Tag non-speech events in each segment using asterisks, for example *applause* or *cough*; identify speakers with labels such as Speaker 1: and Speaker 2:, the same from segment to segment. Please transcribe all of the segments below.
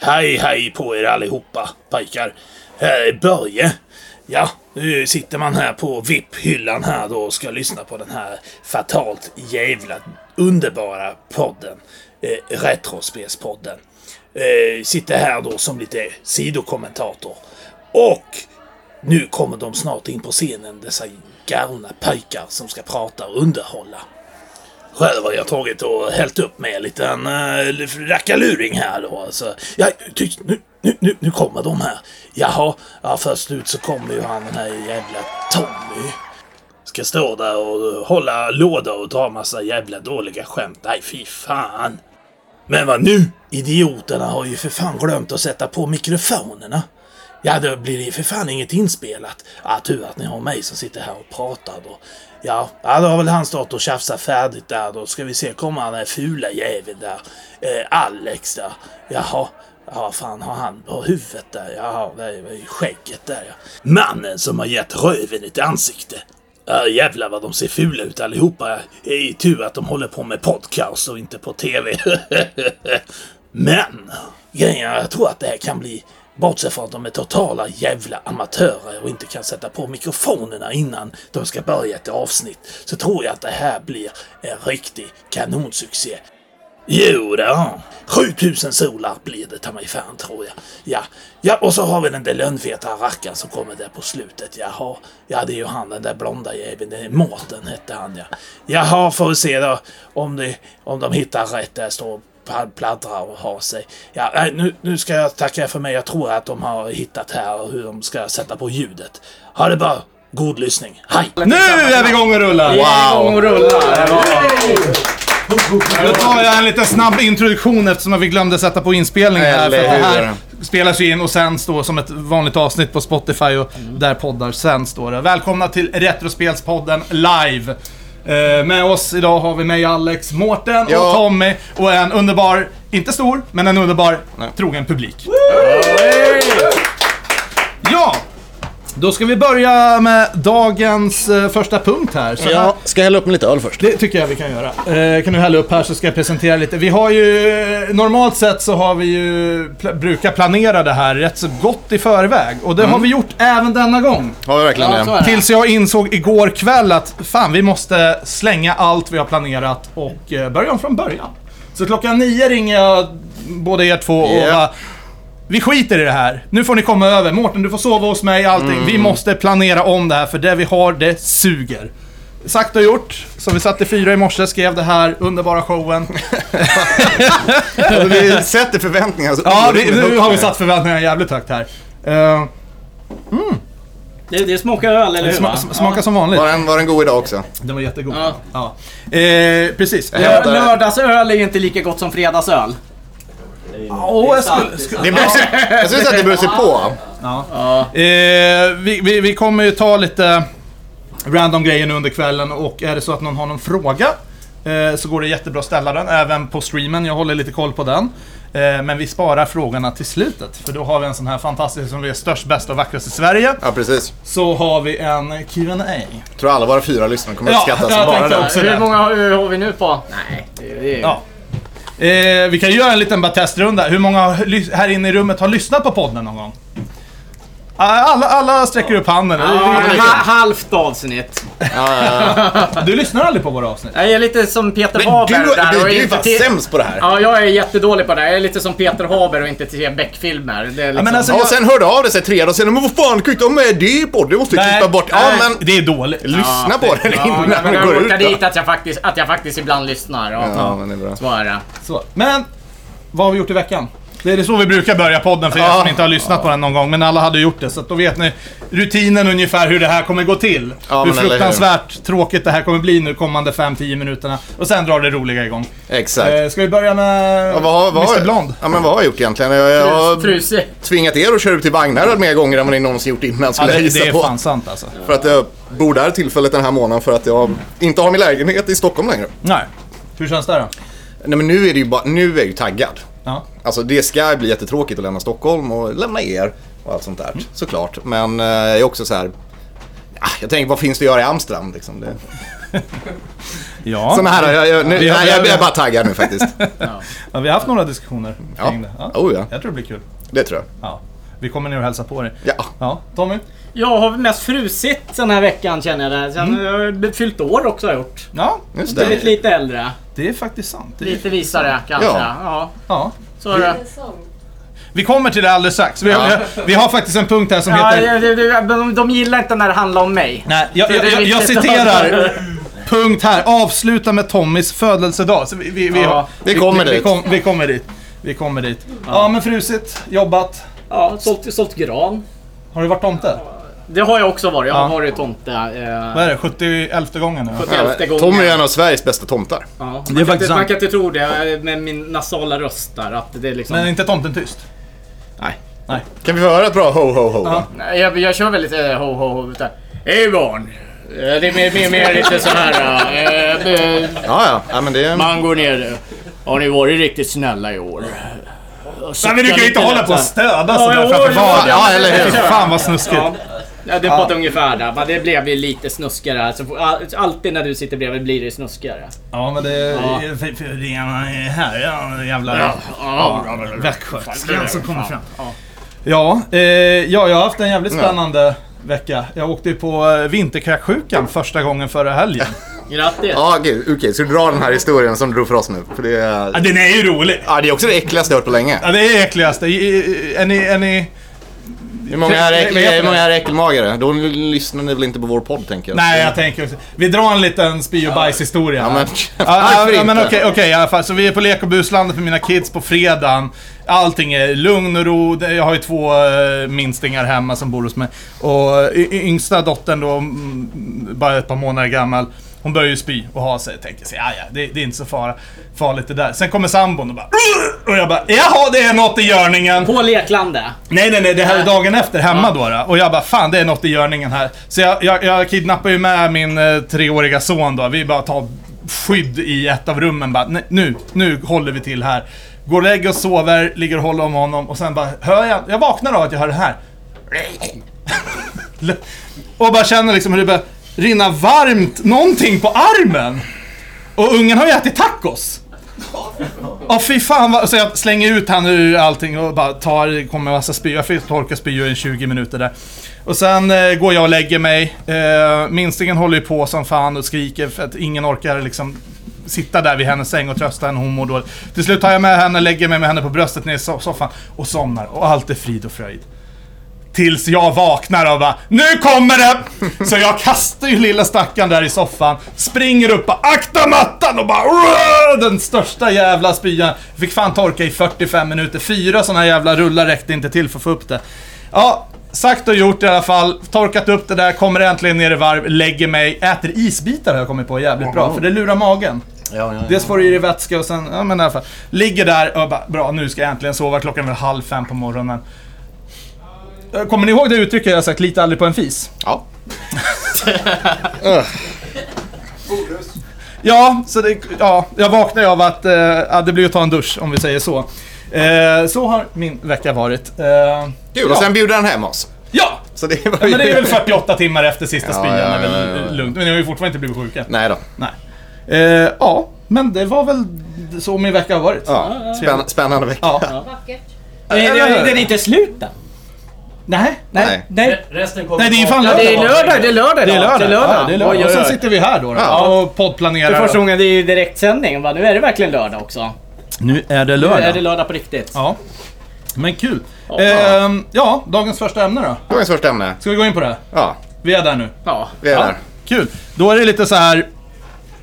Speaker 1: Hej hej på er allihopa pojkar. Här är Börje. Ja, nu sitter man här på VIP-hyllan här då och ska lyssna på den här fatalt jävla underbara podden. Eh, Retrospelspodden. Eh, sitter här då som lite sidokommentator. Och nu kommer de snart in på scenen, dessa galna pojkar som ska prata och underhålla. Själv har jag tagit och hällt upp med en liten äh, rackarluring här då. Alltså, ja, tyst, nu, nu, nu, nu kommer de här. Jaha, ja, först ut så kommer ju han den här jävla Tommy. Ska stå där och hålla låda och dra massa jävla dåliga skämt. Nej, fy fan. Men vad nu? Idioterna har ju för fan glömt att sätta på mikrofonerna. Ja, då blir det ju för fan inget inspelat. Ja, tur att ni har mig som sitter här och pratar då. Ja, ja då har väl han stått och tjafsat färdigt där då. Ska vi se, kommer han den här fula jäveln där? Eh, Alex där. Jaha. Ja, fan har han på huvudet där? Jaha, det är ju skägget där ja. Mannen som har gett röven ett ansikte. Ja, jävlar vad de ser fula ut allihopa. Det är ju tur att de håller på med podcast och inte på TV. *laughs* Men, grejen är, jag tror att det här kan bli Bortsett från att de är totala jävla amatörer och inte kan sätta på mikrofonerna innan de ska börja ett avsnitt, så tror jag att det här blir en riktig kanonsuccé. Jo då. 7000 solar blir det ta mig fan tror jag. Ja, ja och så har vi den där lönnfeta rackaren som kommer där på slutet. Jaha, ja det är ju han den där blonda jäveln. Det är Mårten hette han ja. Jaha, får vi se då om, det, om de hittar rätt där står pl- pladdrar och har sig. Ja, nej, nu, nu ska jag tacka för mig. Jag tror att de har hittat här och hur de ska sätta på ljudet. Ha det bra. God lyssning. Hej!
Speaker 2: Nu är vi igång och rullar!
Speaker 3: Wow! Och rullar.
Speaker 2: Då tar jag en liten snabb introduktion eftersom vi glömde sätta på inspelningen här. För
Speaker 3: Eller
Speaker 2: det här
Speaker 3: hur?
Speaker 2: spelas ju in och sen står som ett vanligt avsnitt på Spotify och där poddar sen står det. Välkomna till Retrospelspodden live! Eh, med oss idag har vi mig Alex, Mårten
Speaker 3: Ja.
Speaker 2: och Tommy och en underbar, inte stor, men en underbar trogen publik. Ja! Då ska vi börja med dagens eh, första punkt här. Så här
Speaker 3: Ja, ska jag hälla upp med lite öl först?
Speaker 2: Det tycker jag vi kan göra. Eh, kan du hälla upp här så ska jag presentera lite. Vi har ju, eh, normalt sett så har vi ju, pl- brukar planera det här rätt så gott i förväg. Och det har
Speaker 3: Mm.
Speaker 2: vi gjort även denna gång.
Speaker 3: Har vi verkligen
Speaker 4: Ja, så är
Speaker 3: det?
Speaker 4: det.
Speaker 2: Tills jag insåg igår kväll att fan, vi måste slänga allt vi har planerat och eh, börja om från början. Så klockan nio ringer jag både er två och
Speaker 3: Ja.
Speaker 2: bara, vi skiter i det här. Nu får ni komma över. Mårten, du får sova hos mig, allting. Vi
Speaker 4: Mm.
Speaker 2: måste planera om det här, för det vi har, det suger. Sagt och gjort. Så vi satt i fyra i morse, skrev det här
Speaker 4: *laughs*
Speaker 2: underbara showen.
Speaker 3: Alltså, vi sätter förväntningar. så
Speaker 2: Ja, vi,
Speaker 3: oerhört
Speaker 2: nu har vi
Speaker 3: högt.
Speaker 2: satt förväntningarna jävligt högt här. Eh,
Speaker 4: Det, det smakar öl, eller hur?
Speaker 2: sma,
Speaker 4: va?
Speaker 2: sm- smaka som vanligt.
Speaker 3: Var den, var den god idag också?
Speaker 2: Den var jättegod.
Speaker 4: Ja.
Speaker 2: Ja. Eh, precis.
Speaker 4: Ja. Lör-
Speaker 3: hämtar-
Speaker 4: Lördagsöl är ju inte lika gott som fredagsöl.
Speaker 2: Åh, jag
Speaker 4: sant, det är
Speaker 2: skulle, skulle,
Speaker 3: Det beror sig, jag skulle säga att det beror sig på.
Speaker 2: Eh, vi, vi, vi kommer ju ta lite random grejer nu under kvällen och är det så att någon har någon fråga eh, så går det jättebra att ställa den även på streamen. Jag håller lite koll på den. Eh, men vi sparar frågorna till slutet för då har vi en sån här fantastisk som vi är störst, bäst och vackrast i Sverige.
Speaker 3: Ja, precis.
Speaker 2: Så har vi en Q&A.
Speaker 3: Jag tror alla våra fyra lyssnare kommer
Speaker 2: Ja,
Speaker 3: att uppskatta
Speaker 2: jag
Speaker 3: som bara
Speaker 2: tänkte
Speaker 3: det.
Speaker 2: också det.
Speaker 4: har, har vi nu på? Nej, det, det är ju...
Speaker 2: Ja. Eh, vi kan ju göra en liten bara testrunda. Hur många har lys- här inne i rummet har lyssnat på podden någon gång? Ah, Alla, alla sträcker upp handen.
Speaker 4: Ja,
Speaker 3: det är
Speaker 4: ha,
Speaker 3: kul.
Speaker 4: halvt avsnitt.
Speaker 3: Ja, ja, ja.
Speaker 2: Du lyssnar aldrig på våra avsnitt?
Speaker 4: Jag är lite som Peter
Speaker 3: Men
Speaker 4: Haber
Speaker 3: du,
Speaker 4: där.
Speaker 3: du,
Speaker 4: och
Speaker 3: du är
Speaker 4: inte
Speaker 3: fan
Speaker 4: till-
Speaker 3: sämst på det här.
Speaker 4: Ja, jag är jättedålig på det. här. Jag är lite som Peter Haber och inte till Beck-filmer. Det är liksom...
Speaker 2: men alltså-
Speaker 3: Ja, och sen hörde av det sig tre dagar senare. Men vad fan, kan du inte ha med det i podden? Du måste ju klippa bort. Ja,
Speaker 2: nej,
Speaker 3: men
Speaker 2: det är dåligt.
Speaker 3: lyssna på den
Speaker 4: Ja,
Speaker 3: innan
Speaker 4: men
Speaker 3: den
Speaker 4: jag
Speaker 3: går ut.
Speaker 4: råkar dit
Speaker 3: då.
Speaker 4: att jag, faktiskt, att jag faktiskt ibland lyssnar. Ja.
Speaker 3: Ja, men det är bra.
Speaker 4: Så är det.
Speaker 2: Så. Men, vad har vi gjort i veckan? Det är det så vi brukar börja podden för er
Speaker 3: Ja.
Speaker 2: som inte har lyssnat på den någon gång. Men alla hade gjort det, så att då vet ni rutinen ungefär hur det här kommer gå till.
Speaker 3: Ja,
Speaker 2: hur
Speaker 3: men eller hur.
Speaker 2: fruktansvärt tråkigt det här kommer bli nu kommande 5-10 minuterna. Och sen drar det roliga igång.
Speaker 3: Exakt.
Speaker 2: Eh, ska vi börja med
Speaker 3: Ja, vad, har- vad, har-
Speaker 2: Mr Blond?
Speaker 3: Ja, men vad har jag gjort egentligen? Jag, jag har
Speaker 4: Frusi.
Speaker 3: tvingat er att köra ut till Vagnhärad mer gånger än vad ni någonsin gjort innan
Speaker 2: Ja,
Speaker 3: skulle
Speaker 2: det,
Speaker 3: jag
Speaker 2: det
Speaker 3: gissa
Speaker 2: är
Speaker 3: på.
Speaker 2: fan sant alltså.
Speaker 3: För att jag bor där tillfället den här månaden för att jag inte har min lägenhet i Stockholm längre.
Speaker 2: Nej. Hur känns det då?
Speaker 3: Nej men nu är det ju bara, nu är jag ju taggad.
Speaker 2: Ja.
Speaker 3: Alltså det ska bli jättetråkigt att lämna Stockholm och lämna er och allt sånt där såklart. Men eh, jag är också så här. ah, Jag tänker vad finns det att göra i Amsterdam liksom? Det,
Speaker 2: Ja.
Speaker 3: Såna här, jag, jag, nu,
Speaker 2: Vi har-
Speaker 3: nej,
Speaker 2: vi har-
Speaker 3: jag, jag är bara taggad nu faktiskt.
Speaker 2: ja, vi har haft några diskussioner
Speaker 3: *laughs* Ja.
Speaker 2: kring det.
Speaker 3: Oh, ja.
Speaker 2: Jag tror det blir kul.
Speaker 3: Det tror jag.
Speaker 2: Ja. Vi kommer ner och hälsar på dig.
Speaker 3: Ja.
Speaker 2: Ja, Tommy?
Speaker 4: Jag har mest frusit den här veckan känner jag. det.
Speaker 2: Mm.
Speaker 4: Sen, Jag har fyllt år också har jag gjort.
Speaker 2: Ja,
Speaker 3: Just det.
Speaker 4: Blivit lite äldre.
Speaker 2: det är faktiskt sant. Det är...
Speaker 4: Lite visare kanske.
Speaker 3: Ja.
Speaker 4: Ja.
Speaker 2: Ja.
Speaker 4: så är det.
Speaker 2: Mm. Vi kommer till det alldeles strax. Vi, har-
Speaker 3: Ja.
Speaker 2: vi har faktiskt en punkt här som
Speaker 4: Ja,
Speaker 2: heter...
Speaker 4: det- det- det- de- de gillar inte när det handlar om mig.
Speaker 2: Nej, jag,
Speaker 4: Så det
Speaker 2: jag,
Speaker 4: är
Speaker 2: jag, jag
Speaker 4: viktigt att-
Speaker 2: citerar. Punkt här. Avsluta med Tommys födelsedag. Så vi, vi, vi,
Speaker 4: Ja,
Speaker 2: har-
Speaker 3: vi kommer
Speaker 2: vi, Vi,
Speaker 3: dit.
Speaker 2: kom, vi kommer dit. Vi kommer dit. Ja. men frusit. Jobbat.
Speaker 4: Ja, sålt, sålt gran.
Speaker 2: Har du varit tomte?
Speaker 4: Det har jag också varit. Jag
Speaker 2: Ja.
Speaker 4: har varit tomte. Eh,
Speaker 2: Vad är det? 71 gången nu?
Speaker 4: för elfte gången.
Speaker 3: Tommy är en av Sveriges bästa tomtar.
Speaker 4: Ja,
Speaker 2: är
Speaker 4: man, kan
Speaker 2: faktiskt
Speaker 4: inte,
Speaker 2: sant.
Speaker 4: man kan inte tro det eh, med min nasala röst där. Att det är liksom...
Speaker 2: Men är inte tomten tyst?
Speaker 4: nej.
Speaker 2: Nej.
Speaker 3: Kan vi få höra ett bra ho ho ho?
Speaker 2: Ja.
Speaker 3: då?
Speaker 4: nej jag, jag kör väldigt eh, ho ho ho. utan, Hej barn! Eh, Det är mer, mer, mer lite så här. eh, eh,
Speaker 3: Ja, ja. ja men det är en...
Speaker 4: Man går ner. Har ni varit riktigt snälla i år?
Speaker 2: Nej, men du kan ju inte hålla på och stöda sådär
Speaker 4: jo,
Speaker 2: framför
Speaker 4: jo,
Speaker 2: barn.
Speaker 3: ja, eller hur?
Speaker 2: Fy Fan vad snuskigt.
Speaker 4: Ja. Ja, det pratar ungefär där. Men det blev ju lite snuskigare. Alltså, all- alltid när du sitter bredvid blir det snuskigare.
Speaker 2: Ja men det är
Speaker 4: Ja.
Speaker 2: för, för det är här ja, jävla
Speaker 4: Ja, ja, ja,
Speaker 2: västgötskan som kommer fram. Ja, eh, ja, jag har haft en jävligt spännande vecka. Jag åkte ju på eh, vinterkräksjukan första gången förra helgen.
Speaker 4: Grattis!
Speaker 3: Ja, gud. Okej, så du drar den här historien som du drog för oss nu? För det
Speaker 2: ja,
Speaker 3: är...
Speaker 2: den är ju rolig!
Speaker 3: Ja, det är också det äckligaste jag hört på länge.
Speaker 2: Ja, det är det äckligaste. I- i- Är ni, är ni...
Speaker 3: Hur många är, äck...
Speaker 2: Vet du
Speaker 3: hur många
Speaker 2: det?
Speaker 3: är äckelmagare? Då lyssnar ni väl inte på vår podd, tänker jag.
Speaker 2: Nej, jag tänker också. Vi drar en liten spy och bajs-historia.
Speaker 3: Ja, men- *laughs*
Speaker 2: ja,
Speaker 3: varför
Speaker 2: ja, men
Speaker 3: inte?
Speaker 2: okej, okej i alla fall. Så vi är på lek och buslandet med mina kids på fredagen. Allting är lugn och ro. Det- Jag har ju två eh, minstingar hemma som bor hos mig. Och eh, y- y- yngsta dottern då, mm, bara ett par månader gammal. Hon börjar ju spy och ha sig. Jag tänker sig, ja ja, det, det är inte så fara, farligt det där. Sen kommer sambon och bara Och jag bara, jaha det är något i görningen.
Speaker 4: På Leklandet.
Speaker 2: Nej, nej, nej. Det här är dagen efter hemma då, då. Och jag bara, fan det är något i görningen här. Så jag, jag, jag kidnappar ju med min eh, treåriga son då. Vi bara tar skydd i ett av rummen bara, "Nej, nu, nu håller vi till här. Går och lägger och sover, ligger och håller om honom och sen bara, hör jag, jag vaknar av att jag hör det här. *laughs* Och bara känner liksom hur det börjar rinna varmt någonting på armen. Och ungen har ju ätit tacos. Ja fy fan vad, så jag slänger ut han ur allting och bara tar, kommer en massa spyor. Jag fick torka spyor i 20 minuter där. Och sen eh, går jag och lägger mig. Eh, minstingen håller ju på som fan och skriker för att ingen orkar liksom sitta där vid hennes säng och trösta henne. Hon mår dåligt. Till slut tar jag med henne, lägger mig med henne på bröstet ner i so- soffan och somnar. Och allt är frid och fröjd. Tills jag vaknar och bara NU kommer det! Så jag kastar ju lilla stackaren där i soffan, springer upp och akta mattan och bara "Åh!" Den största jävla spyan. Fick fan torka i 45 minuter. Fyra såna jävla rullar räckte inte till för att få upp det. Ja, sagt och gjort i alla fall. Torkat upp det där, kommer äntligen ner i varv, lägger mig, äter isbitar har jag kommit på jävligt bra, för det lurar magen.
Speaker 3: Ja, ja, ja.
Speaker 2: Dels får du i dig vätska och sen, ja men i alla fall. Ligger där och bara, bra nu ska jag äntligen sova, klockan är väl halv fem på morgonen. Eh, Kommer ni ihåg det uttrycket jag har sagt, lita aldrig på en fis?
Speaker 3: Ja.
Speaker 2: Ja, så det, ja, jag vaknade av att eh, ja, det blir att ta en dusch om vi säger så. Eh, så har min vecka varit. Eh,
Speaker 3: Kul,
Speaker 2: ja.
Speaker 3: och sen bjuder han hem oss.
Speaker 2: Ja!
Speaker 3: Så det var
Speaker 2: *laughs* ja!
Speaker 3: ju...
Speaker 2: Men det är väl 48 timmar efter sista spyan,
Speaker 3: ja,
Speaker 2: är väl
Speaker 3: ja, ja, ja.
Speaker 2: lugnt. Men ni har ju fortfarande inte blivit sjuka.
Speaker 3: Nej då.
Speaker 2: Nej. Eh, ja, men det var väl så min vecka har varit.
Speaker 3: Ja. Spänn... Spännande vecka.
Speaker 2: Ja.
Speaker 5: Vackert.
Speaker 4: Nej,
Speaker 2: Eller hur?
Speaker 4: det- Den är inte slut än.
Speaker 2: Nej,
Speaker 3: Nej.
Speaker 4: Nej.
Speaker 6: Resten kommer
Speaker 2: Nej, det är ju
Speaker 6: på-
Speaker 2: fan
Speaker 4: Ja, det är
Speaker 2: Ja,
Speaker 4: lördag. Det är lördag
Speaker 2: Det är
Speaker 4: idag.
Speaker 2: lördag. Ja, det är lördag.
Speaker 4: Oj, oj,
Speaker 2: Och sen
Speaker 4: oj.
Speaker 2: sitter vi här då, då
Speaker 3: Ja.
Speaker 2: och poddplanerar.
Speaker 4: För första
Speaker 2: och-
Speaker 4: gången det är ju direktsändning. Va? Nu är det verkligen lördag också.
Speaker 2: Nu är
Speaker 4: Nu
Speaker 2: det lördag.
Speaker 4: är det lördag på riktigt.
Speaker 2: Ja. Men kul. Ehm, ja, dagens första ämne då.
Speaker 3: Dagens första ämne.
Speaker 2: Ska vi gå in på det?
Speaker 3: Ja,
Speaker 2: Vi är där nu.
Speaker 4: Ja.
Speaker 3: vi är där.
Speaker 2: Kul. Då är det lite så här.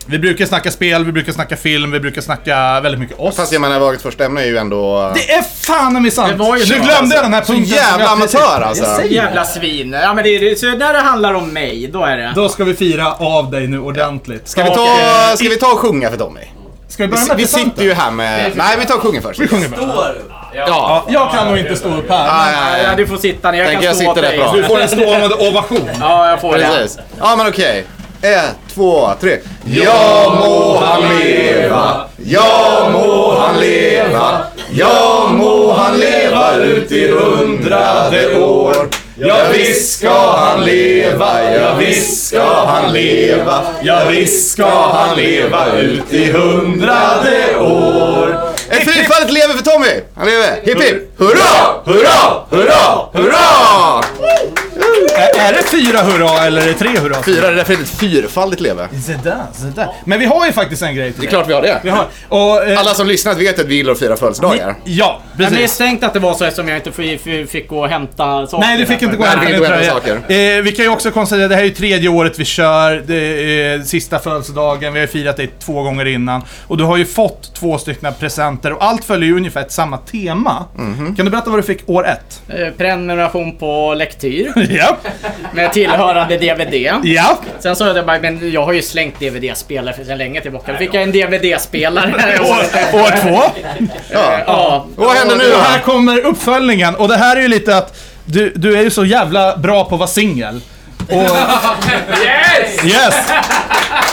Speaker 2: Vi brukar snacka spel, vi brukar snacka film, vi brukar snacka väldigt mycket oss.
Speaker 3: Fast jag menar, dagens första ämne är ju ändå...
Speaker 2: Det är fan i mig sant!
Speaker 4: Det var ju
Speaker 2: Du
Speaker 4: så,
Speaker 2: glömde
Speaker 4: alltså.
Speaker 2: den här
Speaker 3: Så
Speaker 2: punkten. som
Speaker 3: jävla
Speaker 2: jag precis-
Speaker 3: amatör alltså.
Speaker 4: Jävla svin. Ja, men det är, så när det handlar om mig, då är det.
Speaker 2: Då ska vi fira av dig nu ordentligt. eh,
Speaker 3: Ska vi, ta, ska vi ta och sjunga för Tommy?
Speaker 2: Ska vi börja
Speaker 3: Vi,
Speaker 2: med
Speaker 3: vi
Speaker 2: presenten?
Speaker 3: sitter ju här med... Nej, vi tar och sjunger först.
Speaker 2: Vi sjunger bara.
Speaker 6: Står du?
Speaker 2: Ja, jag kan nog inte stå upp här.
Speaker 3: Ja,
Speaker 2: men-
Speaker 3: ja,
Speaker 4: Ja,
Speaker 3: ja.
Speaker 4: du får sitta ner. Jag
Speaker 3: Tänker
Speaker 4: kan
Speaker 3: jag
Speaker 4: stå åt
Speaker 3: sitter där
Speaker 4: dig.
Speaker 3: bra.
Speaker 2: Du får en stående ovation.
Speaker 4: *laughs* Ja, jag får det.
Speaker 3: Precis. Ja, men okej. Ett, två, tre. Ja må han leva, ja må han leva, ja må han leva ut i hundrade år. Ja visst ska han leva, ja visst ska han han leva, ja visst ska han leva ut i hundrade år. Ett frifallet lever för Tommy! Han lever! Hipp hipp! Hurra! Hurra! Hurra! Hurra!
Speaker 2: Är, är det fyra hurra eller är det tre hurra?
Speaker 3: Fyra, det är därför det är ett fyrfaldigt leve.
Speaker 2: Det där, det där. Men vi har ju faktiskt en grej till
Speaker 3: Det är klart vi har
Speaker 2: Vi
Speaker 3: det.
Speaker 2: har, och, eh,
Speaker 3: Alla som lyssnat vet att vi gillar att fira födelsedagar.
Speaker 2: Ja,
Speaker 4: Jag
Speaker 2: precis.
Speaker 4: misstänkte att det var så eftersom jag inte f- f- fick gå och hämta saker.
Speaker 2: Nej, du fick inte gå
Speaker 3: Nej,
Speaker 2: och hämta
Speaker 3: vi
Speaker 2: din
Speaker 3: kan gå och
Speaker 2: tröja.
Speaker 3: hämta
Speaker 2: Eh, vi kan ju också konstatera, det här är ju tredje året vi kör, det är eh, sista födelsedagen, vi har ju firat dig två gånger innan. Och du har ju fått två stycken presenter och allt följer ju ungefär ett samma tema.
Speaker 3: Mhm.
Speaker 2: Kan du berätta vad du fick år ett? *laughs*
Speaker 4: Eh, Prenumeration på lektyr
Speaker 2: Ja.
Speaker 4: med tillhörande DVD.
Speaker 2: Ja.
Speaker 4: Sen sa jag det bara, men jag har ju slängt DVD-spelare för sedan länge tillbaka. Då fick jag en
Speaker 2: *laughs*
Speaker 4: DVD-spelare.
Speaker 2: År, år två.
Speaker 3: Ja.
Speaker 4: ja.
Speaker 3: Vad händer nu
Speaker 2: Och
Speaker 3: då?
Speaker 2: här kommer uppföljningen. Och det här är ju lite att du, du är ju så jävla bra på att vara singel.
Speaker 3: *laughs*
Speaker 2: Och,
Speaker 4: Yes!
Speaker 2: yes!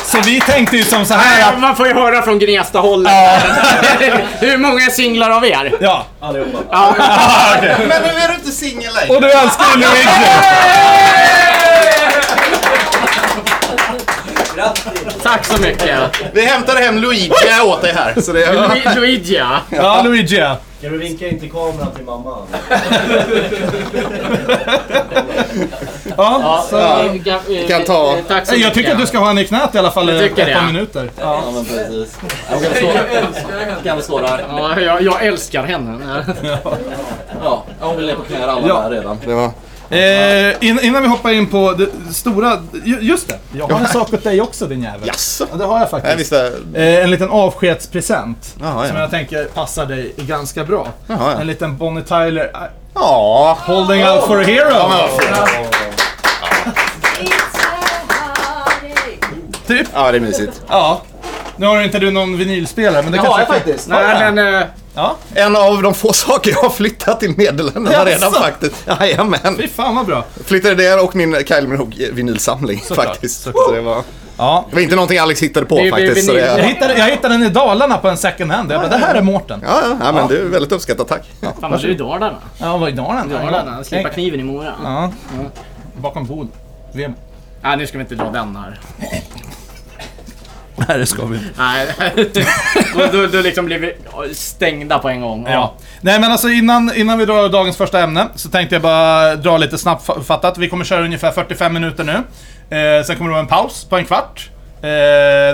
Speaker 2: Så vi tänkte ju som så här
Speaker 4: Ja,
Speaker 2: att...
Speaker 4: Man får ju höra från Gnesta-hållet. *laughs* Hur många är singlar av er?
Speaker 2: Ja.
Speaker 3: Men nu är du inte singel längre.
Speaker 2: Och du älskar ju Luigi!
Speaker 3: *laughs*
Speaker 4: Tack så mycket.
Speaker 3: Vi hämtade hem Luigi åt dig här. Så det...
Speaker 4: Lu- Luigi, ja.
Speaker 2: Ja, Luigi ja.
Speaker 5: Kan du vinka in till kameran till mamma?
Speaker 2: ja.
Speaker 4: Så,
Speaker 3: Ja.
Speaker 4: eh, ga- eh,
Speaker 3: kan ta-
Speaker 4: eh, Tack så mycket.
Speaker 2: Nej, Jag tycker att du ska ha henne i knät i alla fall
Speaker 4: Jag
Speaker 2: i ett
Speaker 4: tycker
Speaker 2: par
Speaker 4: det.
Speaker 2: minuter.
Speaker 5: Ja men precis. Hon kan stå, hon kan väl stå där.
Speaker 4: Ja, jag, jag älskar henne.
Speaker 5: Ja, hon vill ner på knä alla
Speaker 2: Ja.
Speaker 5: där redan.
Speaker 3: det var...
Speaker 2: Eh, in, innan vi hoppar in på det stora... ju- Just det! Jag har en sak åt dig också din jävel.
Speaker 3: Jaså?
Speaker 2: Ja, det har jag faktiskt.
Speaker 3: Nej, visst är...
Speaker 2: Eh, en liten avskedspresent.
Speaker 3: Jaha,
Speaker 2: Som
Speaker 3: Ah, ja.
Speaker 2: jag tänker passar dig ganska bra.
Speaker 3: Jaha, ja. Oh.
Speaker 2: En liten Bonnie Tyler eh,
Speaker 3: Ja.
Speaker 2: Holding Out for a Hero. typ.
Speaker 3: Ja, det är mysigt.
Speaker 2: Ja. Nu har inte du någon vinylspelare, men det
Speaker 5: Det har jag faktiskt.
Speaker 4: Nej, men... eh,
Speaker 2: Ja,
Speaker 3: En av de få *laughs* saker jag har flyttat till Nederländerna redan
Speaker 2: Jaså?
Speaker 3: faktiskt. Jajamän.
Speaker 2: fy fan vad bra.
Speaker 3: Flyttade där och min Kylie Minogue-vinylsamling faktiskt. Så det, var,
Speaker 2: Ja.
Speaker 3: det var inte någonting Alex hittade på
Speaker 4: vi-
Speaker 3: faktiskt. Så det,
Speaker 4: vinyl.
Speaker 2: Jag
Speaker 3: ja,
Speaker 2: hittade, jag hittade den i Dalarna på en second hand. Jag bara, det här är Mårten. Ja,
Speaker 3: ja, ja, men det är väldigt uppskattat. Tack.
Speaker 4: Fan vad du är Dalarna.
Speaker 2: ja var i Dalarna?
Speaker 4: Dalarna. Slippa kniven i Mora. Ja.
Speaker 2: Ja. Bakom bord. VM.
Speaker 4: Nej, nu ska vi inte dra den här.
Speaker 2: Nej, det ska vi inte.
Speaker 4: Nej. *laughs* då, då, då liksom blir vi stängda på en gång.
Speaker 2: Ja. Nej men alltså innan, innan vi drar dagens första ämne så tänkte jag bara dra lite snabbfattat. Vi kommer köra ungefär 45 minuter nu. Eh, sen kommer det vara en paus på en kvart. Eh,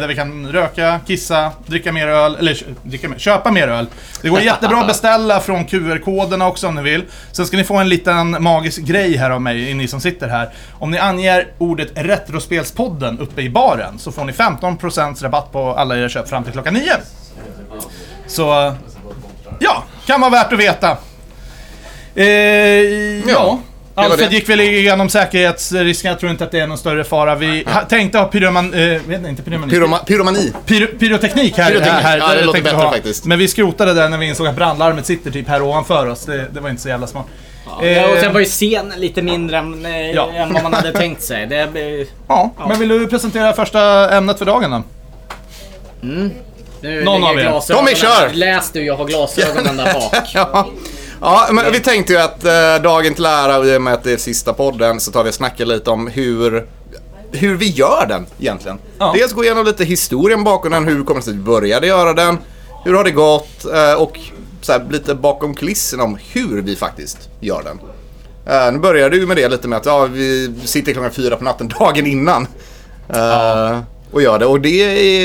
Speaker 2: där vi kan röka, kissa, dricka mer öl, eller kö- dricka mer, köpa mer öl. Det går jättebra att beställa från QR-koderna också om ni vill. Sen ska ni få en liten magisk grej här av mig, ni som sitter här. Om ni anger ordet Retrospelspodden uppe i baren så får ni 15% rabatt på alla era köp fram till klockan 9. Så eh, Ja, kan vara värt att veta. Eh, ja.
Speaker 3: var
Speaker 2: Alfred
Speaker 3: det.
Speaker 2: gick väl igenom säkerhetsrisken, jag tror inte att det är någon större fara. Vi ha, tänkte ha pyroman, eh, vet ni, inte pyromani,
Speaker 3: Pyroma- pyromani.
Speaker 2: pyro, pyroteknik här.
Speaker 3: Pyroteknik,
Speaker 2: här
Speaker 3: ja, det
Speaker 2: där
Speaker 3: låter
Speaker 2: tänkte vi
Speaker 3: bättre faktiskt.
Speaker 2: Men vi skrotade det när vi insåg att brandlarmet sitter typ här ovanför oss. Det, det var inte så jävla smart.
Speaker 4: Ja, och sen
Speaker 2: Eh,
Speaker 4: var ju scenen lite mindre än, eh,
Speaker 2: Ja.
Speaker 4: än vad man hade tänkt sig. Det, eh,
Speaker 2: ja, men vill du presentera första ämnet för dagen då? *laughs*
Speaker 4: nu
Speaker 2: Någon
Speaker 4: ligger
Speaker 2: av er.
Speaker 4: glasögonen-
Speaker 3: Tommy, kör!
Speaker 4: Läs du, jag har glasögonen där
Speaker 2: *laughs*
Speaker 4: bak.
Speaker 3: *laughs* Ja. Ja, men vi tänkte ju att eh, dagen till ära och i och med att det är sista podden så tar vi och snackar lite om hur, hur vi gör den egentligen.
Speaker 2: Ja.
Speaker 3: Dels gå igenom lite historien bakom den, hur kommer det sig att vi började göra den, hur har det gått eh, och så här, lite bakom kulisserna om hur vi faktiskt gör den. Eh, nu började du med det lite med att ja, vi sitter klockan fyra på natten *laughs* dagen innan. eh, Och gör det. Och det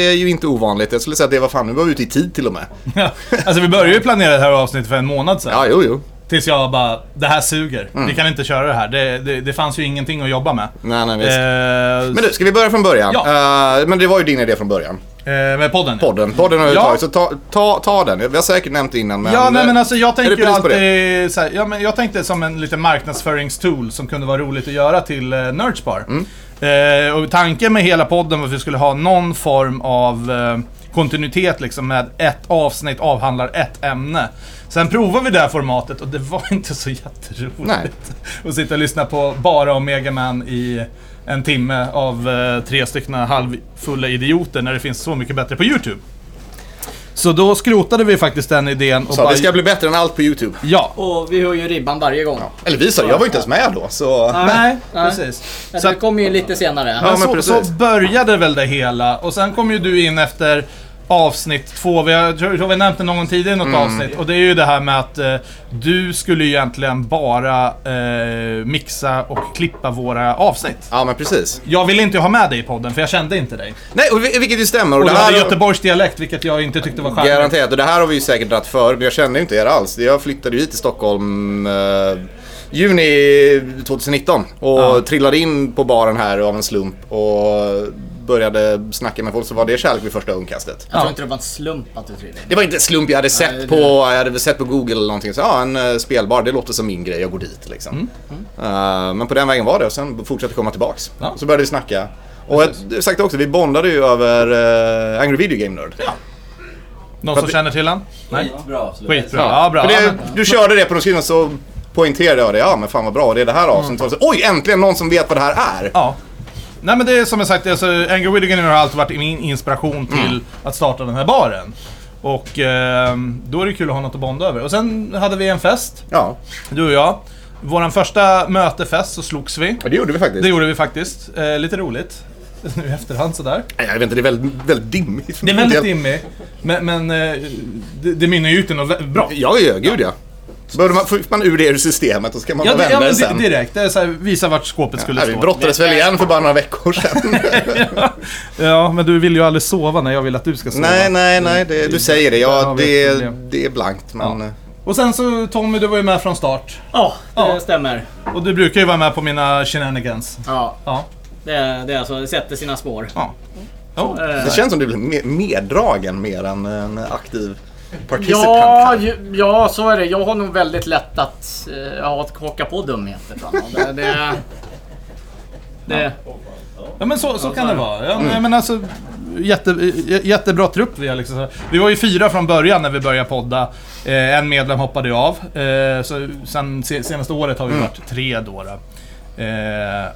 Speaker 3: är ju inte ovanligt. Jag skulle säga att det var fan, nu var vi ute i tid till och
Speaker 2: *laughs*
Speaker 3: med.
Speaker 2: alltså vi började ju planera det här avsnittet för en månad sedan.
Speaker 3: Ja, jo, jo.
Speaker 2: Tills jag bara, det här suger. Vi kan inte köra det här. Det, det, det fanns ju ingenting att jobba med.
Speaker 3: Nej, nej, visst.
Speaker 2: Eh,
Speaker 3: Men du, ska vi börja från början?
Speaker 2: Ja.
Speaker 3: Eh, men det var ju din idé från början.
Speaker 2: Eh, med podden?
Speaker 3: Podden. Podden har vi
Speaker 2: Ja.
Speaker 3: tagit, så ta, ta, ta den. Vi har säkert nämnt det innan, men... eh,
Speaker 2: Ja, nej, men alltså jag
Speaker 3: är det
Speaker 2: tänker ju
Speaker 3: pris på det?
Speaker 2: alltid så här, ja, men jag tänkte som en liten marknadsföringstool som kunde vara roligt att göra till eh, Nerdspar.
Speaker 3: Mm.
Speaker 2: Eh, och tanken med hela podden var att vi skulle ha någon form av eh, kontinuitet liksom med ett avsnitt avhandlar ett ämne. Sen provade vi det här formatet och det var *laughs* inte så jätteroligt.
Speaker 3: Nej.
Speaker 2: *laughs* Att sitta och lyssna på bara om Mega Man i en timme av eh, tre stycken halvfulla idioter när det finns så mycket bättre på YouTube. Så då skrotade vi faktiskt den idén och
Speaker 3: Så
Speaker 2: bara...
Speaker 3: det ska bli bättre än allt på YouTube.
Speaker 2: Ja.
Speaker 5: Och vi höjer ribban varje gång.
Speaker 3: Eller vi sa, jag var inte ens med då. Så...
Speaker 2: Nej,
Speaker 5: Nej.
Speaker 2: precis.
Speaker 5: Men
Speaker 2: Så
Speaker 5: det
Speaker 2: att-
Speaker 5: kommer ju lite senare.
Speaker 3: Ja, men
Speaker 2: så, så
Speaker 3: precis.
Speaker 2: började väl det hela och sen kom ju du in efter avsnitt två. Vi har, jag tror jag vi nämnt det någon gång tidigare i
Speaker 3: Mm.
Speaker 2: något avsnitt. Och det är ju det här med att eh, du skulle ju egentligen bara eh, mixa och klippa våra avsnitt.
Speaker 3: Ja men precis.
Speaker 2: Jag ville inte ha med dig i podden för jag kände inte dig.
Speaker 3: Nej, och vi- vilket ju stämmer.
Speaker 2: Och du
Speaker 3: det
Speaker 2: hade
Speaker 3: här-
Speaker 2: Göteborgs dialekt vilket jag inte tyckte var charmigt.
Speaker 3: Garanterat, och det här har vi ju säkert dragit för, men jag kände ju inte er alls. Jag flyttade ju hit till Stockholm eh, juni 2019 och trillade in på baren här av en slump och började snacka med folk så var det kärlek vid första ögonkastet.
Speaker 5: Jag
Speaker 2: Ja.
Speaker 5: tror inte det var en slump att du trillade in.
Speaker 3: Det var inte en slump, jag hade sett,
Speaker 5: det-
Speaker 3: på, jag hade väl sett på Google eller någonting. Så, ja, en eh, spelbar, det låter som min grej, jag går dit liksom. Eh, men på den vägen var det och sen fortsatte komma tillbaks.
Speaker 2: Mm. Ja.
Speaker 3: Så började vi snacka. Och jag sagt också, vi bondade ju över eh, Angry Video Game Nerd.
Speaker 2: Någon som känner till han? Nej.
Speaker 5: Bra, absolut.
Speaker 2: Skitbra. Ja, bra.
Speaker 3: För
Speaker 2: Ja,
Speaker 3: det,
Speaker 2: men-
Speaker 3: du körde det på någon skrivning så poängterade jag det. Ja men fan vad bra, det är det här avsnittet. Och så, Oj, äntligen någon som vet vad det här är!
Speaker 2: Mm. Ja. Nej men det är som jag sagt, alltså, Angry Video Game har alltid varit min
Speaker 3: Mm.
Speaker 2: inspiration till att starta den här baren. Och ehm, då är det kul att ha något att bonda över. Och sen hade vi en fest,
Speaker 3: Ja,
Speaker 2: du och jag. Våran första mötefest så slogs vi.
Speaker 3: det gjorde vi faktiskt.
Speaker 2: Det gjorde vi faktiskt. Eh, lite roligt. *laughs* Nu i efterhand sådär.
Speaker 3: Nej, jag vet inte, det är väldigt, väldigt dimmigt.
Speaker 2: Det är väldigt dimmig. Men, men eh, det, det mynnar ju ut i något vä- bra.
Speaker 3: Ja, ja, gud ja. Så Behövde man, fick man ur det ur systemet och så kan man
Speaker 2: Ja,
Speaker 3: bara
Speaker 2: det,
Speaker 3: vända
Speaker 2: ja
Speaker 3: det
Speaker 2: men
Speaker 3: sen.
Speaker 2: di- direkt. Det är så här, visa vart skåpet skulle
Speaker 3: Nej, vi
Speaker 2: stå.
Speaker 3: brottades väl igen för bara några veckor
Speaker 2: *laughs*
Speaker 3: sedan.
Speaker 2: Ja, men du vill ju aldrig sova när jag vill att du ska sova.
Speaker 3: nej, nej, nej. Det, du säger det.
Speaker 2: Där
Speaker 3: Ja,
Speaker 2: har vi
Speaker 3: det,
Speaker 2: ett
Speaker 3: är-
Speaker 2: problem.
Speaker 3: det är blankt. Men...
Speaker 2: Ja. Och sen så Tommy, du var ju med från start.
Speaker 5: Ja, det
Speaker 2: Ja.
Speaker 5: stämmer.
Speaker 2: Och du brukar ju vara med på mina shenanigans.
Speaker 5: Ja,
Speaker 2: Ja.
Speaker 5: det, det, är alltså, det sätter sina spår.
Speaker 2: Ja. Oh.
Speaker 5: Eh,
Speaker 3: Det känns som du blir me- meddragen mer än en aktiv participant.
Speaker 4: Ja,
Speaker 3: här.
Speaker 4: ju, ja, så är det. Jag har nog väldigt lätt att, eh, ja, att haka på dumheter. fan. Det, det, det,
Speaker 2: Ja men så, så kan det vara. Ja, nej, men alltså, jätte, j- jättebra trupp vi har liksom. Vi var ju fyra från början när vi började podda. Eh, en medlem hoppade ju av. Eh, så sen se, senaste året har vi varit tre då. då. Eh,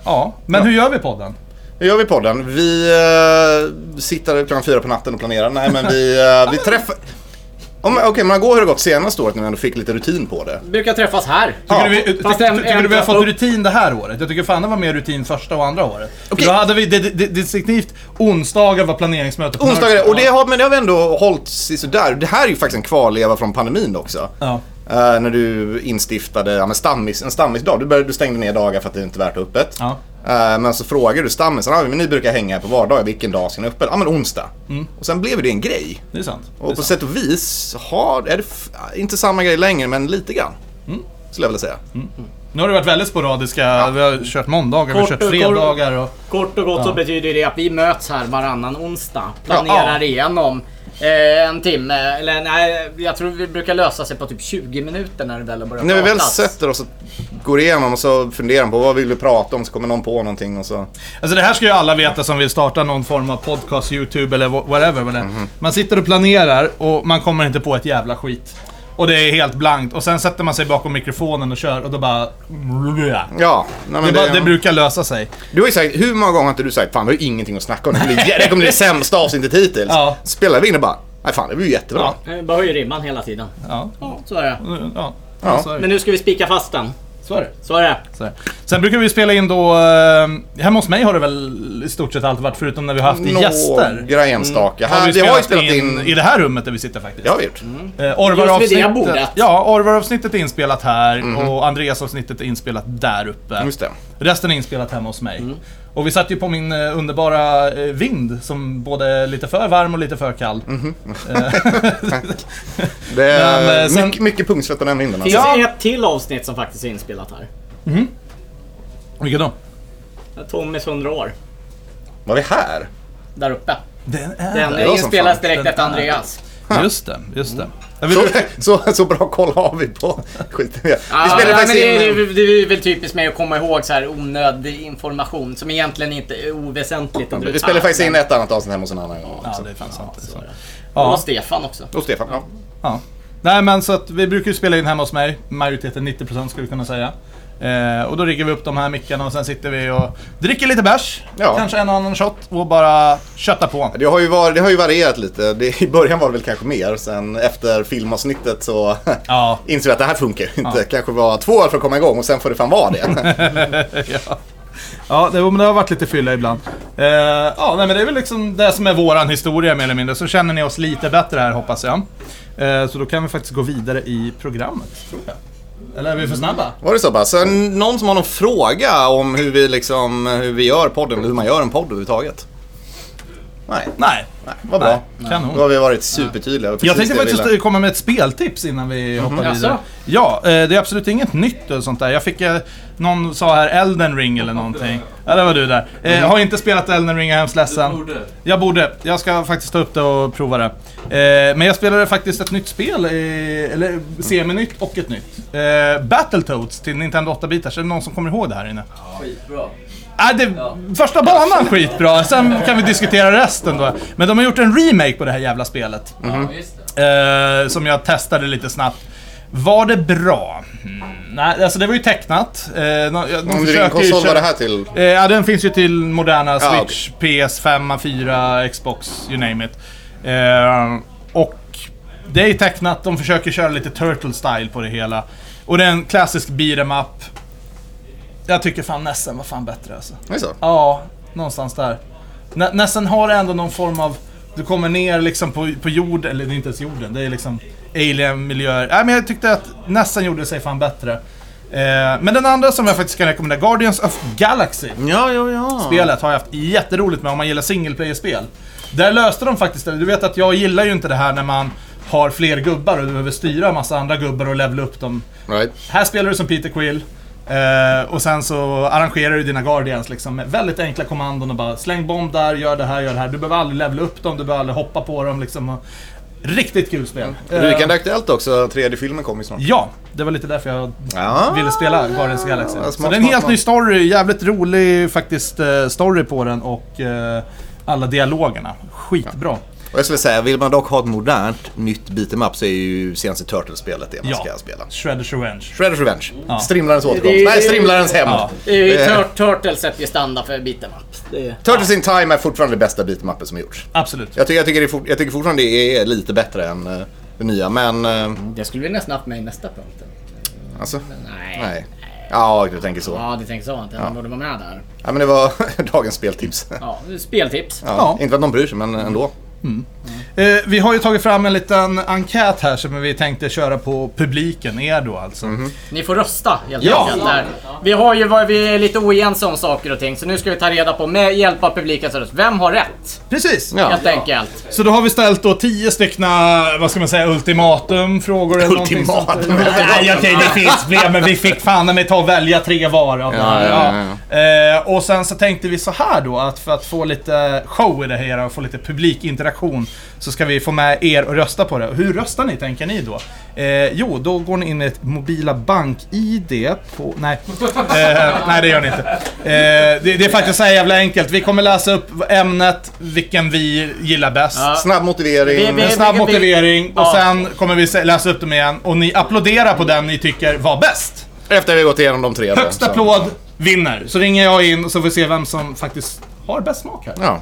Speaker 2: ja, men hur gör vi podden?
Speaker 3: Nu gör vi podden. Vi eh, sitter klockan fyra på natten och planerar. Nej, men vi, eh, vi träffar... Om- Okej, men man går hur det gått senaste året när vi ändå fick lite rutin på det.
Speaker 4: brukar träffas här.
Speaker 2: Tycker
Speaker 3: Ja.
Speaker 2: du vi, ty,
Speaker 4: Fast
Speaker 2: ty,
Speaker 4: en-
Speaker 2: tycker du
Speaker 4: en
Speaker 2: vi har
Speaker 4: trappa
Speaker 2: fått
Speaker 4: upp.
Speaker 2: rutin det här året? Jag tycker fan det var mer rutin första och andra året. För
Speaker 3: Okej.
Speaker 2: Då hade vi det, det, det, distinktivt onsdagar var planeringsmöte på
Speaker 3: Onsdagar,
Speaker 2: Mörkö.
Speaker 3: och det har, men det har vi ändå hållit sig sådär. Det här är ju faktiskt en kvarleva från pandemin också.
Speaker 2: Ja.
Speaker 3: Eh, när du instiftade ja, men stammis, en stammisdag. Du, började, du stängde ner dagar för att det inte är värt öppet.
Speaker 2: Ja.
Speaker 3: Eh, men så frågade du stammisen, ah, men ni brukar hänga här på vardagar, vilken dag ska ni ha öppet? Ja, men onsdag. Och sen blev det en grej.
Speaker 2: Det är sant. Mm. Det är
Speaker 3: Och på
Speaker 2: sant.
Speaker 3: sätt och vis har, är det f- inte samma grej längre, men lite grann.
Speaker 2: Mm.
Speaker 3: Skulle jag vilja säga.
Speaker 2: Nu har det varit väldigt sporadiska. Vi har kört måndagar,
Speaker 4: Kort
Speaker 2: vi har
Speaker 4: och
Speaker 2: kört fredagar och...
Speaker 4: Kort och gott så betyder det att vi möts här varannan onsdag. Planerar
Speaker 2: Ja.
Speaker 4: igenom eh, en timme. Eller nej, jag tror vi brukar lösa sig på typ 20 minuter när det väl har börjat
Speaker 3: När vi väl
Speaker 4: pratas.
Speaker 3: sätter oss och går igenom och så funderar man på vad vill vi prata om, så kommer någon på någonting och så...
Speaker 2: Alltså det här ska ju alla veta som vill starta någon form av podcast, YouTube eller wha- whatever. vad det är.
Speaker 3: Mhm.
Speaker 2: Man sitter och planerar och man kommer inte på ett jävla skit. Och det är helt blankt. Och sen sätter man sig bakom mikrofonen och kör och då bara...
Speaker 3: Ja, nej, men
Speaker 2: Det,
Speaker 3: det,
Speaker 2: bara, det brukar lösa sig.
Speaker 3: Du har ju sagt, hur många gånger har inte du sagt fan vi har ju ingenting att snacka om, det här blir- det här kommer bli det sämsta avsnittet hittills.
Speaker 2: Ja.
Speaker 3: Spelar vi in och bara, nej fan det blir ju jättebra.
Speaker 2: Ja.
Speaker 4: Eh, Bara höjer ribban hela tiden.
Speaker 2: Ja.
Speaker 4: Ja, så är det.
Speaker 2: ja.
Speaker 3: Ja.
Speaker 2: Så, är
Speaker 4: Men
Speaker 2: det.
Speaker 4: nu ska vi spika fast den.
Speaker 2: så är det.
Speaker 4: Så är det.
Speaker 2: Så här. Sen brukar vi spela in då... Eh, hemma hos mig har det väl i stort sett alltid varit förutom när vi har haft gäster. Mm.
Speaker 3: Några enstaka.
Speaker 2: Har
Speaker 3: Här,
Speaker 2: vi
Speaker 3: vi har ju spelat in...
Speaker 2: i det här rummet där vi sitter faktiskt.
Speaker 3: Det har vi gjort.
Speaker 2: Eh,
Speaker 4: Just vid det bordet.
Speaker 2: Orvar-avsnittet ja, Orvar-avsnittet är inspelat här och Andreas-avsnittet är inspelat där uppe.
Speaker 3: Mhm. Just det.
Speaker 2: Resten är inspelat hemma hos mig.
Speaker 4: Mm.
Speaker 2: Och vi satt ju på min eh, underbara eh, vind som både är lite för varm och lite för kall.
Speaker 3: Mhm. Det är
Speaker 2: Men, eh, sen-
Speaker 3: mycket, mycket pungsvett på den vinden alltså.
Speaker 4: Finns
Speaker 2: Ja.
Speaker 4: det ett till avsnitt som faktiskt är inspelat här.
Speaker 2: Vilket då?
Speaker 4: Tommys 100 år.
Speaker 3: Var vi här?
Speaker 4: Där uppe.
Speaker 2: Den
Speaker 4: Den
Speaker 2: är...
Speaker 3: var som
Speaker 4: inspelas
Speaker 3: fan.
Speaker 4: direkt
Speaker 2: Den
Speaker 4: efter
Speaker 2: är-
Speaker 4: Andreas.
Speaker 2: Just det, just det. Jag vill-
Speaker 3: Mm. Så, *laughs* så, så bra koll har vi på skiten. Vi
Speaker 4: Ja,
Speaker 3: spelade
Speaker 4: nej, men
Speaker 3: faktiskt
Speaker 4: Ah, det, är-
Speaker 3: in...
Speaker 4: det, det är väl typiskt med att komma ihåg så här onödig information som egentligen inte är oväsentligt. Ah,
Speaker 3: Vi spelade faktiskt in ett annat avsnitt hemma hos en annan gång.
Speaker 2: Ja,
Speaker 3: också.
Speaker 2: det är fan sant. Så.
Speaker 4: Ja. Och
Speaker 2: Ja,
Speaker 4: Stefan också.
Speaker 3: Och Stefan, ja.
Speaker 2: ja. Nej men så att vi brukar ju spela in hemma hos mig. Majoriteten, 90% skulle jag kunna säga. Eh, och då riggar vi upp de här mickarna och sen sitter vi och dricker lite bärs,
Speaker 3: Ja.
Speaker 2: kanske en och annan shot och bara köttar på.
Speaker 3: Det har, ju var, det har ju varierat lite. Det, I början var det väl kanske mer. Sen efter filmavsnittet så
Speaker 2: Ja.
Speaker 3: insåg vi att det här funkar ju inte. Kanske var två öl för att komma igång och sen får det fan vara
Speaker 2: *laughs*
Speaker 3: det.
Speaker 2: Ja, det, men det har varit lite fylla ibland. Eh, ja, nej, men det är väl liksom det som är våran historia mer eller mindre. Så känner ni oss lite bättre här hoppas jag. Eh, så då kan vi faktiskt gå vidare i programmet, tror jag. Eller är vi för snabba?
Speaker 3: var det så bara? Så någon som har någon fråga om hur vi, liksom, hur vi gör podden, eller hur man gör en podd överhuvudtaget? Nej,
Speaker 2: Nej.
Speaker 3: nej vad bra.
Speaker 2: Nej.
Speaker 3: Då
Speaker 2: Kanon.
Speaker 3: har vi varit supertydliga.
Speaker 2: Jag tänkte
Speaker 3: det vi ville.
Speaker 2: faktiskt komma med ett speltips innan vi hoppar
Speaker 4: Jaså?
Speaker 2: vidare. Ja, eh, det är absolut inget nytt eller sånt där. Jag fick, eh, någon sa här Elden ring eller någonting. Ja, det var du där. Eh, Har inte spelat Elden ring, jag är hemskt ledsen.
Speaker 5: borde.
Speaker 2: Jag borde. Jag ska faktiskt ta upp det och prova det. Eh, men jag spelade faktiskt ett nytt spel, eh, eller seminytt och ett nytt. Eh, Battletoads till Nintendo 8-bitars. Är det någon som kommer ihåg det här inne?
Speaker 5: Skitbra.
Speaker 2: Ah, det, Första banan skitbra, sen kan vi diskutera resten då. Men de har gjort en remake på det här jävla spelet.
Speaker 4: Mm.
Speaker 5: Ja, just det.
Speaker 2: Eh, som jag testade lite snabbt. Var det bra? Mm, nej, alltså det var ju tecknat. Eh, de, de
Speaker 3: Om vilken
Speaker 2: försöker ju
Speaker 3: konsol
Speaker 2: köra-
Speaker 3: var det här till?
Speaker 2: Eh, ja, den finns ju till moderna
Speaker 3: Ja,
Speaker 2: Switch, PS5, 4, Xbox, you name it. Eh, och det är ju tecknat, de försöker köra lite Turtle Style på det hela. Och det är en klassisk beat em up. Jag tycker fan Nessen var fan bättre alltså.
Speaker 3: Det är så.
Speaker 2: Ja, någonstans där. Nä, nästan har ändå någon form av... Du kommer ner liksom på, på jorden, eller det är inte ens jorden, det är liksom alien-miljöer. Nej, men jag tyckte att nästan gjorde sig fan bättre. Eh, men den andra som jag faktiskt kan rekommendera, Guardians of Galaxy.
Speaker 3: Ja, ja, ja.
Speaker 2: Spelet har jag haft jätteroligt med om man gillar single player-spel. Där löste de faktiskt det. Du vet att jag gillar ju inte det här när man har fler gubbar och du behöver styra en massa andra gubbar och levla upp dem.
Speaker 3: Right.
Speaker 2: Här spelar du som Peter Quill. eh, och sen så arrangerar du dina Guardians liksom med väldigt enkla kommandon och bara släng bomb där, gör det här, gör det här. Du behöver aldrig levla upp dem, du behöver aldrig hoppa på dem liksom. Och... Riktigt kul spel. Eh,
Speaker 3: Rykande Aktuellt också, tredje filmen kommer ju snart.
Speaker 2: ja, det var lite därför jag
Speaker 3: Ja.
Speaker 2: ville spela Guardians of the Galaxy.
Speaker 3: smart,
Speaker 2: så det är en
Speaker 3: smart,
Speaker 2: helt
Speaker 3: smart.
Speaker 2: ny story, jävligt rolig faktiskt eh, story på den och eh, alla dialogerna. Skitbra.
Speaker 3: Och jag skulle säga, vill man dock ha ett modernt, nytt beat'em up så är ju senaste Turtles-spelet det man
Speaker 2: Ja.
Speaker 3: ska spela.
Speaker 2: Shredder's Revenge.
Speaker 3: Shredder's Revenge.
Speaker 2: Ja.
Speaker 3: Strimlarens återkomst.
Speaker 4: Det-
Speaker 3: Nej, Strimlarens hem.
Speaker 2: Ja.
Speaker 4: Det är ju
Speaker 3: Eh.
Speaker 4: Tur- Turtles sätter ju standard för beat'em up. Det är...
Speaker 3: Turtles in Time är fortfarande det bästa beat'em upet som gjorts.
Speaker 2: Absolut.
Speaker 3: Jag tycker, jag, tycker det är fort, jag tycker fortfarande det är lite bättre än eh, det nya, men... eh,
Speaker 4: Det skulle vi nästan haft med i nästa punkt.
Speaker 3: alltså,
Speaker 4: Nej.
Speaker 3: nej. Ja, du tänker så.
Speaker 4: Ja, det tänker jag inte. Den borde vara med där.
Speaker 3: Ja, men det var *laughs* dagens speltips. Ja.
Speaker 4: Ja, speltips.
Speaker 2: Ja.
Speaker 3: Inte för att någon bryr sig, men ändå.
Speaker 2: Eh, vi har ju tagit fram en liten enkät här som vi tänkte köra på publiken, er då alltså.
Speaker 3: Mhm.
Speaker 4: Ni får rösta helt
Speaker 2: Ja.
Speaker 4: enkelt. Där. Vi, har ju, varit- vi är lite oense om saker och ting, så nu ska vi ta reda på med hjälp av publikens röst. Vem har rätt?
Speaker 2: Precis!
Speaker 3: Ja.
Speaker 4: Helt enkelt.
Speaker 2: Så då har vi ställt då tio styckna, vad ska man säga, ultimatum, frågor eller någonting sånt.
Speaker 3: Ultimatum.
Speaker 2: Nej okej, det finns fler men vi fick fan i mig ta och välja tre var av det här.
Speaker 3: ja,
Speaker 2: Eh, och sen så tänkte vi så här då att för att få lite show i det här och få lite publikinteraktion så ska vi få med er och rösta på det. Och Hur röstar ni tänker ni då? Eh, jo, då går ni in i ett mobila bank-id på... Nej. Eh, nej, det gör ni inte. Eh, det, det är faktiskt så här jävla enkelt. Vi kommer läsa upp ämnet, vilken vi gillar bäst.
Speaker 4: Ja.
Speaker 3: Snabb motivering.
Speaker 4: Vi- vi-
Speaker 2: En snabb
Speaker 4: Vilken bild-
Speaker 2: motivering och
Speaker 4: Ja.
Speaker 2: sen kommer vi se- läsa upp dem igen och ni applåderar på den ni tycker var bäst.
Speaker 3: Efter vi har gått igenom de tre. då,
Speaker 2: Högst
Speaker 3: så-
Speaker 2: applåd vinner. Så ringer jag in och så får vi se vem som faktiskt har bäst smak här.
Speaker 3: Ja.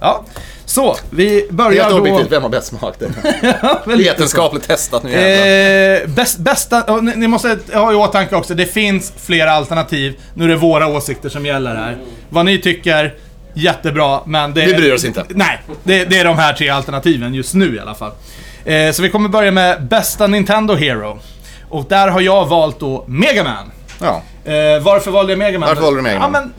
Speaker 2: Ja. Så, vi börjar
Speaker 3: Helt
Speaker 2: då...
Speaker 3: objektivt, vem har bäst smak? Det
Speaker 2: *laughs*
Speaker 3: är
Speaker 2: Väl-
Speaker 3: Vetenskapligt testat nu jävlar.
Speaker 2: Eh, bäst, bästa, och ni, ni måste ha i åtanke också, det finns flera alternativ. Nu är det våra åsikter som gäller här. Vad ni tycker, jättebra, men det...
Speaker 3: Vi bryr oss inte.
Speaker 2: Nej, det, det är de här tre alternativen just nu i alla fall. Eh, så vi kommer börja med bästa Nintendo Hero. Och där har jag valt då Mega Man.
Speaker 3: Ja.
Speaker 2: Eh, varför valde jag Mega Man?
Speaker 3: Varför valde du Mega Man?
Speaker 2: Ja, men,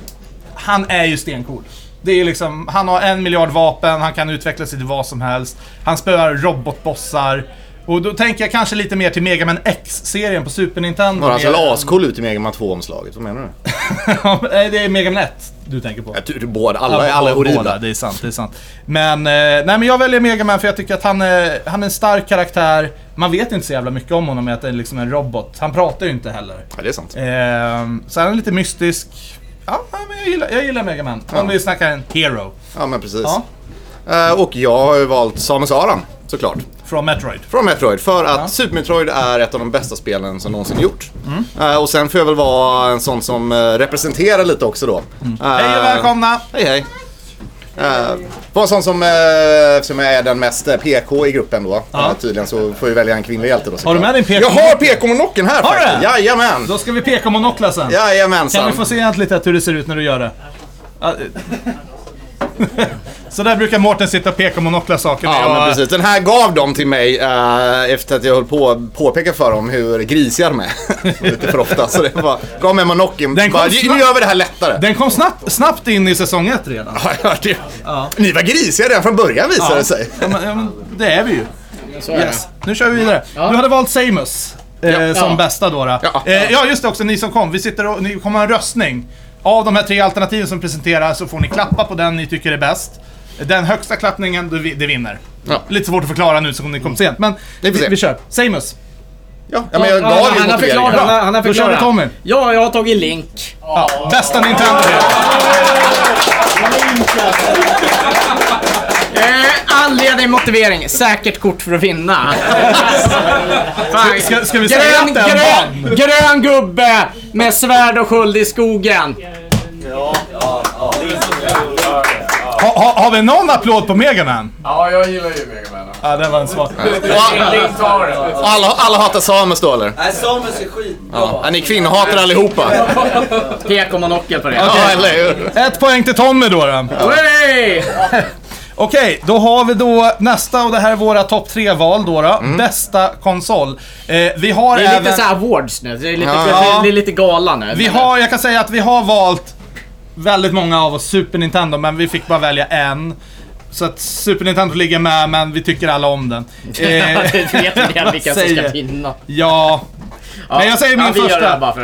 Speaker 2: han är ju stencool. Det är liksom, han har en miljard vapen, han kan utveckla sig till vad som helst. Han spöar robotbossar. Och då tänker jag kanske lite mer till Mega Man X-serien på Super Nintendo.
Speaker 3: Var han så
Speaker 2: Mer
Speaker 3: jävla
Speaker 2: än-
Speaker 3: ascool ut i Mega Man 2-omslaget? Vad menar du?
Speaker 2: *laughs* Ja, men, nej, det är Mega Man 1 du tänker på.
Speaker 3: Jag tycker båda, alla, alla är
Speaker 2: Båda,
Speaker 3: horribla.
Speaker 2: Det är sant, det är sant. Men, eh, nej, men jag väljer Mega Man för jag tycker att han är, han är en stark karaktär. Man vet inte så jävla mycket om honom med att det är liksom en robot. Han pratar ju inte heller.
Speaker 3: Ja, det är sant.
Speaker 2: Ehm, så han är lite mystisk. Ja, nej, men jag gillar, jag gillar Mega Man. Om vi snackar en hero.
Speaker 3: Ja, men precis.
Speaker 2: Ja.
Speaker 3: Eh, och jag har ju valt Samus Aran, såklart.
Speaker 2: Från Metroid.
Speaker 3: Från Metroid, för att Super Metroid är ett av de bästa spelen som någonsin gjorts.
Speaker 2: Mm.
Speaker 3: Eh, och sen får jag väl vara en sån som eh, representerar lite också då. Eh,
Speaker 2: Mm. Hej och välkomna!
Speaker 3: Hej hej. Eh, var en sån som, eh, som är den mest eh, PK i gruppen då.
Speaker 2: Ja.
Speaker 3: Eh, tydligen så får vi välja en kvinnlig hjälte då.
Speaker 2: Har du med din PK?
Speaker 3: Jag har PK-monocken här
Speaker 2: Har du
Speaker 3: faktiskt!
Speaker 2: det?
Speaker 3: Jajamän!
Speaker 2: Då ska vi peka monoklar sen. Kan
Speaker 3: Jajamensan!
Speaker 2: vi få se egentligen lite hur det ser ut när du gör det? Ja, eh. *laughs* Så där brukar Mårten sitta och peka monoklar saker när
Speaker 3: Ja,
Speaker 2: jag-
Speaker 3: men precis. Den här gav de till mig eh, efter att jag höll på att påpeka för dem hur grisiga de är. *laughs* Lite för ofta. Så det var, gav mig monocken.
Speaker 2: Den kom
Speaker 3: Bara, Nu
Speaker 2: snabbt."
Speaker 3: gör vi det här lättare.
Speaker 2: Den kom snabbt, snabbt in i säsong ett redan.
Speaker 3: *laughs* Ja, jag hörde ju. Ni var grisiga redan från början visade det sig.
Speaker 2: Ja, men, ja, men det är vi ju.
Speaker 4: Så är
Speaker 2: Yes. Nu kör vi vidare. Du hade valt Samus eh, som
Speaker 4: Ja.
Speaker 2: bästa då. då.
Speaker 3: Ja.
Speaker 2: Eh, ja, just det också, ni som kom. Vi sitter och, ni kommer ha en röstning. Av de här tre alternativen som presenteras så får ni klappa på den ni tycker är bäst. Den högsta klappningen, du vi- det vinner.
Speaker 3: Ja.
Speaker 2: Lite svårt att förklara nu som ni kom sent, men
Speaker 3: Vi
Speaker 2: vi,
Speaker 3: får se.
Speaker 2: vi kör. Samus.
Speaker 3: Ja, ja, men jag
Speaker 4: Ja,
Speaker 3: gav
Speaker 4: han
Speaker 3: ju
Speaker 4: har
Speaker 3: motiveringen.
Speaker 4: förklarat. Han har- han har
Speaker 2: Då kör
Speaker 4: förklarat.
Speaker 2: vi Tommy.
Speaker 4: Ja, jag har tagit Link.
Speaker 2: Ja, bästa Nintendo.
Speaker 4: Eh, anledning, motivering. Säkert kort för att vinna. Fan.
Speaker 2: *laughs* Ska, ska vi säga
Speaker 4: Grön,
Speaker 2: att den
Speaker 4: grön,
Speaker 2: vann?
Speaker 4: grön gubbe med svärd och sköld i skogen.
Speaker 2: Ha, ha, har vi någon applåd på Megaman?
Speaker 6: Ja, jag gillar ju Megaman.
Speaker 2: Ja, det var en svag.
Speaker 6: Link tar det.
Speaker 3: Alla, alla hatar Samus då eller?
Speaker 5: Nej, Samus är skitbra.
Speaker 3: Ja, ni kvinnohatare allihopa.
Speaker 5: *laughs*
Speaker 4: Pek och monokel på det.
Speaker 3: Ja, eller hur?
Speaker 2: Ett poäng till Tommy då. då.
Speaker 4: Hej!
Speaker 2: Okej, då har vi då nästa och det här är våra topp tre val då. då. Bästa konsol. Eh, vi har
Speaker 4: Det är
Speaker 2: även...
Speaker 4: lite såhär awards nu. Det är lite,
Speaker 3: Ja.
Speaker 4: det är lite gala nu.
Speaker 2: vi har, jag kan säga att vi har valt väldigt många av oss Super Nintendo, men vi fick bara välja en. Så att Super Nintendo ligger med, men vi tycker alla
Speaker 4: *laughs*
Speaker 2: om den. Eh,
Speaker 4: Det vet *laughs* vi redan
Speaker 2: vad
Speaker 4: vilka som
Speaker 2: säger-
Speaker 4: ska vinna.
Speaker 2: Ja. Men jag säger min
Speaker 4: ja, vi gör det
Speaker 2: första.
Speaker 4: här bara för-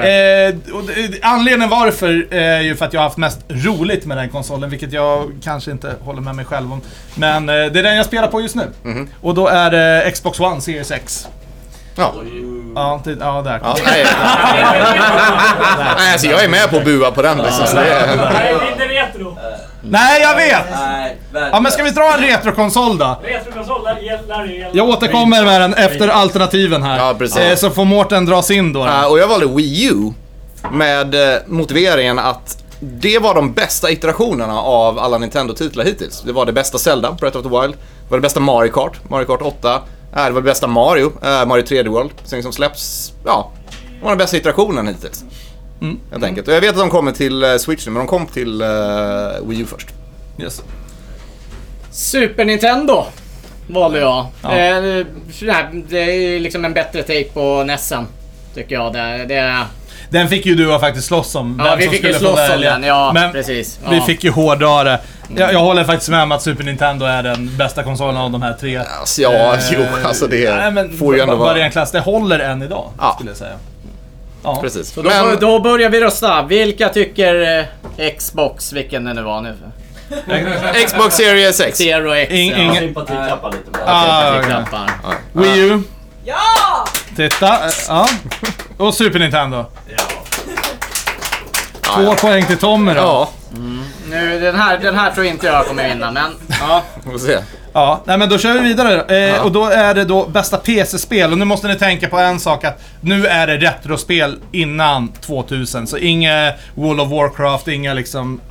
Speaker 2: Eh, och det- anledningen varför eh, är ju för att jag har haft mest roligt med den konsolen, vilket jag kanske inte håller med mig själv om. Men eh, det är den jag spelar på just nu.
Speaker 4: Mhm.
Speaker 2: Och då är det Xbox One Series X.
Speaker 3: Ja.
Speaker 2: Ja, det, ja där
Speaker 3: Ja,
Speaker 2: kom
Speaker 3: nej. nej, alltså jag är med på att bua på den liksom. Så det är...
Speaker 7: Nej, det är inte retro.
Speaker 2: Nej, jag vet!
Speaker 5: Nej, värdelös.
Speaker 2: Ja, men ska vi dra en retrokonsol då?
Speaker 7: Retrokonsol, där gäller det ju gälla.
Speaker 2: Jag återkommer med den efter alternativen här.
Speaker 3: Ja, precis.
Speaker 2: Eh, så får Mårten dras in då.
Speaker 3: Eh, och jag valde Wii U med eh, motiveringen att det var de bästa iterationerna av alla Nintendo-titlar hittills. Det var det bästa Zelda, Breath of the Wild. Det var det bästa Mario Kart, Mario Kart 8. eh, det var det bästa Mario, eh, Mario 3D World. Sen som släpps, ja, det var den bästa iterationen hittills. Helt enkelt. Och jag vet att de kommer till eh, Switch nu, men de kom till eh, Wii U först.
Speaker 2: Yes.
Speaker 4: Super Nintendo valde jag. Eh, nej, det är ju liksom en bättre take på Nessen. Tycker jag. Det, det är...
Speaker 2: Den fick ju du och faktiskt slåss om.
Speaker 4: Ja,
Speaker 2: vem
Speaker 4: vi
Speaker 2: som
Speaker 4: fick ju
Speaker 2: skulle få
Speaker 4: slåss om
Speaker 2: välja.
Speaker 4: den. Ja,
Speaker 2: Men
Speaker 4: precis. Ja. Mm.
Speaker 2: Vi fick ju hårdra det. Jag, jag håller faktiskt med om att Super Nintendo är den bästa konsolen av de här tre.
Speaker 3: Alltså, ja, jo, alltså det får ju ändå
Speaker 2: vara...
Speaker 3: vara...
Speaker 2: en klass. Det håller än idag,
Speaker 3: Ja.
Speaker 2: skulle jag säga. Ja.
Speaker 3: Precis.
Speaker 4: Så då,
Speaker 3: Men-
Speaker 4: då börjar vi rösta. Vilka tycker eh, Xbox, vilken det nu var nu?
Speaker 3: Xbox Series X.
Speaker 4: Zero X.
Speaker 2: In,
Speaker 4: ja.
Speaker 2: ingen...
Speaker 5: Sympatiklappa lite bara.
Speaker 2: Ah,
Speaker 4: Vi
Speaker 2: okej.
Speaker 4: klappar.
Speaker 2: Wii U. Ja! Titta. eh, Ja. Och Super Nintendo. Två poäng till Tommy då.
Speaker 3: Ja,
Speaker 4: Nu, den, här, den här tror inte jag kommer vinna, men... Ja.
Speaker 3: vi får se.
Speaker 2: Ja, nej men då kör vi vidare då. eh, Och då är det då bästa PC-spel. Och nu måste ni tänka på en sak att nu är det retrospel innan 2000. Så inga World of Warcraft, inga liksom...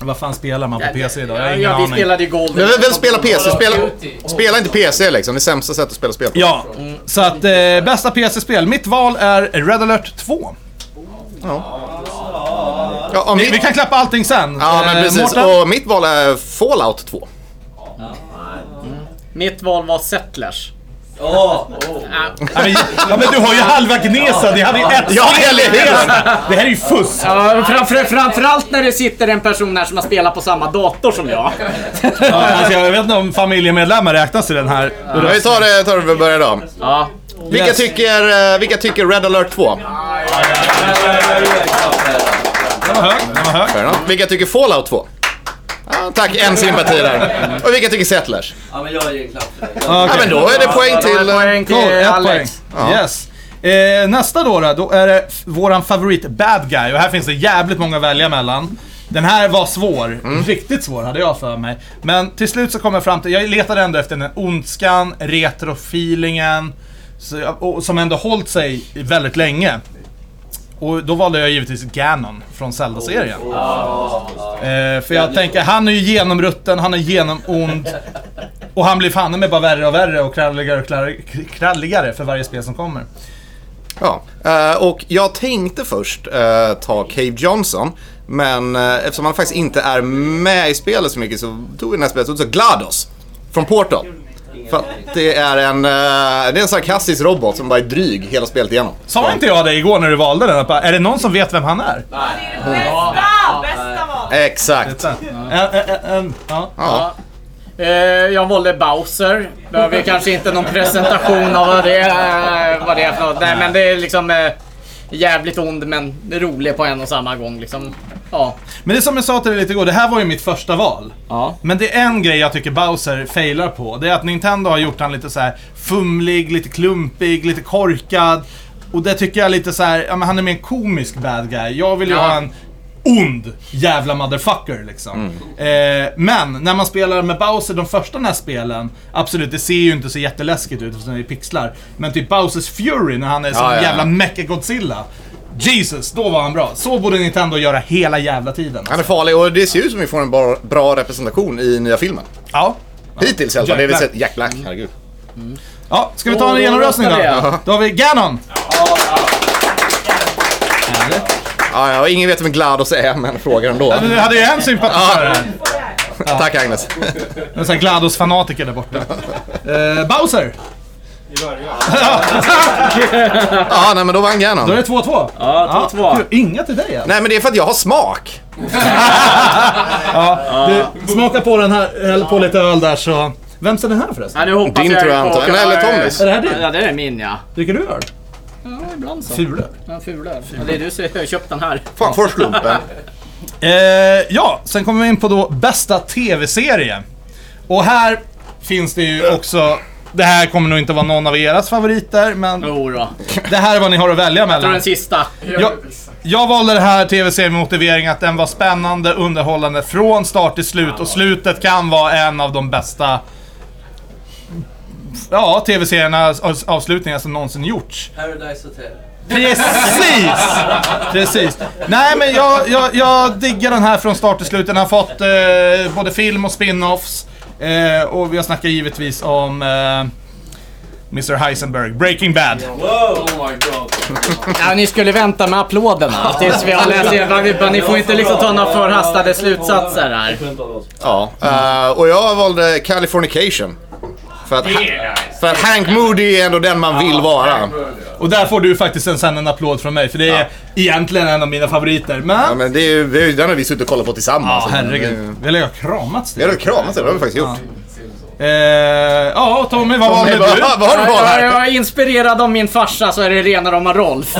Speaker 2: Vad fan spelar man på PC idag? Jag har ingen
Speaker 4: ja, vi
Speaker 2: aning.
Speaker 4: spelade ju Gold.
Speaker 3: Men vem, vem spelar PC? Spela, spela inte PC liksom, det är sämsta sättet att spela spel på.
Speaker 2: Ja, så att eh, bästa PC-spel. Mitt val är Red Alert 2.
Speaker 3: Ja, och
Speaker 2: Vi
Speaker 3: mitt,
Speaker 2: kan klappa allting sen.
Speaker 3: ja men
Speaker 2: Eh,
Speaker 3: precis.
Speaker 2: Mårten?
Speaker 3: Och mitt val är Fallout 2.
Speaker 4: Mitt val var Settlers.
Speaker 5: Åh, åh.
Speaker 2: Ja, men, ja, men du har ju halva Gnesa. Det hade ju ett
Speaker 3: Ja, eller hur?
Speaker 2: Det här är ju fusk.
Speaker 4: Ja, framför, framförallt när det sitter en person här som har spelat på samma dator som jag.
Speaker 2: Ja, alltså, jag vet inte om familjemedlemmar räknas i den här.
Speaker 3: Men vi tar det, tar det och börjar då.
Speaker 4: Ja.
Speaker 3: Vilka,
Speaker 2: Yes.
Speaker 3: tycker, eh, vilka tycker Red alert 2?
Speaker 2: Den var hög. Den var hög.
Speaker 3: Fair enough. Vilka tycker Fallout 2? Ja, tack, en sympati där. Och vilka tycker Settlers?
Speaker 5: Ja, men jag ger en klapp för det.
Speaker 2: Okej.
Speaker 3: Ja, men då är det poäng till... eh,
Speaker 4: Poäng till
Speaker 2: Cool, ett
Speaker 4: Alex.
Speaker 2: poäng. Yes. Eh, nästa då, då, då är det f- våran favorit bad guy och här finns det jävligt många att välja mellan. Den här var svår. Riktigt svår hade jag för mig. Men till slut så kom jag fram till, jag letade ändå efter den här ondskan, retrofeelingen, så jag- och- som ändå hållit sig väldigt länge. Och då valde jag givetvis Ganon från Zelda-serien. Eh, för jag tänker, han är ju genomrutten, han är genomond. Och han blir fan med bara värre och värre och kralligare och klar- kralligare för varje spel som kommer.
Speaker 3: Ja, eh, och jag tänkte först eh, ta Cave Johnson. Men eh, eftersom han faktiskt inte är med i spelet så mycket så tog vi den här spelet och så GLaDOS. Från Portal. För att det är en, eh, det är en sarkastisk robot som bara är dryg hela spelet igenom.
Speaker 2: Sa inte jag det igår när du valde den? Att bara, Är det någon som vet vem han är?
Speaker 8: Bästa! Bästa val!
Speaker 3: Exakt.
Speaker 2: Titta. En, en, en, ja.
Speaker 3: Ja.
Speaker 4: Eh, jag valde Bowser. Behöver kanske inte någon presentation av vad det är, vad det är för något. Nej, men det är liksom eh, jävligt ond men rolig på en och samma gång. Liksom. Ja.
Speaker 2: Men det är som jag sa till dig lite igår, det här var ju mitt första val.
Speaker 4: Ja.
Speaker 2: Men det är en grej jag tycker Bowser failar på. Det är att Nintendo har gjort han lite så här fumlig, lite klumpig, lite korkad. Och det tycker jag är lite så här, ja men han är mer en komisk bad guy. Jag vill ju
Speaker 4: Ja.
Speaker 2: ha en ond jävla motherfucker liksom.
Speaker 3: Mm.
Speaker 2: Eh, men när man spelar med Bowser de första den här spelen, absolut det ser ju inte så jätteläskigt ut eftersom det är pixlar. Men typ Bowsers Fury när han är som
Speaker 3: Ja,
Speaker 2: en
Speaker 3: ja, ja.
Speaker 2: jävla Mecha-Godzilla. Jesus, då var han bra. Så borde Nintendo göra hela jävla tiden.
Speaker 3: Han är farlig och det ser ut som vi får en bra, bra representation i nya filmen.
Speaker 2: Ja.
Speaker 3: Hittills i alla fall. Det vi
Speaker 2: Jack
Speaker 3: sett Jack Black. Herregud.
Speaker 2: ja. Ska vi ta
Speaker 4: Och
Speaker 2: en
Speaker 4: då
Speaker 2: genomröstning då?
Speaker 4: röstar
Speaker 2: Då har vi Ganon!
Speaker 3: Ja, ja, och ingen vet vem GLaDOS är men frågar ändå.
Speaker 2: Du hade ju en sympatisör här.
Speaker 3: Tack Agnes.
Speaker 2: En sån här GLaDOS-fanatiker där borta. Eh, Bowser!
Speaker 3: Ja, nej men då vann
Speaker 2: Då är
Speaker 3: Ganon.
Speaker 2: det 2-2.
Speaker 5: Ja, 2-2.
Speaker 2: Kul. Inga till dig alltså. än.
Speaker 3: Nej men det är för att jag har smak.
Speaker 2: Du, smaka på den här, häll på lite öl där så... Vems är den här förresten?
Speaker 4: Ja, nu hoppas
Speaker 3: Din
Speaker 4: jag
Speaker 3: tror jag
Speaker 4: på-
Speaker 3: antagligen. Eller Tommys.
Speaker 2: Är det här din?
Speaker 4: Ja, det är min ja.
Speaker 2: Dricker du öl?
Speaker 4: ja ibland så.
Speaker 2: Fulöl.
Speaker 4: Ja, fulöl. Ja, det är du som har köpt den här.
Speaker 3: Fan, får slumpen.
Speaker 2: Eh, ja, sen kommer vi in på då bästa tv-serie. Och här finns det ju också... Det här kommer nog inte vara någon av eras favoriter, men
Speaker 4: Jo då.
Speaker 2: det här är vad ni har att välja
Speaker 4: Jag tror
Speaker 2: mellan.
Speaker 4: den sista.
Speaker 2: Jag, jag valde det här tv-serien med motivering att den var spännande, underhållande från start till slut och slutet kan vara en av de bästa Ja, tv-seriernas avs- avslutningar som någonsin gjorts.
Speaker 5: Paradise Hotel.
Speaker 2: Precis! Precis. Nej men jag, jag, jag diggar den här från start till slut. Den har fått eh, både film och spin-offs. Eh, och jag snackar givetvis om eh, Mr Heisenberg, Breaking Bad.
Speaker 6: Oh my god.
Speaker 4: Ja, ni skulle vänta med applåderna tills vi har läst igenom. Vi- Ni får inte liksom ta några förhastade slutsatser här.
Speaker 3: Ja, eh, och jag valde Californication. För att, för att Hank Moody är ändå den man vill vara.
Speaker 2: Och där får du faktiskt en, sen en applåd från mig, för det är egentligen en av mina favoriter. Men...
Speaker 3: Ja,
Speaker 2: Ja,
Speaker 3: men det är ju det är ju den har vi suttit och kollat på tillsammans.
Speaker 2: herregud. Vi har legat och kramats.
Speaker 3: Vi har väl kramat det, det har vi faktiskt gjort.
Speaker 2: Eh, ja, Tommy, vad
Speaker 3: Ja,
Speaker 2: valde
Speaker 3: men vad,
Speaker 2: du?
Speaker 3: vad har du valt
Speaker 4: Jag,
Speaker 3: här?
Speaker 4: jag är inspirerad av min farsa så är det rena rama
Speaker 5: *laughs*
Speaker 4: Rolf.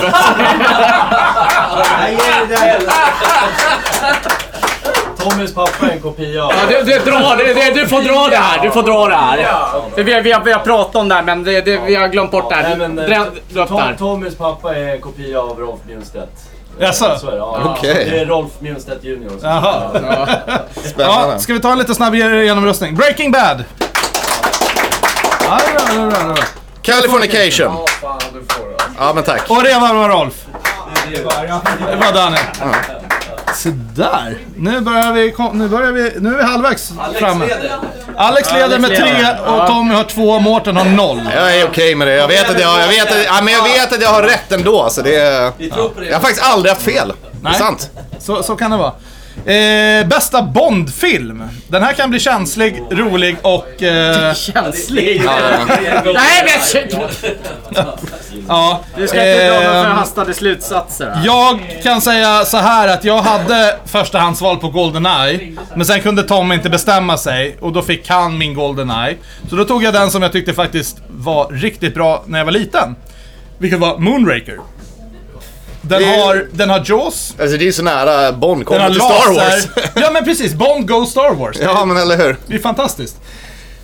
Speaker 5: Tommys pappa är en kopia av...
Speaker 4: Ja, du, du, dra, du, du, du får dra det här, du får dra det här. Det, vi, har- vi, har, vi har pratat om det här men det, det, vi har glömt bort det här.
Speaker 5: Nej, men, eh,
Speaker 4: Drä- dra upp det
Speaker 5: Tom,
Speaker 4: här.
Speaker 5: Tommys pappa är en kopia av Rolf Mjunstedt.
Speaker 2: Jaså?
Speaker 5: Så är det. Ja.
Speaker 3: Okej.
Speaker 5: Det är Rolf Mjunstedt Junior. som-
Speaker 2: Jaha. Ja,
Speaker 3: Spännande.
Speaker 2: ska vi ta en lite snabb genomröstning? Breaking Bad! Ja, det är bra, det är bra, det är bra.
Speaker 3: Californication.
Speaker 6: Fan, du får det.
Speaker 3: Ja, men tack.
Speaker 2: Och det var bra Rolf. Det var Daniel. Så där. Nu börjar vi, kom- nu börjar vi, nu är vi halvvägs framme. Alex leder med tre och Tommy har två, Mårten har noll.
Speaker 3: Jag är okej med det. Jag vet att jag, jag, vet att, ja, men jag vet att jag har rätt ändå. Så det är, jag har faktiskt aldrig haft fel. Det är
Speaker 2: Nej.
Speaker 3: sant.
Speaker 2: Så, så kan det vara. Eh, bästa Bondfilm. Den här kan bli känslig, rolig och...
Speaker 4: *laughs*
Speaker 2: Eh,
Speaker 4: Känslig. *laughs* Nej
Speaker 5: Nej,
Speaker 4: men shit.
Speaker 2: ja.
Speaker 4: Du ska inte dra några
Speaker 2: Ehm,
Speaker 4: förhastade slutsatser. här.
Speaker 2: Jag kan säga så här att jag hade förstahandsval på Goldeneye, men sen kunde Tom inte bestämma sig och då fick han min Goldeneye. Så då tog jag den som jag tyckte faktiskt var riktigt bra när jag var liten. Vilket var Moonraker. Den
Speaker 3: Det är-
Speaker 2: har, den har Jaws,
Speaker 3: Alltså det är ju så nära Bond
Speaker 2: den
Speaker 3: kommer
Speaker 2: har
Speaker 3: till Star Wars. *laughs*
Speaker 2: laser. Ja men precis, Bond Go Star Wars.
Speaker 3: Ja, men eller hur.
Speaker 2: Det är fantastiskt.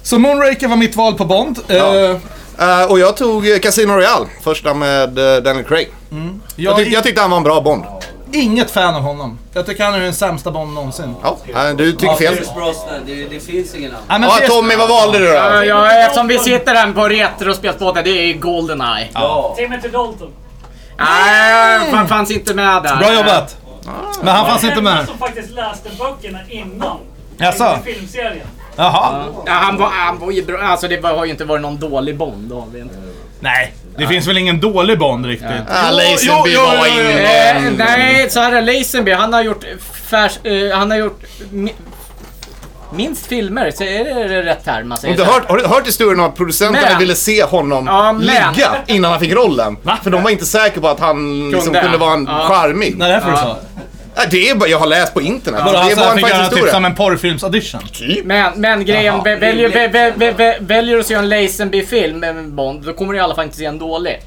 Speaker 2: Så Moonraker var mitt val på Bond. Eh,
Speaker 3: Eh, och jag tog eh, Casino Royale, första med eh, Daniel Craig. Jag,
Speaker 2: jag,
Speaker 3: tyck- jag tyckte han var en bra Bond.
Speaker 2: inget fan av honom. Jag tycker han är den sämsta Bond någonsin.
Speaker 3: Ja, eh, du tycker
Speaker 5: Ja,
Speaker 3: fel.
Speaker 5: Pierce Brosnan, det, det finns ingen annan.
Speaker 2: Ja, men
Speaker 3: Ja,
Speaker 2: Pierce-
Speaker 3: Tommy, vad valde du då?
Speaker 4: Ja, ja, eftersom vi sitter här på retrospelsbåten, det är ju Goldeneye.
Speaker 5: Ja.
Speaker 7: Timothy Dalton.
Speaker 4: Nej, fan fanns inte med där.
Speaker 2: Bra jobbat!
Speaker 3: Ah.
Speaker 2: Men han
Speaker 5: Alltså,
Speaker 2: fanns inte
Speaker 7: Den
Speaker 2: med.
Speaker 7: som faktiskt läste böckerna innan.
Speaker 2: Jaså?
Speaker 7: Inte Filmserien.
Speaker 2: Jaha.
Speaker 3: Ah.
Speaker 4: Ja, han, var, han var ju bra. Alltså det var, har ju inte varit någon dålig Bond. Då, har vi inte.
Speaker 2: Nej, det finns väl ingen dålig Bond riktigt?
Speaker 3: Ah,
Speaker 2: Jo,
Speaker 3: Lazenby
Speaker 2: jo, jo,
Speaker 3: var
Speaker 2: jo, jo.
Speaker 3: inne.
Speaker 4: Eh, nej, så här är Lazenby. Han har gjort färs, eh, Han har gjort mi, minst filmer. Så är det, är det rätt term man säger?
Speaker 3: Har du, hört, har du hört historien om att producenterna
Speaker 4: Men.
Speaker 3: ville se honom
Speaker 4: Ja, men.
Speaker 3: ligga innan han fick rollen? För de var inte säkra på att han liksom,
Speaker 4: Kunde.
Speaker 3: kunde vara en
Speaker 4: Ja.
Speaker 3: charmig.
Speaker 2: Nej, det är för du sa.
Speaker 3: Nej, Det är bara, jag har läst på internet.
Speaker 2: Bara
Speaker 3: det
Speaker 2: han
Speaker 3: är bara
Speaker 2: såhär
Speaker 3: en
Speaker 2: fick göra
Speaker 3: faktisk
Speaker 2: typ
Speaker 3: historia.
Speaker 2: som en porrfilms-audition.
Speaker 3: Typ.
Speaker 4: Men, men grejen, vä- väljer, vä- vä- vä- vä- väljer du att se en Lazenby-film med en Bond, då kommer du i alla fall inte se en dålig.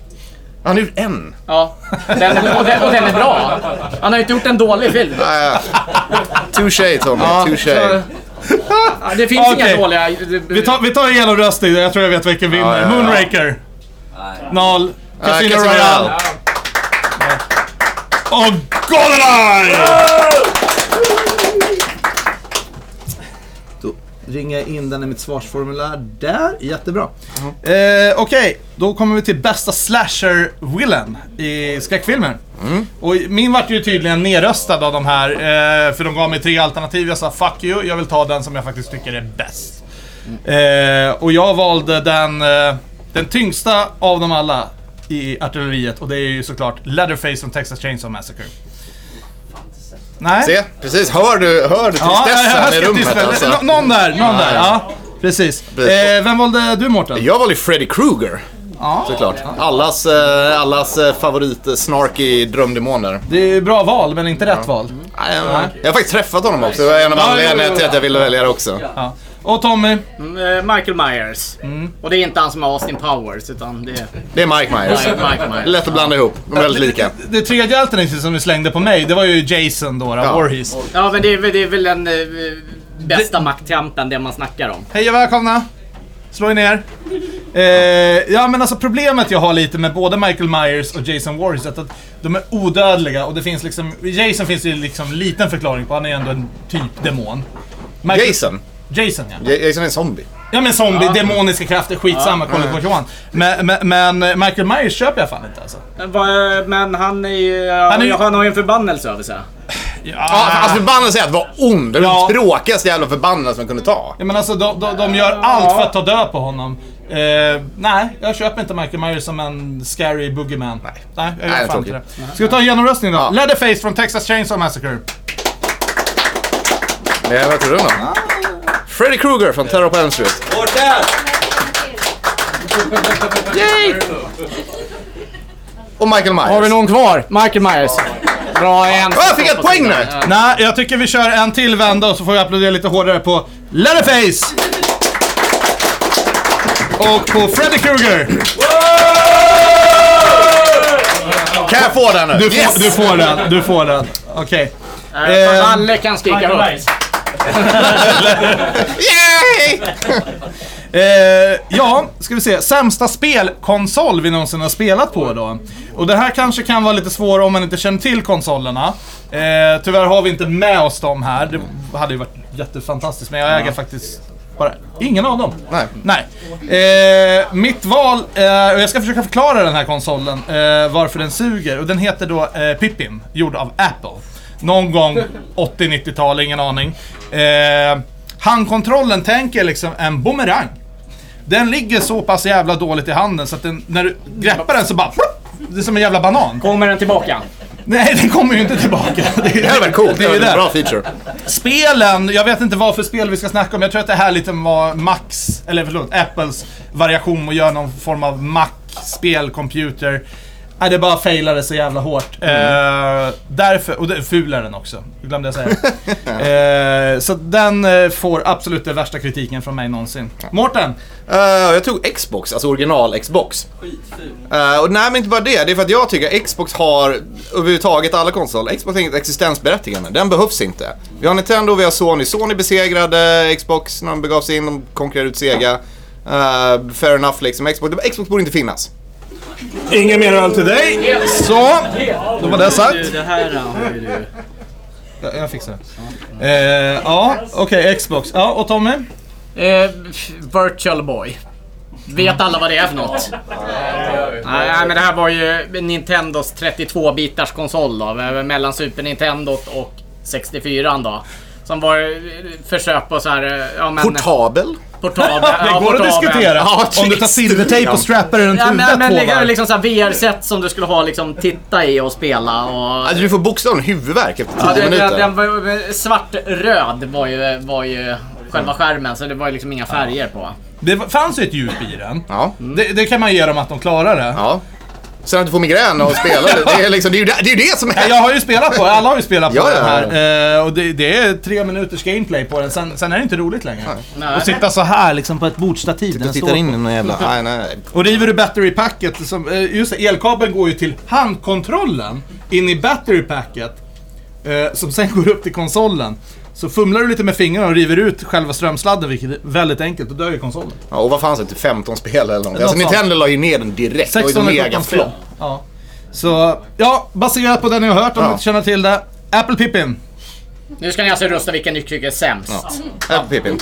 Speaker 3: Han är ju en.
Speaker 4: Ja. Den, och, den, och den är bra. Han har ju inte gjort en dålig film.
Speaker 3: Uh, *laughs* touché Tommy, touché. Eh,
Speaker 4: Ja, det finns
Speaker 2: Ah, Okej.
Speaker 4: inga dåliga...
Speaker 2: Vi tar, vi tar igenom röstning, jag tror jag vet vilken vinner.
Speaker 3: Ja, ja, ja.
Speaker 2: Moonraker.
Speaker 5: Nej.
Speaker 2: Noll. Casino
Speaker 3: Casino
Speaker 2: Royale.
Speaker 3: Royale.
Speaker 2: Och Goldeneye! Då ringer jag in den i mitt svarsformulär där. Jättebra. Eh, Okej, då kommer vi till bästa slasher-villain i skräckfilmer. Och min vart ju tydligen nerröstad av de här, eh, för de gav mig tre alternativ. Jag sa fuck you, jag vill ta den som jag faktiskt tycker är bäst. Eh, och jag valde den, eh, den tyngsta av dem alla i artilleriet och det är ju såklart Leatherface från Texas Chainsaw Massacre. Nej.
Speaker 3: Se, precis. Hör du, hör du
Speaker 2: Ja, jag
Speaker 3: tristessen
Speaker 2: hörde
Speaker 3: i rummet
Speaker 2: tyst-
Speaker 3: alltså?
Speaker 2: Nå- Någon där, någon där. Ja, precis.
Speaker 3: Precis.
Speaker 2: Eh, vem valde du Mårten?
Speaker 3: Jag valde Freddy Krueger.
Speaker 2: Ja.
Speaker 3: Såklart. Allas, eh, allas eh, favorit eh, snarky drömdemoner.
Speaker 2: Det är ju bra val, men inte rätt val.
Speaker 3: Nej, Jag jag har faktiskt träffat honom också. Det var en av
Speaker 2: Ja,
Speaker 3: anledningarna
Speaker 2: jo, jo,
Speaker 3: till att jag ville välja det också.
Speaker 2: Ja. Och Tommy?
Speaker 4: Mm, eh, Michael Myers.
Speaker 2: Mm.
Speaker 4: Och det är inte han som är Austin Powers, utan det är
Speaker 3: Det är Mike Myers.
Speaker 4: Michael Myers.
Speaker 3: Lätt att blanda ihop. De är väldigt lika.
Speaker 2: Det tredje alternativet som du slängde på mig, det var ju Jason då, då
Speaker 3: Ja.
Speaker 2: Voorhees.
Speaker 4: Ja, men det är, väl- det är väl den eh, bästa maktkampen, det man snackar om.
Speaker 2: Hej och välkomna! Slå er ner. Eh, ja men alltså problemet jag har lite med både Michael Myers och Jason Voorhees är att de är odödliga och det finns liksom... Jason finns det ju liksom liten förklaring på, han är ju ändå en typ demon. Michael-
Speaker 3: Jason.
Speaker 2: Jason ja.
Speaker 3: Ja- Jason är en zombie.
Speaker 2: Ja men zombie, demoniska krafter, skitsamma, kolla på Johan. Men, men, men Michael Myers köper jag fan inte alltså.
Speaker 4: Men vad, eh, Men han är ju... Han,
Speaker 2: är ju-
Speaker 4: han har ju en förbannelse över sig.
Speaker 3: Ja, alltså förbannelsen är att vara ond. Det är
Speaker 2: Ja.
Speaker 3: den tråkigaste jävla förbannelsen man kunde ta.
Speaker 2: Ja, men alltså de, de, de gör allt för att ta död på honom. Eh, nej, jag köper inte Michael Myers som en scary boogeyman. Nej, nej jag gör
Speaker 3: Nej,
Speaker 2: fan inte
Speaker 3: tråkigt.
Speaker 2: det. Ska vi ta en genomröstning då?
Speaker 3: Ja.
Speaker 2: Leatherface från Texas Chainsaw Massacre.
Speaker 3: Nej, Eh, vad tror du då? Freddy Krueger från Terror på Elm Street.
Speaker 5: Mårten!
Speaker 3: Och Michael Myers.
Speaker 4: Har vi någon kvar? Michael Myers. Bra en.
Speaker 3: Ah, jag fick ett poäng nu!
Speaker 2: Nej, jag tycker vi kör en till vända och så får vi applådera lite hårdare på Leatherface! Och på Freddy Krueger.
Speaker 3: Kan jag få den nu?
Speaker 2: Du, får- du får den, du får den. Okej.
Speaker 4: Eh,
Speaker 2: Ehm,
Speaker 4: Valle kan skrika
Speaker 7: Michael
Speaker 4: högt.
Speaker 7: Myers.
Speaker 3: Yay!
Speaker 2: Eh, ja, ska vi se. Sämsta spelkonsol vi någonsin har spelat på då. Och det här kanske kan vara lite svårare om man inte känner till konsolerna. Eh, tyvärr har vi inte med oss dem här. Det hade ju varit jättefantastiskt, men jag äger faktiskt bara ingen av dem.
Speaker 3: Nej.
Speaker 2: Nej. Eh, mitt val, eh, och jag ska försöka förklara den här konsolen, eh, varför den suger. Och den heter då eh, Pippin, gjord av Apple. Någon gång 80-90-tal, ingen aning. Eh, handkontrollen, tänker liksom en bumerang. Den ligger så pass jävla dåligt i handen så att den, när du greppar den så bara... Det är som en jävla banan.
Speaker 4: Kommer den tillbaka?
Speaker 2: Nej, den kommer ju inte tillbaka. Det
Speaker 3: Det hade varit coolt.
Speaker 2: Det
Speaker 3: Det
Speaker 2: är ju
Speaker 3: var en
Speaker 2: det.
Speaker 3: bra feature.
Speaker 2: Spelen, jag vet inte vad för spel vi ska snacka om. Jag tror att det här lite var Max, eller förlåt, Apples variation och göra någon form av Mac-spel, computer. Nej, det bara failade så jävla hårt. Eh, därför, och det, fulare den också, Det glömde jag säga. eh, så den eh, får absolut den värsta kritiken från mig någonsin. Mårten!
Speaker 3: Eh, jag tog Xbox, alltså original Xbox.
Speaker 5: Skitful.
Speaker 3: Eh, och nej, men inte bara det. Det är för att jag tycker Xbox har överhuvudtaget alla konsoler. Xbox har inget existensberättigande. Den behövs inte. Vi har Nintendo, vi har Sony. Sony besegrade Xbox när de begav sig in. De konkurrerade ut Sega. Eh, fair enough liksom. Xbox, Xbox borde inte finnas.
Speaker 2: Inga mer öl till dig. Så, då var det sagt.
Speaker 5: Det här
Speaker 4: eh,
Speaker 5: har ju du...
Speaker 2: Jag, jag fixar det. Eh, ja, okej, Xbox. Ja, och Tommy?
Speaker 4: Eh, f- virtual Boy. Vet alla vad det är för något? Nej, men det här var ju Nintendos 32-bitars konsol då. eh, Mellan Super Nintendo och 64 då. Som var eh, försök på så här... eh, Ja, men,
Speaker 3: Portabel?
Speaker 4: portabel.
Speaker 2: *laughs* Det
Speaker 4: ja,
Speaker 2: går att
Speaker 4: portabel.
Speaker 2: diskutera.
Speaker 3: Ja,
Speaker 2: Om du tar silvertejp och strappar runt
Speaker 4: Ja, men, men
Speaker 2: huvudet på
Speaker 4: liksom,
Speaker 2: varv.
Speaker 4: liksom så här VR-set som du skulle ha liksom titta i och spela och...
Speaker 3: Alltså du får bokstavligen huvudvärk efter 10
Speaker 4: Ja, den,
Speaker 3: minuter.
Speaker 4: den, den var ju- svart-röd var ju, var ju själva skärmen så det var ju liksom inga färger på.
Speaker 2: Det fanns ju ett djup i den.
Speaker 3: Ja.
Speaker 2: Det, det kan man ge dem att de klarar det.
Speaker 3: ja. Sen att du får migrän och spelar. det, är liksom, det, är ju det, det är ju det som
Speaker 2: Ja,
Speaker 3: är...
Speaker 2: Jag har ju spelat på det, alla har ju spelat på
Speaker 3: Ja,
Speaker 2: den
Speaker 3: ja, ja.
Speaker 2: här. Eh, och det, det är tre minuters gameplay på den, sen, sen är det inte roligt längre.
Speaker 4: Nej.
Speaker 2: Och sitta så här liksom på ett bordstativ. där den står på.
Speaker 3: i någon jävla... Nej, nej.
Speaker 2: Och river du battery packet, liksom, eh, just det, elkabeln går ju till handkontrollen in i battery packet. eh, Som sen går upp till konsolen. Så fumlar du lite med fingrarna och river ut själva strömsladden, vilket är väldigt enkelt, då dör ju konsolen.
Speaker 3: Ja, och vad fanns det? Typ 15 spel eller något. Alltså
Speaker 2: sånt.
Speaker 3: Nintendo la ju ner den direkt. Det var ju
Speaker 2: 16
Speaker 3: en
Speaker 2: eller
Speaker 3: mega
Speaker 2: 17 spel.
Speaker 3: flopp.
Speaker 2: Ja. Så, ja, baserat på det ni har hört, om
Speaker 3: Ja.
Speaker 2: ni inte känner till det. Apple Pippin.
Speaker 4: Nu ska ni alltså rösta vilken ni tycker är sämst.
Speaker 3: Här på Pippin.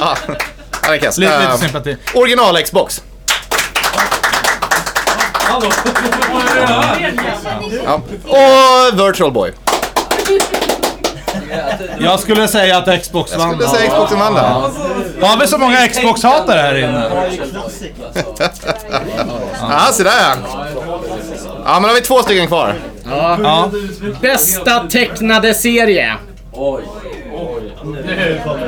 Speaker 3: Ja, Ja, det är kass.
Speaker 2: Lite, lite
Speaker 3: Eh,
Speaker 2: sympati.
Speaker 3: Original Xbox. Ja. Och Virtual Boy.
Speaker 2: Jag skulle säga att Xbox vann.
Speaker 3: Skulle säga Xboxen vann där.
Speaker 2: Har vi så många Xbox-hatare här inne?
Speaker 3: Ja, se där ja. men då har vi två stycken kvar.
Speaker 2: Ja.
Speaker 4: Bästa tecknade serie.
Speaker 5: Oj, oj.
Speaker 6: Nu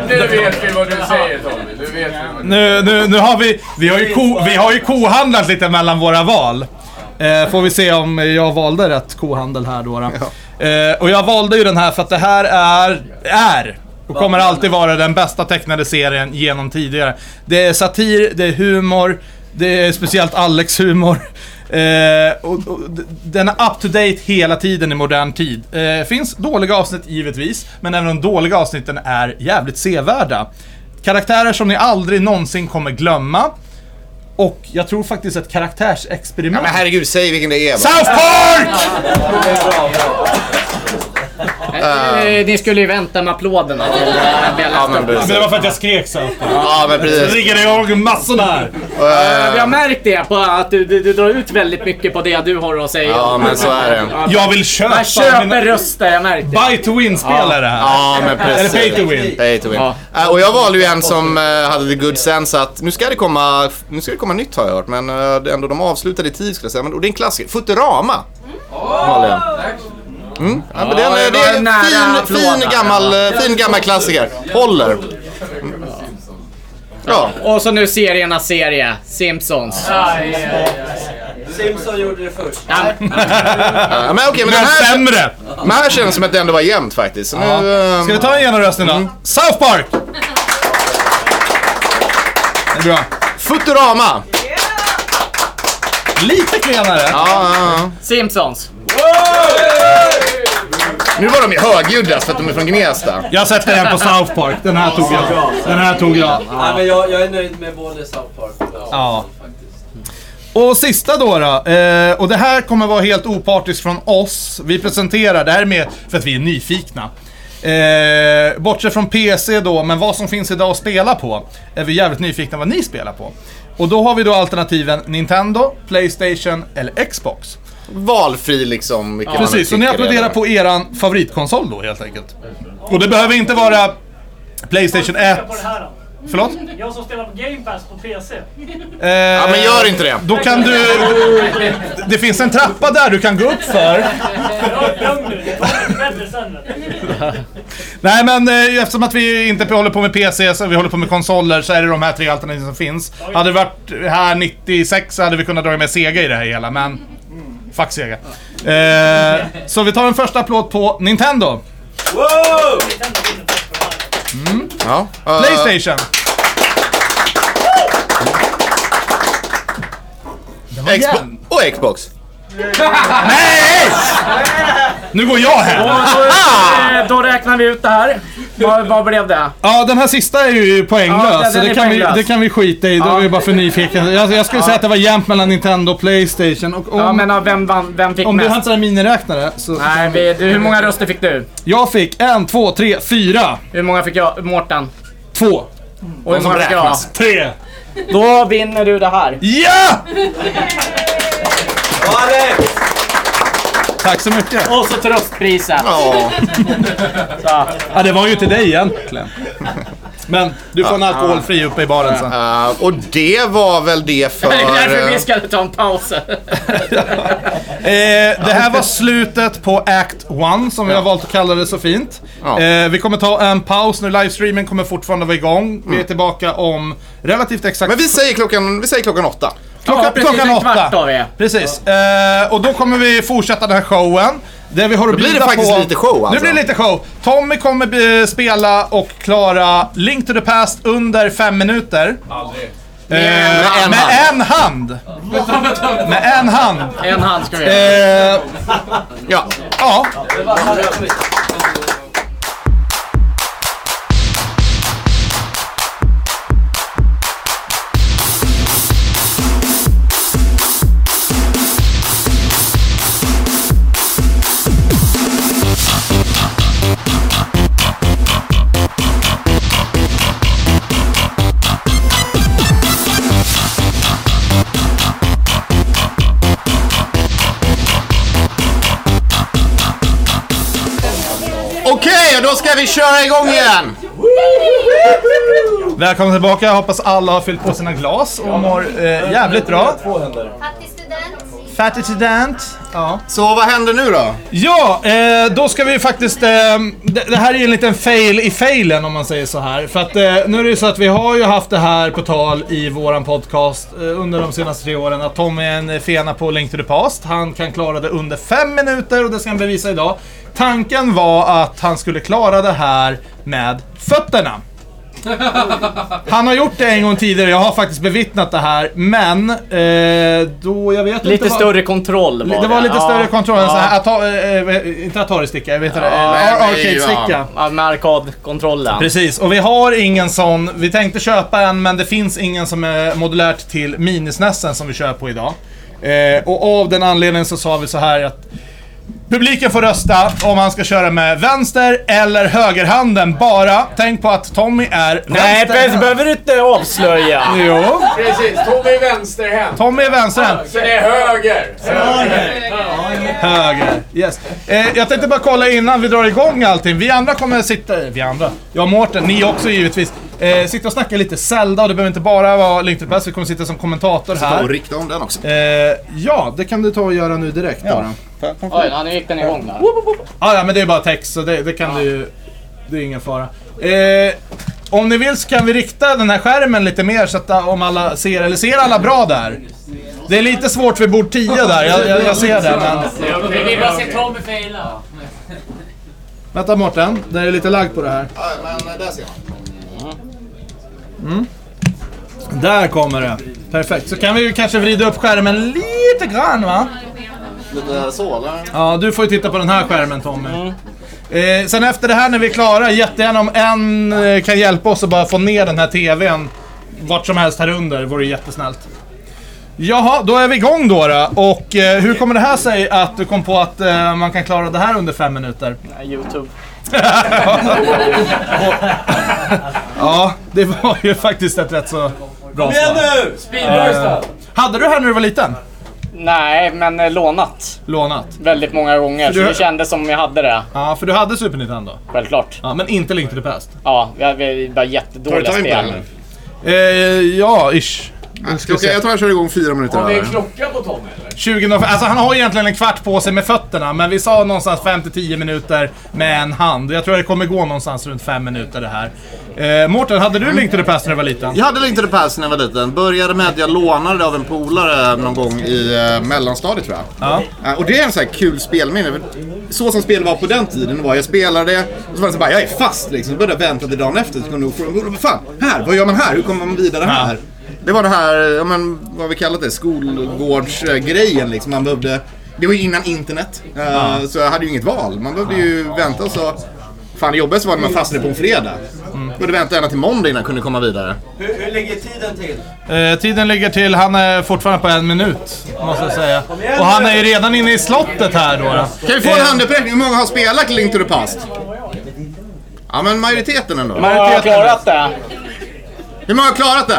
Speaker 6: vet vi vad du säger Tommy. Nu vet vi vad du
Speaker 2: Nu, nu, nu har vi... Vi har, ju ko, vi har ju kohandlat lite mellan våra val. Eh, får vi se om jag valde rätt kohandel här då. då. Eh, och jag valde ju den här för att det här är... Är! Och kommer alltid vara den bästa tecknade serien genom tidigare. Det är satir, det är humor, det är speciellt Alex humor. Eh, och, och, d- den är up to date hela tiden i modern tid. Eh, finns dåliga avsnitt givetvis, men även de dåliga avsnitten är jävligt sevärda. Karaktärer som ni aldrig någonsin kommer glömma. Och jag tror faktiskt ett karaktärsexperiment.
Speaker 3: Men herregud, säg vilken det är. bara.
Speaker 2: South Park!
Speaker 4: Eh, Ni skulle ju vänta med applåderna till eh,
Speaker 3: Ja,
Speaker 4: Bella
Speaker 3: men
Speaker 4: Stor.
Speaker 2: Men
Speaker 3: precis.
Speaker 2: det var för att jag skrek South Park.
Speaker 3: Ja, men
Speaker 2: Jag
Speaker 3: precis.
Speaker 2: riggade ihåg massorna här.
Speaker 4: Eh, Vi har märkt det, på att du, du, du drar ut väldigt mycket på det du har att säga.
Speaker 3: Ja, men så är det.
Speaker 2: Jag vill köpa
Speaker 4: Jag köper röster, jag märkte det.
Speaker 2: Buy to win-spel är det här.
Speaker 3: Ja, men
Speaker 2: Eller pay to
Speaker 3: precis.
Speaker 2: win.
Speaker 3: Pay to win.
Speaker 4: Ja.
Speaker 3: Eh, och jag valde ju en som eh, hade the good sense att nu ska det komma, nu ska det komma nytt har jag hört, men eh, det är ändå de avslutade i tid skulle jag säga. Men, och det är en klassiker. Futurama. valde jag. Mm. Ja, men den, eh, det är
Speaker 4: det var nära
Speaker 3: en fin,
Speaker 4: applåder.
Speaker 3: fin, gammal, eh, fin gammal klassiker. Håller. Mm. Ja,
Speaker 4: Och så nu seriernas serie, Simpsons.
Speaker 5: Simpson gjorde det först.
Speaker 4: Ja,
Speaker 3: eh, men okej, men den
Speaker 2: Men
Speaker 3: här,
Speaker 2: sämre!
Speaker 3: men här känns det som att det ändå var jämnt faktiskt. Så nu, eh,
Speaker 2: Ska vi ta en genomröstning då? South Park! Det är bra.
Speaker 3: Futurama!
Speaker 2: Lite klenare.
Speaker 3: Ja, ja, ja.
Speaker 4: Simpsons.
Speaker 3: Nu var de ju högljudda för att de är från Gnesta.
Speaker 2: Jag sätter den på South Park. Den här tog jag. Den här tog jag.
Speaker 5: Nej, men jag, jag är nöjd med både South Park och
Speaker 2: Ja.
Speaker 5: faktiskt.
Speaker 2: Och sista då då, eh, och det här kommer vara helt opartiskt från oss. Vi presenterar, det här är med för att vi är nyfikna. Eh, bortsett från PC då, men vad som finns idag att spela på, är vi jävligt nyfikna vad ni spelar på. Och då har vi då alternativen Nintendo, Playstation eller Xbox.
Speaker 3: Valfri liksom. vilken man
Speaker 2: Precis, så ni
Speaker 3: tycker
Speaker 2: applåderar
Speaker 3: eller-
Speaker 2: på eran favoritkonsol då helt enkelt. Och det behöver inte vara Playstation 1.
Speaker 7: Jag på det här då.
Speaker 2: Förlåt?
Speaker 7: Jag som spelar på Game Pass på PC.
Speaker 2: Eh,
Speaker 3: Ja, men gör inte det.
Speaker 2: Då kan du... Det finns en trappa där du kan gå upp för.
Speaker 7: Jag är lugn nu. Det kommer bättre sen. vet du.
Speaker 2: Nej men eh, eftersom att vi inte håller på med PC, så vi håller på med konsoler, så är det de här tre alternativen som finns. Hade det varit här 96 så hade vi kunnat dra med Sega i det här hela, men...
Speaker 4: Mm.
Speaker 2: Fuck Sega. Eh, så vi tar en första applåd på Nintendo,
Speaker 7: Nintendo vinner bäst på det här.
Speaker 3: Ja. eh,
Speaker 2: Playstation.
Speaker 3: Xbox och Xbox.
Speaker 2: Nej! Nu går jag hem! Ah!
Speaker 4: Eh, Då räknar vi ut det här. Vad, vad blev det?
Speaker 2: Ja, den här sista är ju poänglös,
Speaker 4: Ja, den-
Speaker 2: så
Speaker 4: den
Speaker 2: det
Speaker 4: är
Speaker 2: kan, vi,
Speaker 4: poänglös.
Speaker 2: det kan vi skita i. Det var ju bara för nyfiken. Jag, jag skulle säga att det var jämnt mellan Nintendo och Playstation. Och om,
Speaker 4: Ja, men ja, vem, vann, vem fick
Speaker 2: om du
Speaker 4: mest?
Speaker 2: har inte en miniräknare så...
Speaker 4: Nej, vi, du, hur många röster fick du?
Speaker 2: Jag fick en, två, tre, fyra,
Speaker 4: Hur många fick jag? Mårten?
Speaker 2: två.
Speaker 4: Och hur många fick jag?
Speaker 2: Tre.
Speaker 4: Då vinner du det här.
Speaker 3: *laughs*
Speaker 2: Ja!
Speaker 5: Alex!
Speaker 2: Tack så mycket.
Speaker 4: Och så tröstpriset.
Speaker 3: Ja.
Speaker 4: Så.
Speaker 2: Ja, det var ju till dig egentligen. Men du får en alkoholfri uppe i baren sen.
Speaker 3: Eh, och det var väl det för...
Speaker 4: Det är därför
Speaker 3: eh,
Speaker 4: vi ska ta en paus.
Speaker 2: Eh, det här var slutet på Act 1 som vi har valt att kalla det så fint.
Speaker 3: Ja.
Speaker 2: Eh, vi kommer ta en paus nu, livestreamen kommer fortfarande vara igång. Vi är tillbaka om relativt exakt...
Speaker 3: Men vi säger klockan, vi säger klockan åtta.
Speaker 2: Klockan,
Speaker 4: Ja, precis,
Speaker 2: klockan
Speaker 4: en
Speaker 2: åtta.
Speaker 4: kvart har vi.
Speaker 2: Precis. Eh, och då kommer vi fortsätta den här showen. Där vi har att
Speaker 3: blir det
Speaker 2: bjuda
Speaker 3: faktiskt
Speaker 2: på...
Speaker 3: lite show, alltså.
Speaker 2: Nu blir det lite show. Tommy kommer eh, spela och klara Link to the Past under fem minuter. Aldrig. Eh,
Speaker 3: Med en
Speaker 2: med en hand. Med en hand.
Speaker 4: En hand ska vi ha.
Speaker 2: Eh,
Speaker 3: Ja.
Speaker 2: ja.
Speaker 3: Okej, och då ska vi köra igång igen!
Speaker 2: Välkommen tillbaka. Jag hoppas alla har fyllt på sina glas och mår eh, jävligt bra.
Speaker 9: Fattig student.
Speaker 2: Fattig student. Ja.
Speaker 3: Så vad händer nu då?
Speaker 2: Ja, eh, då ska vi faktiskt... Eh, det, det här är ju en liten fail i failen om man säger så här. För att eh, nu är det ju så att vi har ju haft det här på tal i våran podcast eh, under de senaste tre åren. Att Tom är en fena på Link to the Past. Han kan klara det under fem minuter och det ska han bevisa idag. Tanken var att han skulle klara det här med fötterna. Han har gjort det en gång tidigare, jag har faktiskt bevittnat det här, men eh, då, jag vet inte
Speaker 4: Lite
Speaker 2: vad-
Speaker 4: större kontroll var
Speaker 2: det var lite större
Speaker 4: Ja.
Speaker 2: kontroll än
Speaker 4: Ja.
Speaker 2: så här. Ato, eh, eh, inte Atari-sticka, jag vet inte.
Speaker 3: nej,
Speaker 2: Ar-
Speaker 3: men
Speaker 2: Arcade-sticka.
Speaker 3: ja.
Speaker 4: Ja, med arkadkontrollen.
Speaker 2: Precis, och vi har ingen sån. Vi tänkte köpa en, men det finns ingen som är modulärt till minisnässen som vi kör på idag. Eh, och av den anledningen så sa vi så här att Publiken får rösta om han ska köra med vänster eller högerhanden bara. Tänk på att Tommy är
Speaker 4: Nej, det
Speaker 2: vänsterhänt.
Speaker 4: behöver du inte avslöja.
Speaker 2: Jo,
Speaker 6: Precis, Tommy vänsterhänt.
Speaker 2: Tommy är vänsterhänt.
Speaker 6: Så det är höger.
Speaker 2: Höger. Yes. Eh, jag tänkte bara kolla innan vi drar igång allting. Vi andra kommer sitta... eh, Vi andra? Jag och Mårten, ni också givetvis. Eh, sitta och snacka lite Zelda och det behöver inte bara vara Link to the Past. Vi kommer sitta som kommentator
Speaker 3: Och
Speaker 2: här.
Speaker 3: rikta om den också.
Speaker 2: Eh, ja, det kan du ta och göra nu direkt bara.
Speaker 4: Oj, ja, nu gick den igång där.
Speaker 2: Ah, ja, men det är bara text så det, det kan du ju... Det är ingen fara. Eh, om ni vill så kan vi rikta den här skärmen lite mer så att eh, om alla ser, eller ser alla bra där? Det är lite svårt vid bord 10 där, jag, jag, jag ser det men...
Speaker 7: Vi vill bara se Tommy faila.
Speaker 2: Vänta Mårten, det är lite lagg på det här.
Speaker 3: Ja, men där ser man.
Speaker 2: Där kommer det. Perfekt. Så kan vi ju kanske vrida upp skärmen lite grann va?
Speaker 3: Lite så eller?
Speaker 2: Ja, du får ju titta på den här skärmen Tommy. Eh, sen efter det här när vi är klara, jättegärna om en eh, kan hjälpa oss att bara få ner den här TVn vart som helst här under, vore jättesnällt. Jaha, då är vi igång då, då. Och eh, hur kommer det här sig att du kom på att eh, man kan klara det här under fem minuter?
Speaker 4: Youtube.
Speaker 2: *laughs* Ja, det var ju faktiskt ett rätt så bra
Speaker 5: Igen
Speaker 2: svar.
Speaker 5: nu!
Speaker 2: Eh, Hade du det här när du var liten?
Speaker 4: Nej, men eh, lånat
Speaker 2: Lånat?
Speaker 4: väldigt många gånger. Så
Speaker 2: du-
Speaker 4: det kändes som vi hade det,
Speaker 2: Ja, för du hade Super Nintendo.
Speaker 4: självklart.
Speaker 2: Ja, men inte Link to the Past.
Speaker 4: Ja, vi hade- vi var jättedåliga spel.
Speaker 2: Eh, ja, ish. Nu ska vi
Speaker 3: Okej,
Speaker 2: se.
Speaker 3: jag tror jag kör igång fyra minuter
Speaker 6: Det är
Speaker 3: här.
Speaker 6: klocka på Tommy eller?
Speaker 2: 20, alltså han har egentligen en kvart på sig med fötterna, men vi sa någonstans 5-10 minuter med en hand. Jag tror det kommer gå någonstans runt 5 minuter det här. Eh, Mårten, hade du Link to the Past när du var liten?
Speaker 3: Jag hade inte det pass när jag var liten. Började med att jag lånade det av en polare någon gång i eh, mellanstadiet tror jag.
Speaker 2: Ja.
Speaker 3: Eh, Och det är en sån här kul spelminne. för Så som spel var på den tiden var, jag spelade det och så var det så bara, jag är fast liksom. Så började jag vänta till dagen efter. Så kunde jag fråga, "Vad fan, här, vad gör man här? Hur kommer man vidare här? Det var det här, ja men vad har vi kallat det, skolgårdsgrejen liksom. Man behövde Det var ju innan internet. eh, Så jag hade ju inget val. Man behövde ju vänta och så... Fan, det jobbigaste var när man fastnade på en fredag. Mm. Behövde vänta ända till måndag innan jag kunde komma vidare.
Speaker 5: Hur, hur ligger tiden till?
Speaker 2: Eh, tiden ligger till, han är fortfarande på en minut, måste jag säga. Och han är ju redan inne i slottet här då. då.
Speaker 3: Kan vi få en handuppräckning? Hur många har spelat Link to the Past? Ja, men majoriteten ändå.
Speaker 4: Har jag klarat det?
Speaker 3: Hur många har klarat det?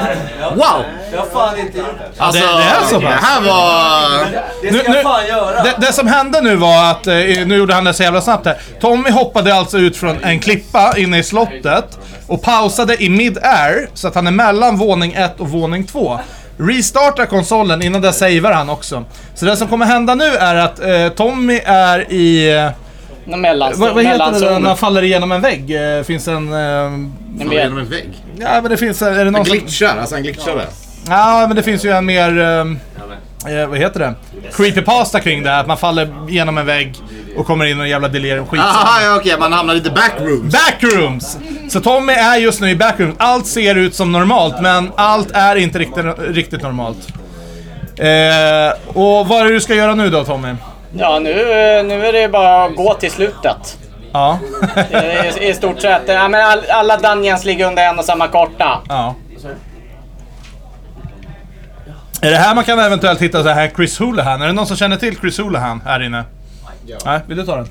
Speaker 5: Nej, jag,
Speaker 3: Wow!
Speaker 5: jag har fan inte gjort det.
Speaker 2: Ja, det, Alltså, det är så
Speaker 3: det
Speaker 2: pass.
Speaker 3: här var...
Speaker 5: Det
Speaker 2: Nu-
Speaker 5: ska
Speaker 2: nu-
Speaker 5: jag fan göra.
Speaker 2: Det, det som hände nu var att, eh, nu gjorde han det så jävla snabbt här. Tommy hoppade alltså ut från en klippa inne i slottet och pausade i mid-air så att han är mellan våning 1 och våning 2. Restartar konsolen, innan det savear han också. Så det som kommer hända nu är att eh, Tommy är i... eh, Vad,
Speaker 4: Mellanzon.
Speaker 2: vad heter det där
Speaker 4: mellanzon.
Speaker 2: när han faller igenom en vägg? Eh, finns en... Eh,
Speaker 4: Jag
Speaker 3: Det var
Speaker 4: vet.
Speaker 3: genom en vägg.
Speaker 2: ja men det finns... Är det
Speaker 3: Den
Speaker 2: någon som,
Speaker 3: glitchar, alltså han glitchade.
Speaker 2: Ja, men det finns ju en mer... eh, Eh, vad heter det? Creepypasta kring det här, att man faller genom en vägg och kommer in i en jävla delirium skit.
Speaker 3: Aha, ja, okej, man hamnar lite backrooms.
Speaker 2: Backrooms! Så Tommy är just nu i backrooms. Allt ser ut som normalt, men allt är inte riktigt, riktigt normalt. Eh, och vad är det du ska göra nu då Tommy?
Speaker 4: Ja, nu, nu är det bara att gå till slutet.
Speaker 2: Ja. *laughs*
Speaker 4: I, i stort sett. Ja, men all, alla dungeons ligger under en och samma karta.
Speaker 2: ja. Är det här man kan eventuellt hitta så här Chris Houlihan? Är det någon som känner till Chris Houlihan här inne? Nej, vill du ta den?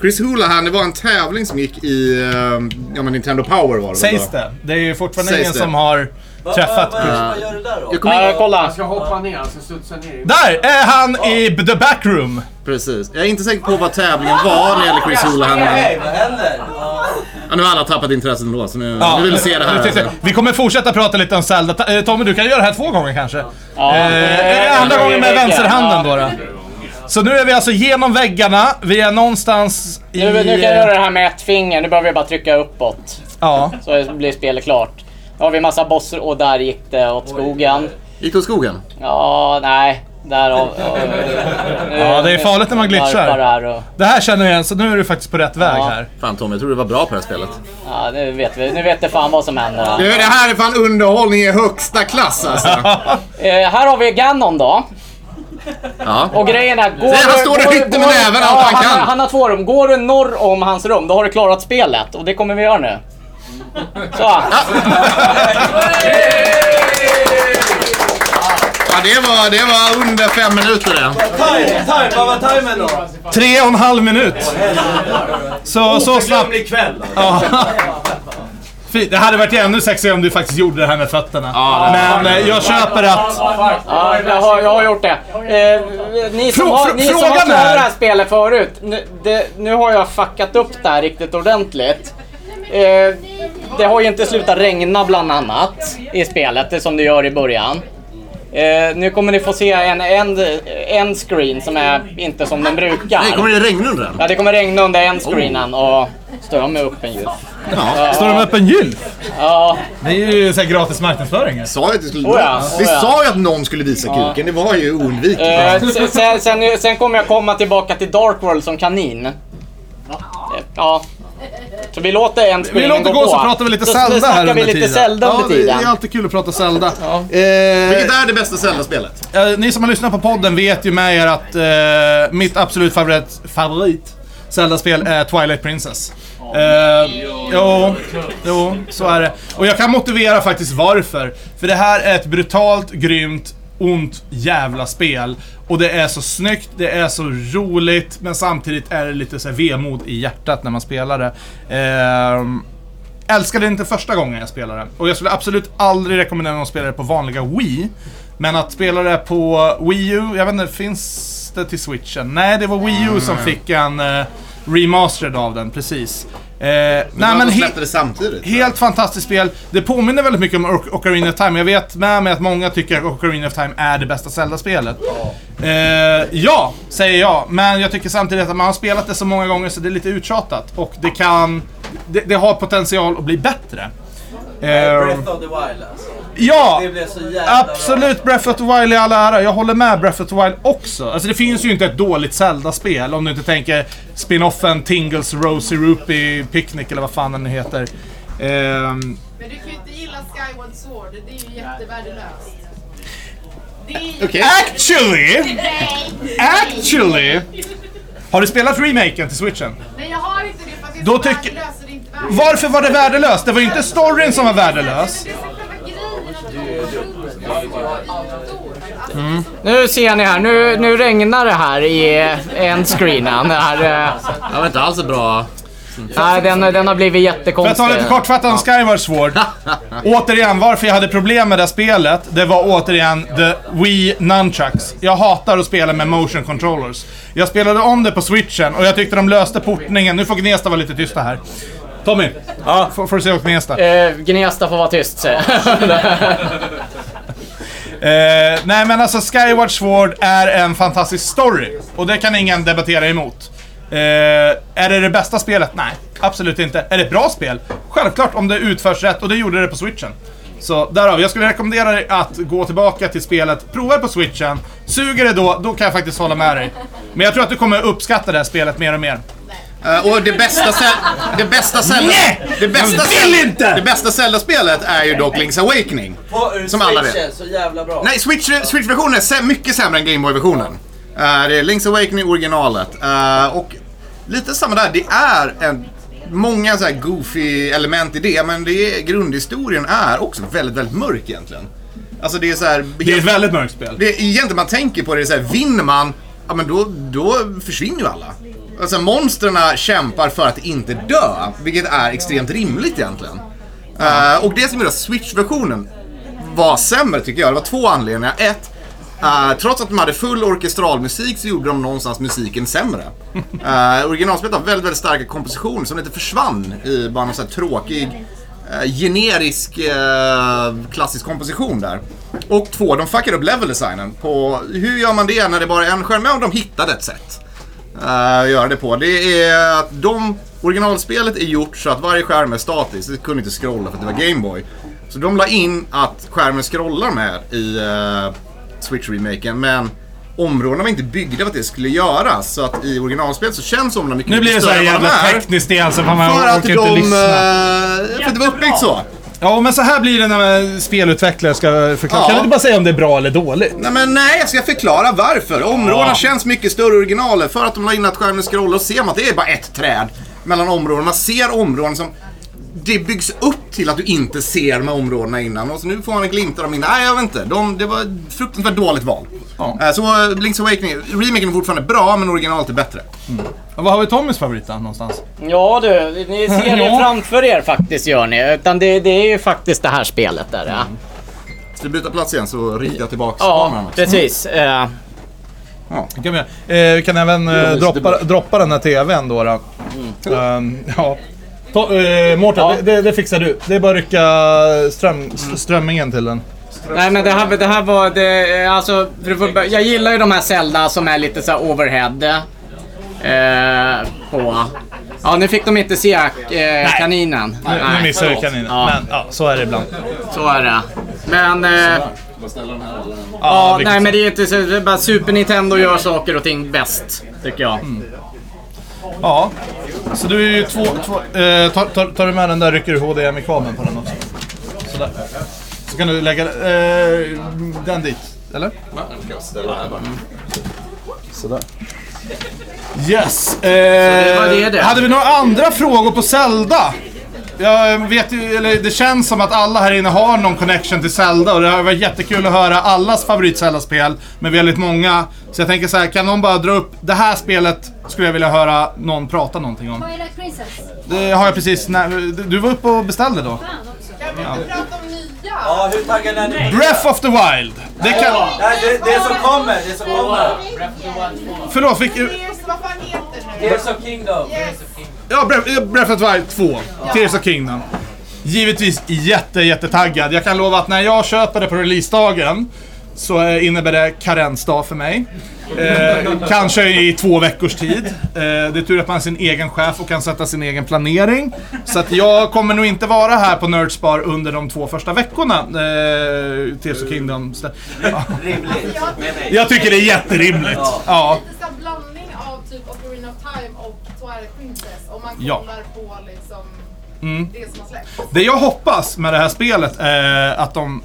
Speaker 3: Chris Houlihan, det var en tävling som gick i eh, ja, men Nintendo Power var det väl
Speaker 2: Sägs
Speaker 3: då?
Speaker 2: det. Det är ju fortfarande
Speaker 3: Sägs
Speaker 2: ingen
Speaker 3: det.
Speaker 2: som har
Speaker 5: Va-
Speaker 2: träffat
Speaker 5: va-
Speaker 2: Chris.
Speaker 5: Vad gör du där då?
Speaker 3: Jag kommer
Speaker 4: Ja,
Speaker 6: Han
Speaker 4: kolla.
Speaker 6: ska hoppa ner, han ska studsa ner. i-
Speaker 2: Där är han i the backroom!
Speaker 3: Precis. Jag är inte säker på vad tävlingen var när det gäller Chris Houlihan.
Speaker 5: Nej, vad händer? Ja.
Speaker 3: Ja, nu har alla tappat intresset ändå, så nu, nu vill vi se det
Speaker 2: Nu
Speaker 3: här.
Speaker 2: tittar-
Speaker 3: alltså.
Speaker 2: Vi kommer fortsätta prata lite om Zelda. Ta- eh, Tommy, du kan göra det här två gånger kanske.
Speaker 4: Ja,
Speaker 2: Eh, eh, andra gången med vänsterhanden då, då. Så nu är vi alltså genom väggarna. Vi är någonstans i... eh,
Speaker 4: Nu, nu kan jag göra det här med ett finger. Nu behöver jag bara trycka uppåt.
Speaker 2: Ja.
Speaker 4: Så blir spelet klart. Nu har vi massa bossar och där gick det åt skogen.
Speaker 3: Gick åt skogen?
Speaker 4: Ja, nej.
Speaker 3: *laughs*
Speaker 4: Därav...
Speaker 2: Ja, det är farligt när man glitchar.
Speaker 4: Varpar här och,
Speaker 2: Det här känner jag igen, så nu är du faktiskt på rätt väg
Speaker 4: Ja.
Speaker 2: här. *laughs*
Speaker 3: Fan Tommy, jag trodde du var bra på det här spelet.
Speaker 4: ja, nu vet vi. Nu vet det fan vad som händer. här.
Speaker 3: Du, det här är fan underhållning i högsta klass alltså.
Speaker 4: Eh, här har vi Ganon då.
Speaker 3: Ja.
Speaker 4: Och grejen är... Går,
Speaker 3: han står och
Speaker 4: går-
Speaker 3: hytter med
Speaker 4: går-
Speaker 3: näven allt han
Speaker 4: har-
Speaker 3: kan.
Speaker 4: Han har två rum. Går du norr om hans rum, då har du klarat spelet. Och det kommer vi göra nu. Så.
Speaker 3: ja, det var, det var under fem minuter det.
Speaker 5: Time, time, vad var timern då?
Speaker 2: Tre och en halv minut. Så, så snabbt.
Speaker 5: Glömlig kväll. alltså.
Speaker 2: Ja. Fint. Det hade varit ännu sexigare om du faktiskt gjorde det här med fötterna. Men eh, jag köper att...
Speaker 4: Ja, jag har, jag har gjort det. Eh, ni som
Speaker 2: Frå-
Speaker 4: har,
Speaker 2: frå-
Speaker 4: ni som
Speaker 2: frågan
Speaker 4: har klarat det
Speaker 2: är-
Speaker 4: här spelet förut. Nu, det, nu har jag fuckat upp det här riktigt ordentligt. Eh, det har ju inte slutat regna bland annat i spelet, det som det gör i början. Eh, nu kommer ni få se en end, end screen som är inte som den
Speaker 3: Nej, kommer
Speaker 4: brukar.
Speaker 3: det regna under den?
Speaker 4: Ja, det kommer regna under end screenen och står jag med öppen ljus.
Speaker 3: Ja.
Speaker 2: Står de med öppen gylf?
Speaker 4: Ja,
Speaker 2: Det är ju så här gratis marknadsföring. här.
Speaker 3: Sa ju att det skulle...
Speaker 4: Oh ja,
Speaker 3: Vi
Speaker 4: oh ja.
Speaker 3: sa ju att någon skulle visa kuken, det var ju oundvikligt.
Speaker 4: Eh, sen, sen, sen, sen kommer jag komma tillbaka till Dark World som kanin. Eh, Ja. Så vi låter en
Speaker 2: Vi låter gå så pratar vi lite
Speaker 4: Så
Speaker 2: Zelda här
Speaker 4: snackar
Speaker 2: under
Speaker 4: vi lite
Speaker 2: tiden.
Speaker 4: Zelda under
Speaker 2: Ja,
Speaker 4: tiden.
Speaker 2: det är alltid kul att prata Zelda.
Speaker 3: Vilket är det bästa Zelda-spelet?
Speaker 2: Eh, ni som har lyssnat på podden vet ju med er att eh, mitt absolut favorit, favorit Zelda-spel är Twilight Princess. Eh, jo, jo, så är det. Och jag kan motivera faktiskt varför. För det här är ett brutalt, grymt, ont jävla spel. Och det är så snyggt, det är så roligt, men samtidigt är det lite så här vemod i hjärtat när man spelar det. Ehm, älskade det inte första gången jag spelade det. Och jag skulle absolut aldrig rekommendera någon spelare på vanliga Wii. Men att spela det på Wii U, jag vet inte, finns det till Switchen? Nej, det var Wii U
Speaker 3: Mm.
Speaker 2: som fick en eh, remastered av den, precis. Eh, nej men
Speaker 3: De
Speaker 2: he-
Speaker 3: släppte det samtidigt.
Speaker 2: helt fantastiskt spel. Det påminner väldigt mycket om Oc- Ocarina of Time. Jag vet med mig att många tycker att Ocarina of Time är det bästa Zelda-spelet. Eh, ja, säger jag. Men jag tycker samtidigt att man har spelat det så många gånger så det är lite uttjatat. Och det kan... Det, det har potential att bli bättre. Eh,
Speaker 5: Breath of the Wild alltså.
Speaker 2: ja!
Speaker 5: Det blev så jävla
Speaker 2: Absolut Breath of the Wild i alla ära. Jag håller med Breath of the Wild också. Alltså det finns ju inte ett dåligt Zelda-spel om du inte tänker spinoffen Tingles Rosie Rupee Picnic eller vad fan den nu heter. Ehm,
Speaker 8: Men du kan ju inte gilla Skyward Sword, det är ju jättevärdelöst. Det
Speaker 9: Bild.
Speaker 3: Okej.
Speaker 2: Actually!
Speaker 9: Nej.
Speaker 2: Actually! Har du spelat remaken till switchen?
Speaker 8: Nej jag har inte det för att jag
Speaker 2: Då
Speaker 8: är så
Speaker 2: tycker-
Speaker 8: värdelös så det är inte värt det.
Speaker 2: Varför var det värdelöst? Det var ju inte storyn som var värdelös.
Speaker 8: Men det är så själva grejen att de
Speaker 4: Nu ser ni här, nu, nu regnar det här i eh, en screen. här. Den här, eh,
Speaker 5: Det var inte alls bra.
Speaker 4: nej, den, den har blivit
Speaker 2: För att
Speaker 4: jättekonstig.
Speaker 2: ta lite kortfattat om Skyward *laughs* Sword. återigen, varför jag hade problem med det här spelet, det var återigen the Wii Nunchucks. Jag hatar att spela med motion controllers. Jag spelade om det på switchen och jag tyckte de löste portningen. Nu får Gnesta vara lite tysta här. Tommy, ja. får, får du säga åt Gnesta.
Speaker 4: Eh, Gnesta får vara tyst säger jag.
Speaker 2: Eh, nej men alltså Skyward Sword är en fantastisk story. Och det kan ingen debattera emot. Eh, är det det bästa spelet? Nej, absolut inte. Är det ett bra spel? Självklart om det utförs rätt och det gjorde det på switchen. Så därav, jag skulle rekommendera dig att gå tillbaka till spelet, prova det på switchen. Suger det då, då kan jag faktiskt hålla med dig. Men jag tror att du kommer uppskatta det här spelet mer och mer.
Speaker 3: Eh, och det bästa sä- Det bästa Zelda...
Speaker 2: Nej!
Speaker 3: Det bästa
Speaker 2: Jag vill
Speaker 3: Zelda-
Speaker 2: inte!
Speaker 3: Det bästa Zelda-spelet är ju dock Link's Awakening.
Speaker 5: På ur
Speaker 3: Som alla vet.
Speaker 5: switchen, så jävla bra.
Speaker 3: Nej, Switch- Switch-versionen är sä- mycket sämre än Gameboy-versionen. Eh, det är Link's Awakening originalet. Eh, och lite samma där, det är en, många så här goofy element i det, men det är, grundhistorien är också väldigt, väldigt mörk egentligen. Alltså det är så här...
Speaker 2: Det är ett väldigt mörkt spel.
Speaker 3: Det är egentligen man tänker på det, det är så här, vinner man, ja men då, då försvinner ju alla. Alltså monstren kämpar för att inte dö, vilket är extremt rimligt egentligen. Eh, och det som gjorde att Switch-versionen var sämre tycker jag, det var två anledningar. Ett, eh, trots att de hade full orkestralmusik så gjorde de någonstans musiken sämre. Uh, originalspelet har väldigt, väldigt starka kompositioner som lite försvann i bara någon så här tråkig eh, generisk eh, klassisk komposition där. Och två, de fuckar upp leveldesignen. På, hur gör man det när det bara är en skärm? Ja, de hittade ett sätt eh, att göra det på. Det är att de, originalspelet är gjort så att varje skärm är statisk. Det kunde inte scrolla för att det var Gameboy. Så de la in att skärmen scrollar med i eh, Switch-remaken, men områdena var inte byggda för att det skulle göras. Så att i originalspelet så känns områdena mycket
Speaker 2: Nu blir det så
Speaker 3: större
Speaker 2: här
Speaker 3: än vad
Speaker 2: jävla
Speaker 3: de är.
Speaker 2: tekniskt igen så fan man
Speaker 3: För att
Speaker 2: orkar
Speaker 3: de... eh,
Speaker 2: inte lyssna.
Speaker 3: För att det var uppbyggt så.
Speaker 2: Ja, men så här blir det när spelutvecklare ska förklara.
Speaker 3: Ja.
Speaker 2: Kan du inte bara säga om det är bra eller dåligt?
Speaker 3: Nej men nej, jag ska förklara varför. Områdena
Speaker 2: Ja.
Speaker 3: känns mycket större i originalet för att de la in att skärmen scrollar och ser man att det är bara ett träd mellan områdena. Man ser områden som... Det byggs upp till att du inte ser de här områdena innan och så nu får man en glimt av dem innan. Nej, jag vet inte. De, det var ett fruktansvärt dåligt val.
Speaker 2: Ja.
Speaker 3: Eh, Så eh, Link's Awakening, remaken är fortfarande bra men originalet är bättre.
Speaker 2: Vad har vi Tommys favorit då, någonstans?
Speaker 4: *laughs* Ja du, ni ser det
Speaker 2: *laughs* Ja.
Speaker 4: framför er faktiskt gör ni. Utan det, det är ju faktiskt det här spelet där. Ja,
Speaker 2: Mm.
Speaker 3: Ska vi byta plats igen så ritar jag tillbaka
Speaker 4: ja
Speaker 3: kameran också.
Speaker 4: precis. Eh,
Speaker 2: Det Kan vi, göra. eh, vi kan även eh, droppa, droppa den här TVn då. då. Ehm, ja. To, eh, Mårten,
Speaker 4: Mm. Ja. Mm.
Speaker 2: det, det, det fixar du. Det är bara att rycka ström, st- strömmingen till den.
Speaker 4: nej men det här, det här var... Det, alltså, för att börja- jag gillar ju de här Zelda som är lite så här overhead. Eh, på. Ja nu fick de inte se eh, kaninen.
Speaker 2: Nu, nu missar vi kaninen.
Speaker 4: Ja.
Speaker 2: Men ja, så är det ibland.
Speaker 4: Så är det. Men... Eh,
Speaker 5: Vad ställer den här eller?
Speaker 4: ja,
Speaker 2: vilket-
Speaker 4: nej men det är inte så... Det är bara Super Nintendo gör saker och ting bäst. Tycker jag.
Speaker 2: Mm. ja. Så du är ju två... två eh, tar, tar, tar du med den där rycker du HDMI-kabeln på den också. Sådär. Så kan du lägga eh, den dit. Eller? Yes.
Speaker 4: det var det
Speaker 2: Eh,
Speaker 4: det.
Speaker 2: hade vi några andra frågor på Zelda? Jag vet ju, eller det känns som att alla här inne har någon connection till Zelda och det har varit jättekul att höra allas favorit Zelda-spel med väldigt många. Så jag tänker så här, kan någon bara dra upp det här spelet skulle jag vilja höra någon prata någonting om.
Speaker 9: Twilight Princess.
Speaker 2: Det har jag precis, när, du var uppe och beställde då.
Speaker 9: Fan också.
Speaker 8: Kan vi inte prata om
Speaker 2: Mm.
Speaker 8: nya?
Speaker 5: Ja, hur taggad är ni?
Speaker 2: Breath of the Wild! Det kan...
Speaker 5: Nej, det, det som kommer, det som kommer.
Speaker 2: Förlåt, fick,
Speaker 8: Gears, vad fan heter det?
Speaker 5: Tears of Kingdom.
Speaker 8: Yes.
Speaker 2: Ja, Breath, eh, Breath of the Wild 2. Tears of Kingdom. Givetvis jätte, jättetaggad. Jag kan lova att när jag köper det på releasedagen så eh, innebär det karensdag för mig. Eh, kanske i två veckors tid. Eh, det är tur att man är sin egen chef och kan sätta sin egen planering. Så att jag kommer nog inte vara här på Nerdspar under de två första veckorna. Eh, Tears of Kingdom. Så- Ja.
Speaker 5: Rimligt. Med mig.
Speaker 2: Jag tycker det är jätterimligt. Ja.
Speaker 8: Lite sån här blandning av typ Ocarina of Time och Twilight Princess. Om man
Speaker 2: Ja. Mm.
Speaker 8: kollar på liksom det som har släppts.
Speaker 2: Det jag hoppas med det här spelet är att de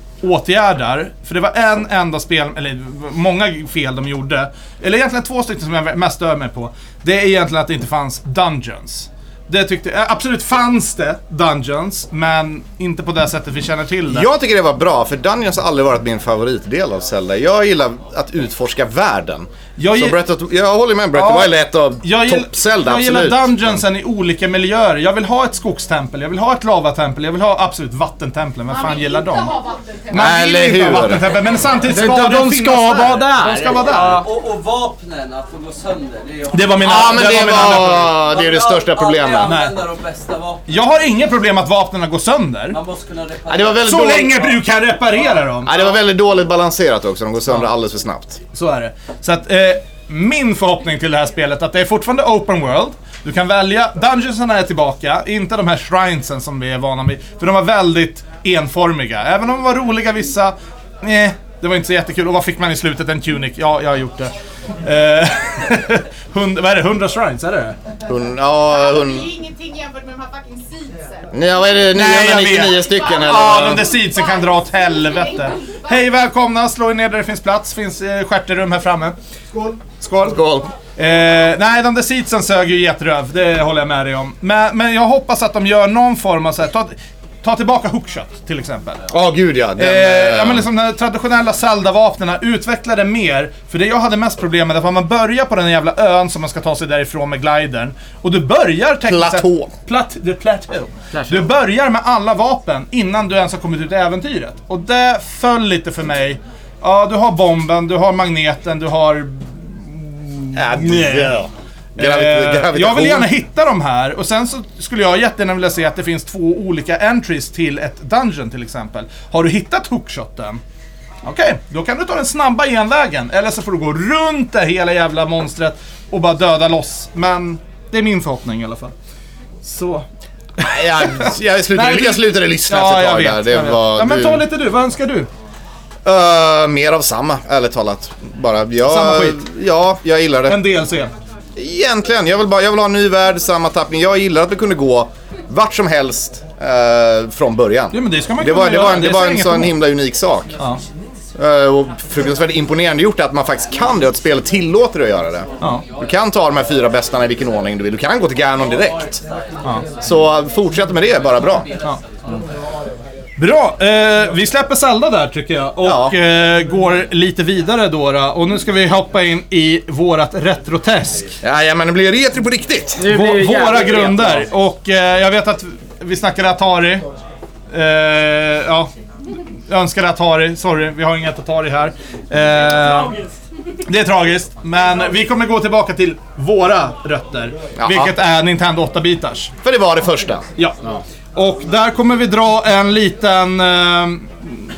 Speaker 2: åtgärdar. För det var en enda spel, eller många fel de gjorde. Eller egentligen två stycken som jag mest stör mig på. Det är egentligen att det inte fanns Dungeons. Det tyckte, eh, absolut fanns det Dungeons, men inte på det sättet vi känner till det.
Speaker 3: Jag tycker det var bra, för Dungeons har aldrig varit min favoritdel av Zelda. Jag gillar att utforska världen.
Speaker 2: Jag
Speaker 3: Jag, så
Speaker 2: gi-
Speaker 3: Breath of, jag håller med, Breath
Speaker 2: Ja.
Speaker 3: of the Wild är ett av
Speaker 2: Jag, gill,
Speaker 3: topp-Zelda,
Speaker 2: jag
Speaker 3: absolut.
Speaker 2: gillar dungeonsen i olika miljöer. Jag vill ha ett skogstempel, jag vill ha ett lavatempel, jag vill ha absolut vattentempel. Vem fan gillar
Speaker 8: inte
Speaker 2: dem?
Speaker 8: ha vattentempel.
Speaker 2: Man vill
Speaker 3: Eller
Speaker 2: inte ha
Speaker 3: hur?
Speaker 2: vattentempel, men samtidigt ska de,
Speaker 4: de
Speaker 2: finnas
Speaker 4: ska
Speaker 2: där.
Speaker 4: vara där.
Speaker 2: De ska vara där.
Speaker 5: Och, och vapnen, att de går sönder. Det, är ju-
Speaker 2: Det var mina,
Speaker 3: Ja, men
Speaker 2: det var
Speaker 3: det
Speaker 2: mina andra problem.
Speaker 3: var, det är det största
Speaker 5: Alltid
Speaker 3: problemet.
Speaker 5: använda de bästa vapnen.
Speaker 2: Jag har inga problem att vapnen går sönder.
Speaker 5: Man måste kunna reparera.
Speaker 3: Ja, det var väldigt
Speaker 2: Så
Speaker 3: dåligt.
Speaker 2: länge du kan reparera dem.
Speaker 3: Ja, det var väldigt dåligt balanserat också, de går sönder alldeles för snabbt.
Speaker 2: Så är det. Så att, eh, min förhoppning till det här spelet är att det är fortfarande open world. Du kan välja, dungeonsen är tillbaka, inte de här shrinesen som vi är vana vid. För de var väldigt enformiga. Även om de var roliga vissa, nej, det var inte så jättekul. Och vad fick man i slutet? En tunic? Ja, jag har gjort det. Eh, *laughs* hund, vad är det? 100 shrines, är det det
Speaker 3: Hon, ja,
Speaker 8: Det
Speaker 3: hon,
Speaker 8: är ingenting jämfört med de här fucking seedsen.
Speaker 3: nej, vad är det,
Speaker 2: Nej, jag vet.
Speaker 3: 999 stycken eller?
Speaker 2: Ja,
Speaker 3: vad?
Speaker 2: de där seedsen kan dra åt helvete. Hej, välkomna! Slå er ner där det finns plats. finns eh, stjärterum här framme. Skål! Skål!
Speaker 3: Skål.
Speaker 2: Eh, nej, de där seedsen sög ju getröv. Det håller jag med dig om. Men, men jag hoppas att de gör någon form av så här, ta, ta tillbaka hookshot till exempel.
Speaker 3: Ja, gud ja. Den,
Speaker 2: Eh,
Speaker 3: eh,
Speaker 2: ja men liksom de traditionella Zelda-vapnen, utveckla det mer. För det jag hade mest problem med det var att man börjar på den där jävla ön som man ska ta sig därifrån med glidern. Och du börjar tekniskt sett-
Speaker 3: Platå.
Speaker 2: Plat, the plateau. Du börjar med alla vapen innan du ens har kommit ut i äventyret. Och det föll lite för mig. Ja, du har bomben, du har magneten, du har
Speaker 3: ja,
Speaker 2: nej.
Speaker 3: ja.
Speaker 2: Eh,
Speaker 3: Gravi- gravitation.
Speaker 2: jag vill gärna hitta de här och sen så skulle jag jättegärna vilja se att det finns två olika entries till ett dungeon till exempel. Har du hittat hookshoten? Okej, då kan du ta den snabba genvägen. Eller så får du gå runt det hela jävla monstret och bara döda loss. Men det är min förhoppning i alla fall. Så.
Speaker 3: Ja, jag, slutade,
Speaker 2: Nej, du-
Speaker 3: jag slutade lyssna efter ett tag där. Det
Speaker 2: jag vet.
Speaker 3: var,
Speaker 2: ja, men
Speaker 3: du-
Speaker 2: ta lite du, vad önskar du?
Speaker 3: Eh, mer av samma, ärligt talat. Bara, jag,
Speaker 2: Samma skit.
Speaker 3: Ja, jag gillar det.
Speaker 2: En DLC.
Speaker 3: Egentligen, jag vill, bara, jag vill ha en ny värld, samma tappning. Jag gillar att vi kunde gå vart som helst eh, från början.
Speaker 2: Ja men det ska man
Speaker 3: Det var,
Speaker 2: kunna
Speaker 3: det var
Speaker 2: göra,
Speaker 3: en, det
Speaker 2: ser
Speaker 3: var
Speaker 2: jag
Speaker 3: en
Speaker 2: inget
Speaker 3: sån
Speaker 2: emot.
Speaker 3: himla unik sak.
Speaker 2: Ja.
Speaker 3: Eh, och fruktansvärt imponerande gjort att man faktiskt kan det och att spelet tillåter dig att göra det.
Speaker 2: Ja.
Speaker 3: Du kan ta de här fyra bästarna i vilken ordning du vill. Du kan gå till Ganon direkt. Så fortsätt med det, bara bra.
Speaker 2: Bra, eh, vi släpper Zelda där tycker jag och
Speaker 3: Ja.
Speaker 2: eh, går lite vidare då, då. Och nu ska vi hoppa in i vårat retrotesk.
Speaker 3: Ja, men det blir retro på riktigt.
Speaker 4: Nu blir det
Speaker 2: Vå-
Speaker 4: jävligt
Speaker 2: våra
Speaker 4: retro.
Speaker 2: grunder. Och eh, jag vet att vi snackade Atari. Eh, ja. Jag önskar Atari, sorry, vi har inget Atari här. Eh, det är tragiskt, men vi kommer gå tillbaka till våra rötter.
Speaker 3: Jaha.
Speaker 2: Vilket är Nintendo 8-bitars.
Speaker 3: För det var det första.
Speaker 2: Ja. Och där kommer vi dra en liten, eh,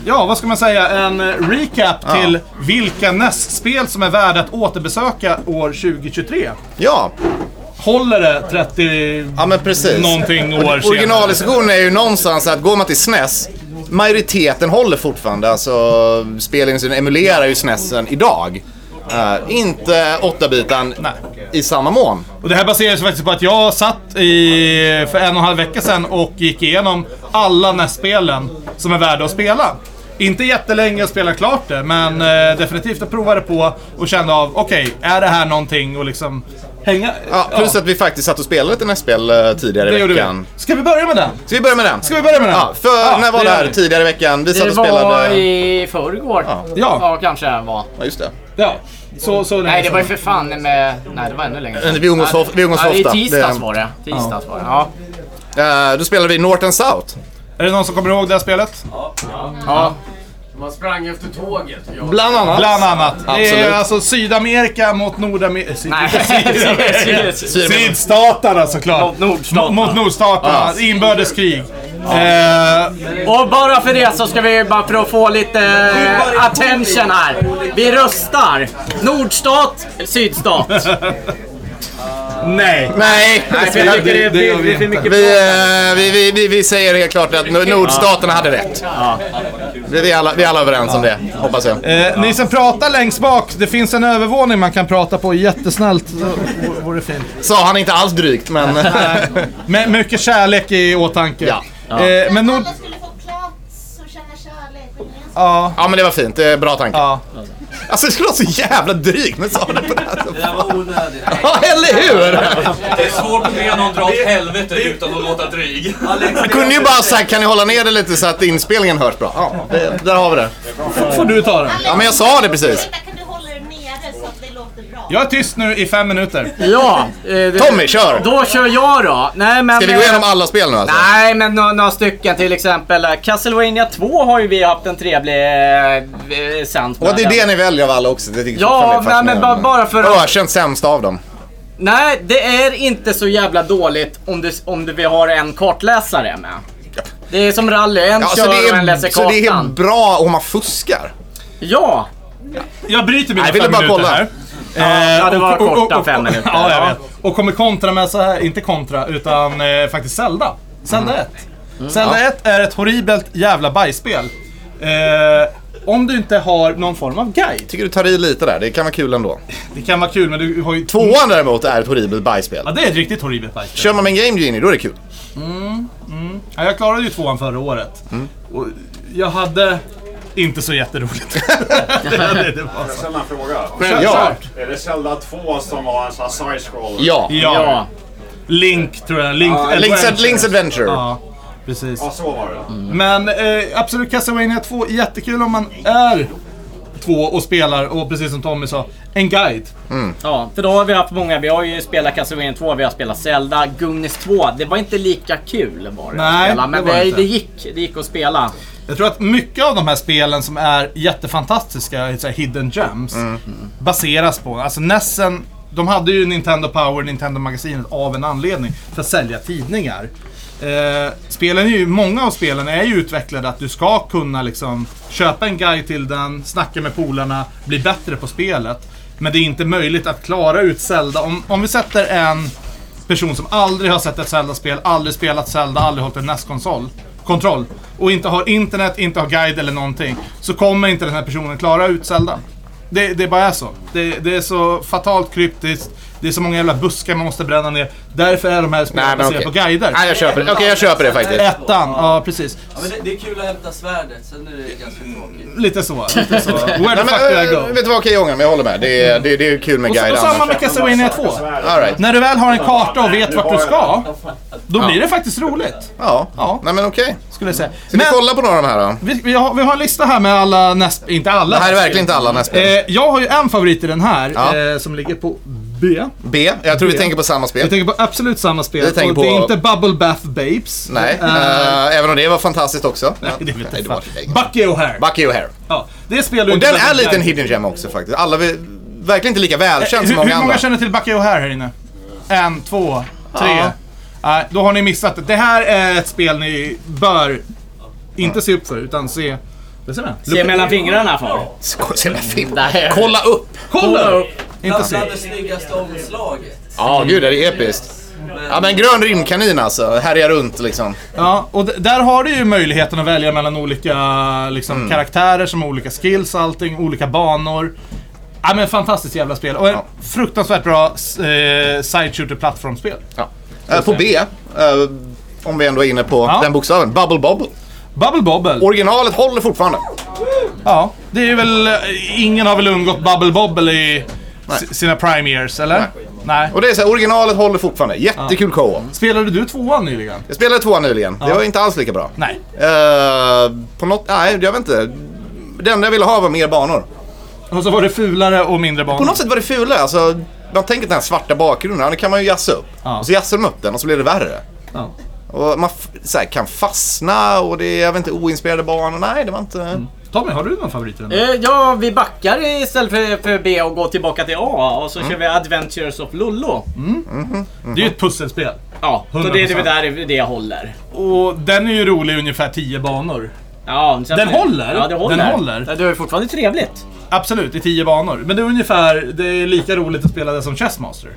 Speaker 2: ja vad ska man säga, en eh, recap till vilka NES-spel som är värda att återbesöka år 2023.
Speaker 3: Ja,
Speaker 2: Håller det 30
Speaker 3: ja men precis.
Speaker 2: någonting år senare?
Speaker 3: Originaldiskussionen är ju någonstans att går man till SNES, majoriteten håller fortfarande. Alltså spelindustrin emulerar ju SNESen idag. Eh, inte 8-bitan i samma mån.
Speaker 2: Och det här baseras faktiskt på att jag satt i, för en och en halv vecka sedan och gick igenom alla NES-spelen som är värda att spela. Inte jättelänge att spela klart det, men eh, definitivt att prova det på och känna av, okej, är det här någonting och liksom hänga...
Speaker 3: Ja, plus att vi faktiskt satt och spelade lite NES-spel eh, tidigare
Speaker 2: det
Speaker 3: i
Speaker 2: gjorde vi.
Speaker 3: veckan.
Speaker 2: Ska vi börja med den?
Speaker 3: Ska vi börja med den?
Speaker 2: Ska vi börja med den?
Speaker 3: Ja, för
Speaker 2: Ja,
Speaker 3: när var
Speaker 2: det
Speaker 3: det
Speaker 2: gör
Speaker 3: här
Speaker 2: vi.
Speaker 3: tidigare i veckan? Vi satt
Speaker 4: Det
Speaker 3: och
Speaker 4: var
Speaker 3: spelade...
Speaker 4: i förrgår.
Speaker 3: Ja.
Speaker 2: Ja,
Speaker 4: Ja, kanske det var.
Speaker 3: Ja, just det.
Speaker 2: ja. Så, så länge
Speaker 4: Nej, det var ju
Speaker 2: sedan.
Speaker 4: för fan med... Nej, det var ännu längre
Speaker 3: Men vi umgås of- vi umgås
Speaker 4: ja,
Speaker 3: ofta.
Speaker 4: I tisdags
Speaker 3: Det-
Speaker 4: var det. Tisdags var det. Ja.
Speaker 3: Eh, då spelade vi North and South.
Speaker 2: Är det någon som kommer ihåg det här spelet?
Speaker 4: ja.
Speaker 6: Man sprang efter tåget. Jag
Speaker 3: Bland annat.
Speaker 2: Bland annat. Det är
Speaker 3: Absolut.
Speaker 2: alltså Sydamerika mot Nordamerika.
Speaker 4: Nej,
Speaker 3: *laughs* Sydamerika.
Speaker 2: Sydstaterna såklart.
Speaker 4: Mot nordstaterna.
Speaker 2: Mot nordstaterna.
Speaker 3: Ja.
Speaker 2: Inbördeskrig. Eh,
Speaker 4: Och bara för det så ska vi bara för att få lite eh, attention här. Vi röstar. Nordstat, sydstat.
Speaker 2: nej.
Speaker 3: Nej,
Speaker 4: Nej, för jag tycker det är
Speaker 2: Det gör
Speaker 4: för-
Speaker 2: vi
Speaker 4: för mycket
Speaker 3: Vi, eh, vi, vi, vi, vi säger helt klart att nor- nordstaterna hade rätt. Vi, vi, är alla, vi är alla överens om det, hoppas jag.
Speaker 2: Eh, ni som pratar längst bak, det finns en övervåning man kan prata på jättesnällt. Så v- Vore fint.
Speaker 3: Sa han inte alls
Speaker 4: *laughs*
Speaker 3: drygt, men... eh,
Speaker 2: Med mycket kärlek i åtanke.
Speaker 3: Ja.
Speaker 2: Eh, men
Speaker 9: Men
Speaker 2: nord...
Speaker 9: alla skulle få plats och känna kärlek och gemenskap.
Speaker 2: Ja,
Speaker 3: Ja men det var fint, det är bra tanke.
Speaker 2: ja.
Speaker 3: Alltså det skulle vara så jävla drygt men sa det på det
Speaker 4: *laughs*
Speaker 3: här
Speaker 5: Det
Speaker 3: sättet.
Speaker 5: där var onödigt.
Speaker 3: Ja eller hur!
Speaker 10: Det är svårt att be någon dra åt helvete utan att låta dryg.
Speaker 5: Alex,
Speaker 3: Jag kunde ju bara sagt kan ni hålla ner det lite så att inspelningen hörs bra. Ja, det, där har vi det.
Speaker 2: Får du ta den.
Speaker 3: Ja men jag sa det precis.
Speaker 9: Ursäkta, kan du hålla det nere så att det låter bra?
Speaker 2: Jag är tyst nu i fem minuter.
Speaker 4: Ja! eh, det-
Speaker 3: Tommy, kör!
Speaker 4: Då kör jag då. Nej men...
Speaker 3: Ska vi gå
Speaker 4: eh,
Speaker 3: igenom alla spel nu alltså?
Speaker 4: Nej, men nå- några stycken till exempel. eh, Castlevania 2 har ju vi haft en trevlig eh, eh, seans på.
Speaker 3: Och det är det ni väljer av alla också. Det tycker jag
Speaker 4: Ja,
Speaker 3: fortfarande
Speaker 4: nej,
Speaker 3: är
Speaker 4: men ba-
Speaker 3: fascinerande.
Speaker 4: bara för att...
Speaker 3: Ökänt sämsta av dem.
Speaker 4: Nej, det är inte så jävla dåligt om, det, om det, vi har en kartläsare med. Det är som rally, en
Speaker 3: Ja, så,
Speaker 4: kör
Speaker 3: det
Speaker 4: och en läser
Speaker 3: är, så det är
Speaker 4: kartan.
Speaker 3: bra om man fuskar.
Speaker 4: Ja!
Speaker 2: Jag bryter mina
Speaker 3: Jag ville
Speaker 2: fem
Speaker 3: bara
Speaker 2: minuter
Speaker 3: kolla.
Speaker 2: här.
Speaker 4: ja, det
Speaker 2: och-
Speaker 4: var
Speaker 2: och- och-
Speaker 4: korta
Speaker 2: och-
Speaker 4: fem minuter.
Speaker 2: Ja, jag
Speaker 4: Ja.
Speaker 2: vet. Och kommer kontra med så här, inte kontra, utan eh, faktiskt Zelda. Zelda 1. Zelda 1 är ett horribelt jävla bajsspel. Eh, om du inte har någon form av guide.
Speaker 3: Tycker du tar i lite där, det kan vara kul ändå.
Speaker 2: Det kan vara kul men du har ju...
Speaker 3: Tvåan däremot är ett horribelt bajsspel.
Speaker 2: Ja, det är ett riktigt horribelt bajsspel.
Speaker 3: Kör man med en Game Genie då är det kul.
Speaker 2: Ja, jag klarade ju tvåan förra året. Och jag hade inte så jätteroligt. det, det var så.
Speaker 6: Ställ en fråga.
Speaker 3: Ja.
Speaker 6: Är det Zelda 2 som var en sån här side-scroller?
Speaker 3: Ja.
Speaker 2: Ja.
Speaker 4: Ja.
Speaker 2: Link tror jag. Link
Speaker 3: Link's, Ad-
Speaker 2: Adventure.
Speaker 3: Link's Adventure.
Speaker 2: Ja, precis.
Speaker 6: Ja, så var det.
Speaker 2: Men eh, absolut, Castlevania 2 är jättekul om man är två och spelar och precis som Tommy sa, en guide.
Speaker 4: Ja, för då har vi haft många. Vi har ju spelat Castlevania 2, vi har spelat Zelda, Gungnis 2. Det var inte lika kul var det
Speaker 2: Nej,
Speaker 4: att spela, men
Speaker 2: det
Speaker 4: det,
Speaker 2: var det
Speaker 4: det,
Speaker 2: inte.
Speaker 4: gick, det gick att spela.
Speaker 2: Jag tror att mycket av de här spelen som är jättefantastiska, så här hidden gems, baseras på, alltså Nessen, de hade ju Nintendo Power, Nintendo-magasinet av en anledning, för att sälja tidningar. Eh, spelen är ju, många av spelen är ju utvecklade att du ska kunna liksom köpa en guide till den, snacka med polarna, bli bättre på spelet. Men det är inte möjligt att klara ut Zelda. Om, om vi sätter en person som aldrig har sett ett Zelda-spel, aldrig spelat Zelda, aldrig hållit en NES-konsol. Kontroll. Och inte har internet, inte har guide eller någonting. Så kommer inte den här personen klara ut Zelda. Det, det bara är så. Det, det är så fatalt kryptiskt. Det är så många jävla buskar man måste bränna ner. Därför är de här
Speaker 3: Nej
Speaker 2: spelen
Speaker 3: men
Speaker 2: baserade
Speaker 3: okej.
Speaker 2: på guider.
Speaker 3: Nej jag köper det. Okej jag köper det faktiskt.
Speaker 2: Ettan, ja precis.
Speaker 5: Ja, men det, det är kul att hämta svärdet, sen är det ganska tråkigt.
Speaker 2: Lite så.
Speaker 3: *laughs*
Speaker 2: Lite så. Where the
Speaker 3: Nej, men,
Speaker 2: fuck did I
Speaker 3: äh,
Speaker 2: go?
Speaker 3: vet du vad, okej jag ångrar mig, jag håller med. Det är, det, det är kul med
Speaker 2: Och, så,
Speaker 3: guide
Speaker 2: och samma
Speaker 3: annars.
Speaker 2: med Castlevania 2.
Speaker 3: All right.
Speaker 2: När du väl har en karta och vet vart du ska, då blir det faktiskt roligt.
Speaker 3: Ja.
Speaker 2: Ja.
Speaker 3: Nej men okej.
Speaker 2: Skulle jag säga.
Speaker 3: Ska
Speaker 2: Men
Speaker 3: vi kolla på några av de här då?
Speaker 2: vi, vi, har, vi har en lista här med alla näst... Inte alla.
Speaker 3: Det här är verkligen inte alla nästa.
Speaker 2: Eh, jag har ju en favorit i den här,
Speaker 3: Ja.
Speaker 2: eh, som ligger på B.
Speaker 3: B. Jag tror vi
Speaker 2: B.
Speaker 3: tänker på samma
Speaker 2: Jag
Speaker 3: spel.
Speaker 2: tänker på absolut samma spel.
Speaker 3: Vi tänker
Speaker 2: och det är
Speaker 3: på-
Speaker 2: inte Bubble Bath Babes.
Speaker 3: Nej,
Speaker 2: Eh,
Speaker 3: eh, även om det var fantastiskt också.
Speaker 2: nej, *laughs* det vet jag
Speaker 3: det var
Speaker 2: inte.
Speaker 3: det.
Speaker 2: Bucky O'Hare.
Speaker 3: Bucky O'Hare.
Speaker 2: Ja, det spelar ju
Speaker 3: Och
Speaker 2: inte
Speaker 3: den
Speaker 2: väldigt
Speaker 3: är lite en
Speaker 2: jävligt.
Speaker 3: hidden gem också faktiskt. Alla vi, verkligen inte lika välkänd som
Speaker 2: hur,
Speaker 3: Eh, många
Speaker 2: hur många
Speaker 3: andra.
Speaker 2: känner till Bucky O'Hare här inne? En, två, tre. Nej, då har ni missat det. Det här är ett spel ni bör inte se upp för, utan se... Vad säger man?
Speaker 4: Se mellan fingrarna för.
Speaker 3: Sk- se den här filmen.
Speaker 4: Där.
Speaker 3: Kolla upp!
Speaker 2: Kolla upp! Inte
Speaker 5: Bland,
Speaker 2: se.
Speaker 5: bland det snyggaste omslaget.
Speaker 3: Ja, gud det är episkt. Ja men grön rymdkanin alltså, härjar runt liksom.
Speaker 2: Ja, och d- där har du ju möjligheten att välja mellan olika liksom,
Speaker 3: Mm.
Speaker 2: karaktärer som har olika skills och allting, olika banor. Ja men fantastiskt jävla spel och en
Speaker 3: Ja.
Speaker 2: fruktansvärt bra s- eh, side shooter plattformsspel.
Speaker 3: Ja. Eh, på B, eh, om vi ändå är inne på
Speaker 2: Ja.
Speaker 3: den bokstaven, Bubble Bob.
Speaker 2: Bubble Bobble.
Speaker 3: Originalet håller fortfarande.
Speaker 2: ja, det är väl... eh, Ingen har väl undgått Bubble Bobble i s- sina prime years, eller? Nej.
Speaker 3: Och det är så här, originalet håller fortfarande. Jättekul co-op.
Speaker 2: Spelade du tvåan nyligen?
Speaker 3: Jag spelade tvåan nyligen, det var inte alls lika bra.
Speaker 2: Nej.
Speaker 3: Eh, på något, nej jag vet inte. Det enda jag ville ha var mer banor.
Speaker 2: Och så var det fulare och mindre banor.
Speaker 3: På något sätt var det fulare. Alltså, man tänker den här svarta bakgrunden, den kan man ju jazza upp.
Speaker 2: Ja.
Speaker 3: Och så jazzar de upp den och så blir det värre.
Speaker 2: Ja.
Speaker 3: Och man f- så här, kan fastna och det är, jag vet inte, oinspirerade barn. Och Nej, det var inte...
Speaker 2: Mm. Tommy, har du någon favorit i den? här?
Speaker 4: Eh, Ja, vi backar istället för, för B och går tillbaka till A och så
Speaker 2: Mm.
Speaker 4: kör vi Adventures of Lollo.
Speaker 3: Mm.
Speaker 2: Det är ju ett pusselspel.
Speaker 4: Ja, så det är det
Speaker 2: 100%.
Speaker 4: där det håller.
Speaker 2: Och den är ju rolig i ungefär 10 banor.
Speaker 4: Ja, så att-
Speaker 2: Den håller?
Speaker 4: Ja, det håller.
Speaker 2: Den håller.
Speaker 4: Ja, Det är fortfarande trevligt.
Speaker 2: Absolut, i tio banor. Men det är ungefär det är lika roligt att spela det som Chessmaster.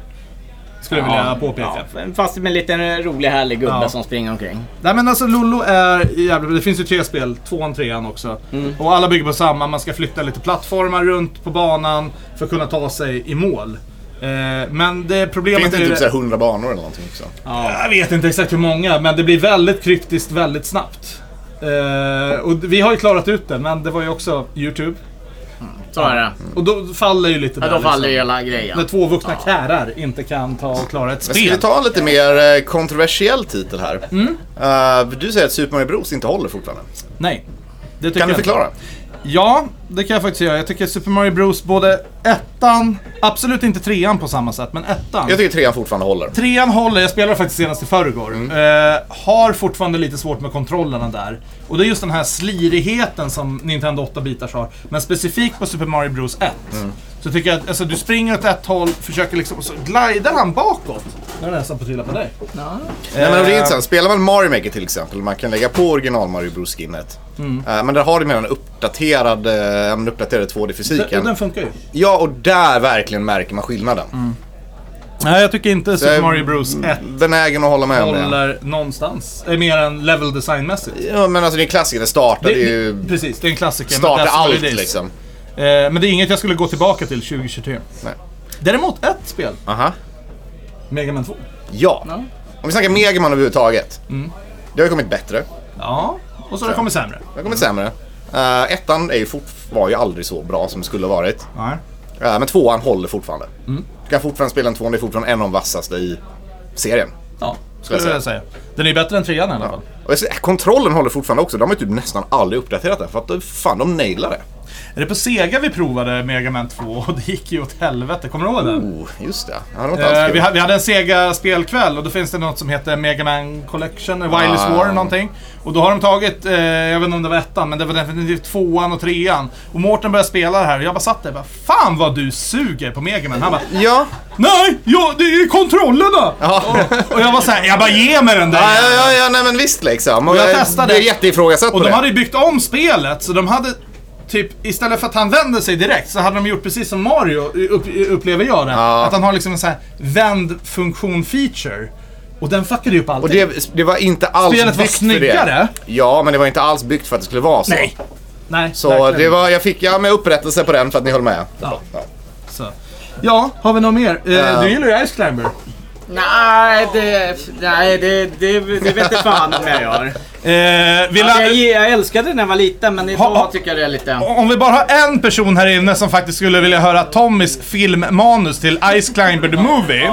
Speaker 2: Skulle jag vilja påpeka.
Speaker 4: Ja, fast med en liten rolig härlig gubbe
Speaker 2: Ja.
Speaker 4: som springer omkring.
Speaker 2: Nej men alltså Lollo är jävligt Det finns ju tre spel, tvåan, trean också.
Speaker 4: Mm.
Speaker 2: Och alla bygger på samma, man ska flytta lite plattformar runt på banan för att kunna ta sig i mål. Eh, men det problemet
Speaker 3: Finns det
Speaker 2: är ju...
Speaker 3: typ så här 100 banor eller någonting också?
Speaker 2: Jag vet inte exakt hur många, men det blir väldigt kryptiskt väldigt snabbt. Eh, och vi har ju klarat ut det, men det var ju också YouTube.
Speaker 4: Så är det.
Speaker 2: Och då faller ju lite
Speaker 4: Ja,
Speaker 2: där,
Speaker 4: då faller ju
Speaker 2: liksom.
Speaker 4: hela
Speaker 2: När
Speaker 4: grejen.
Speaker 2: två vuxna kärar inte kan ta och klara ett
Speaker 3: Men ska
Speaker 2: spel.
Speaker 3: vi ta en lite mer eh, kontroversiell titel här?
Speaker 2: Mm.
Speaker 3: Eh, du säger att Super Mario Bros inte håller fortfarande.
Speaker 2: Nej. Det tycker
Speaker 3: Kan du
Speaker 2: jag inte.
Speaker 3: förklara?
Speaker 2: Ja, det kan jag faktiskt göra. Jag tycker Super Mario Bros både ettan, absolut inte trean på samma sätt, men ettan.
Speaker 3: Jag tycker trean fortfarande håller.
Speaker 2: Trean håller, jag spelade faktiskt senast i förrgår.
Speaker 3: Mm.
Speaker 2: Eh, har fortfarande lite svårt med kontrollerna där. Och det är just den här slirigheten som Nintendo 8-bitars har. Men specifikt på Super Mario Bros 1.
Speaker 3: Mm.
Speaker 2: Så tycker jag att alltså, du springer åt ett håll, försöker liksom, och så glider han bakåt. Nu är nästan på att trilla på dig.
Speaker 3: Nej, men det är intressant. Spelar man Mario Maker till exempel, man kan lägga på original Mario Bros-skinnet.
Speaker 2: Mm.
Speaker 3: Eh, men där har du mer en uppdaterad, eh, en uppdaterad
Speaker 2: Den, och
Speaker 3: 2D-fysiken.
Speaker 2: den funkar ju.
Speaker 3: Ja, och där verkligen märker man skillnaden.
Speaker 2: Mm. Nej, jag tycker inte Super
Speaker 3: jag- Mm.
Speaker 2: Mario Bros 1
Speaker 3: Benägen att hålla med om det.
Speaker 2: håller någonstans. Eh, Mer än level design-mässigt.
Speaker 3: Ja, men alltså det är en klassiker. Det startar
Speaker 2: Det,
Speaker 3: ju...
Speaker 2: det, precis, det är en klassiker. men
Speaker 3: Startar
Speaker 2: that's what
Speaker 3: allt
Speaker 2: it is.
Speaker 3: liksom.
Speaker 2: Eh, men det är inget jag skulle gå tillbaka till 2023.
Speaker 3: Nej.
Speaker 2: Däremot ett spel,
Speaker 3: Aha.
Speaker 2: Mega Man 2.
Speaker 3: Ja.
Speaker 4: Ja.
Speaker 3: Om vi snackar Megaman överhuvudtaget.
Speaker 2: Mm.
Speaker 3: Det har ju kommit bättre.
Speaker 2: Ja, och så har det kommit sämre.
Speaker 3: Det har kommit sämre.
Speaker 2: Mm.
Speaker 3: Eh, ettan är ju fort, var ju aldrig så bra som det skulle ha varit.
Speaker 2: Nej.
Speaker 3: Eh, men tvåan håller fortfarande.
Speaker 2: Mm.
Speaker 3: Du kan fortfarande spela en tvåan, det är fortfarande en av de vassaste i serien.
Speaker 2: Ja, skulle jag vilja säga. Den är ju bättre än trean i alla fall.
Speaker 3: Och jag ser, kontrollen håller fortfarande också. De har ju typ nästan aldrig uppdaterat den. För att eh, fan, de nailar det.
Speaker 2: Är det på Sega vi provade Mega Man 2 och det gick ju åt helvete, kommer du ihåg den?
Speaker 3: Oh, just det. Ja, det var inte alls
Speaker 2: Mm. Eh,
Speaker 3: kul.
Speaker 2: vi, ha- vi hade en Sega-spelkväll och då finns det något som heter Mega Man Collection, eh, Wireless
Speaker 3: Ah.
Speaker 2: War någonting. Och då har de tagit, eh, jag vet inte om det var ettan, men det var definitivt tvåan och trean. Och Mårten började spela det här och jag bara satt där och bara Fan vad du suger på Mega Man. Han bara
Speaker 3: Ja.
Speaker 2: Nej! Ja, det är kontrollerna!
Speaker 3: Ja.
Speaker 2: Och jag var såhär, jag bara ge mig den där
Speaker 3: Ja, ja,
Speaker 2: jäveln."
Speaker 3: ja, ja, nej men visst liksom. Och
Speaker 2: jag testade.
Speaker 3: Det är jätteifrågasatt
Speaker 2: Och
Speaker 3: på
Speaker 2: de
Speaker 3: det.
Speaker 2: hade ju byggt om spelet, så de hade typ, istället för att han vänder sig direkt, så hade de gjort precis som Mario, eh, upp, upplever jag det.
Speaker 3: Ja.
Speaker 2: Att han har liksom en sån här vänd funktion feature. Och den fuckade ju upp allting.
Speaker 3: Och det, det var inte alls
Speaker 2: Spelet var
Speaker 3: byggt för
Speaker 2: snyggare.
Speaker 3: det. Ja, men det var inte alls byggt för att det skulle vara så.
Speaker 2: Nej. Nej,
Speaker 3: Så
Speaker 2: verkligen
Speaker 3: det var, jag fick ja, med upprättelse på den för att ni höll med.
Speaker 2: Ja. Så. Ja, har vi något mer? Eh, Du gillar ju Ice Climber.
Speaker 4: Nej, det... Nej, det... Det, det vet inte fan om jag gör.
Speaker 2: Eh, vill
Speaker 4: Alltså,
Speaker 2: alla-
Speaker 4: jag, jag älskade den när jag var liten, men
Speaker 2: Ha-
Speaker 4: idag tycker jag det är lite...
Speaker 2: Om vi bara har en person här inne som faktiskt skulle vilja höra Tommys filmmanus till Ice Climber the Movie.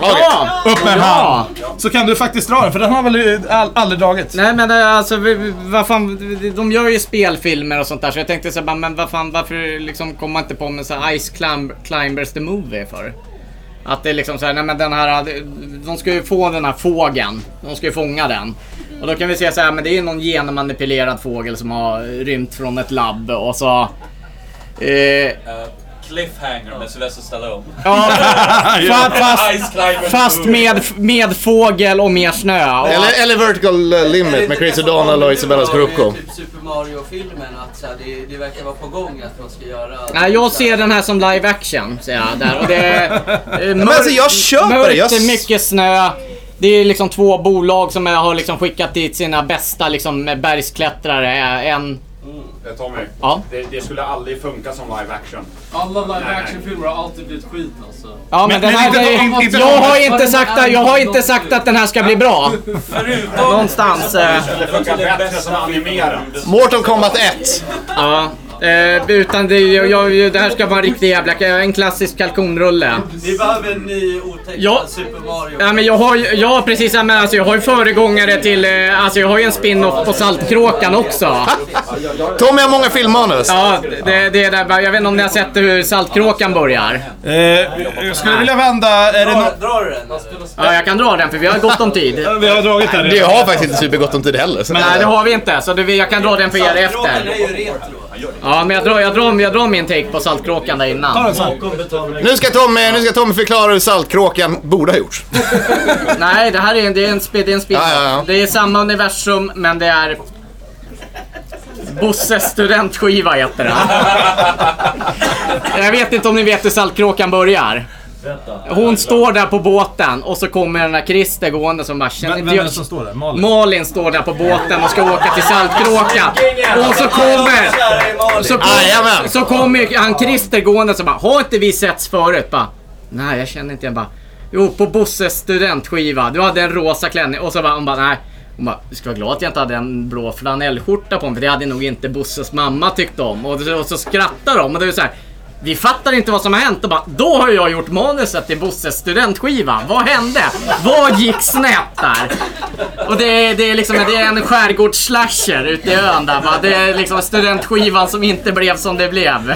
Speaker 4: Ja!
Speaker 2: Upp med en
Speaker 4: Ja.
Speaker 2: hand! Så kan du faktiskt dra den, för den har väl eh, all, aldrig dragits?
Speaker 4: Nej men eh, alltså, vi- vi- vad fan, de gör ju spelfilmer och sånt där så jag tänkte så här, bara, men vad fan, varför liksom kommer man inte på med så här Ice Climb Climbers the Movie för? Att det är liksom så här, nej men den här, de ska ju få den här fågeln, de ska ju fånga den. Och då kan vi se så här, men det är ju någon genmanipulerad fågel som har rymt från ett labb och så... Eh,
Speaker 10: Eh, Cliffhanger med Sylvester Stallone.
Speaker 4: ja, fa- fast,
Speaker 10: Ice Climbers
Speaker 4: fast
Speaker 10: movie.
Speaker 4: med, med fågel och mer snö. Och
Speaker 3: Eller, eller Vertical eh, Limit med Chris O'Donnell och Isabella Scorupco.
Speaker 5: Typ Super Mario-filmen, att så här, det, det verkar vara på gång att man ska göra...
Speaker 4: Nej, jag ser den här som live action, säger jag där. Och det är, eh,
Speaker 3: *laughs*
Speaker 4: mörk,
Speaker 3: alltså, jag köper det.
Speaker 4: mörkt,
Speaker 3: Jag
Speaker 4: det är
Speaker 3: s-
Speaker 4: mycket snö. Det är liksom två bolag som har liksom skickat dit sina bästa liksom, bergsklättrare. En...
Speaker 6: Tommy,
Speaker 4: Ja.
Speaker 6: det, det skulle aldrig funka som live action.
Speaker 5: Alla live action-filmer har alltid blivit skit alltså.
Speaker 4: Ja, men,
Speaker 2: Men-
Speaker 4: den
Speaker 2: men
Speaker 4: här...
Speaker 2: inte
Speaker 4: det-
Speaker 2: de- inte
Speaker 4: jag,
Speaker 2: de-
Speaker 4: har inte sagt att, jag har inte sagt att den här ska bli bra.
Speaker 10: Förutom...
Speaker 4: Någonstans, eh.
Speaker 6: Det funkar bättre som animerat.
Speaker 3: Mortal Kombat 1.
Speaker 4: Ja. Eh, utan det, jag, jag, det här ska vara en riktig jävla... En klassisk kalkonrulle.
Speaker 5: Vi behöver en ny otecknad
Speaker 4: Ja.
Speaker 5: Super Mario.
Speaker 4: Ja, men jag har ju, ja precis, ja, men alltså, jag har ju föregångare till, eh, alltså jag har ju en spin-off på Saltkråkan också.
Speaker 3: Tommy har många filmmanus.
Speaker 4: Ja, det, det är där, jag vet inte om ni har sett hur Saltkråkan börjar.
Speaker 2: Eh, jag skulle vilja vända... Är det
Speaker 5: Dra,
Speaker 2: nå-
Speaker 5: drar du den?
Speaker 4: Ja, jag kan dra den för vi har gott om tid.
Speaker 2: vi har dragit den
Speaker 3: Det
Speaker 2: redan.
Speaker 3: har faktiskt inte supergott om tid heller. Så
Speaker 4: Nej, det har vi inte, så det, jag kan dra den för er
Speaker 5: Saltkråkan är
Speaker 4: efter.
Speaker 5: ju retro.
Speaker 4: Ja, men jag drar, jag drar, jag drar min take på Saltkråkan där
Speaker 2: Ta
Speaker 4: innan.
Speaker 2: den sen.
Speaker 3: nu, ska Tommy, nu ska Tommy förklara hur Saltkråkan borde ha gjorts.
Speaker 4: Nej, det här är, en- det är en, spe- det är en spin
Speaker 3: Ja, ja, ja.
Speaker 4: Det är samma universum, men det är... Bosses studentskiva heter det. Jag vet inte om ni vet hur Saltkråkan börjar. Hon står där på båten och så kommer den där Christer gående som bara känner
Speaker 2: Vem
Speaker 4: inte
Speaker 2: vem är
Speaker 4: jag...
Speaker 2: det som står där? Malin?
Speaker 4: Malin står där på båten och ska åka till Saltkråkan. Och så kommer... Så,
Speaker 3: Jajamän.
Speaker 4: kom, så kommer han Christer gående och så bara, har inte vi setts förut? Bara, nej jag känner inte igen. Bara, jo på Bosses studentskiva, du hade en rosa klänning. Och så bara, hon bara, nej. Hon bara, du ska vara glad att jag inte hade en blå flanellskjorta på mig för det hade nog inte Bosses mamma tyckt om. Och, så- och så skrattar de och det är så här. Vi fattar inte vad som har hänt och bara, då har jag gjort manuset till Bosses studentskiva. Vad hände? Vad gick snett där? Och det är, det är liksom det är en skärgårdsslasher ute i ön där va? Det är liksom studentskivan som inte blev som det blev.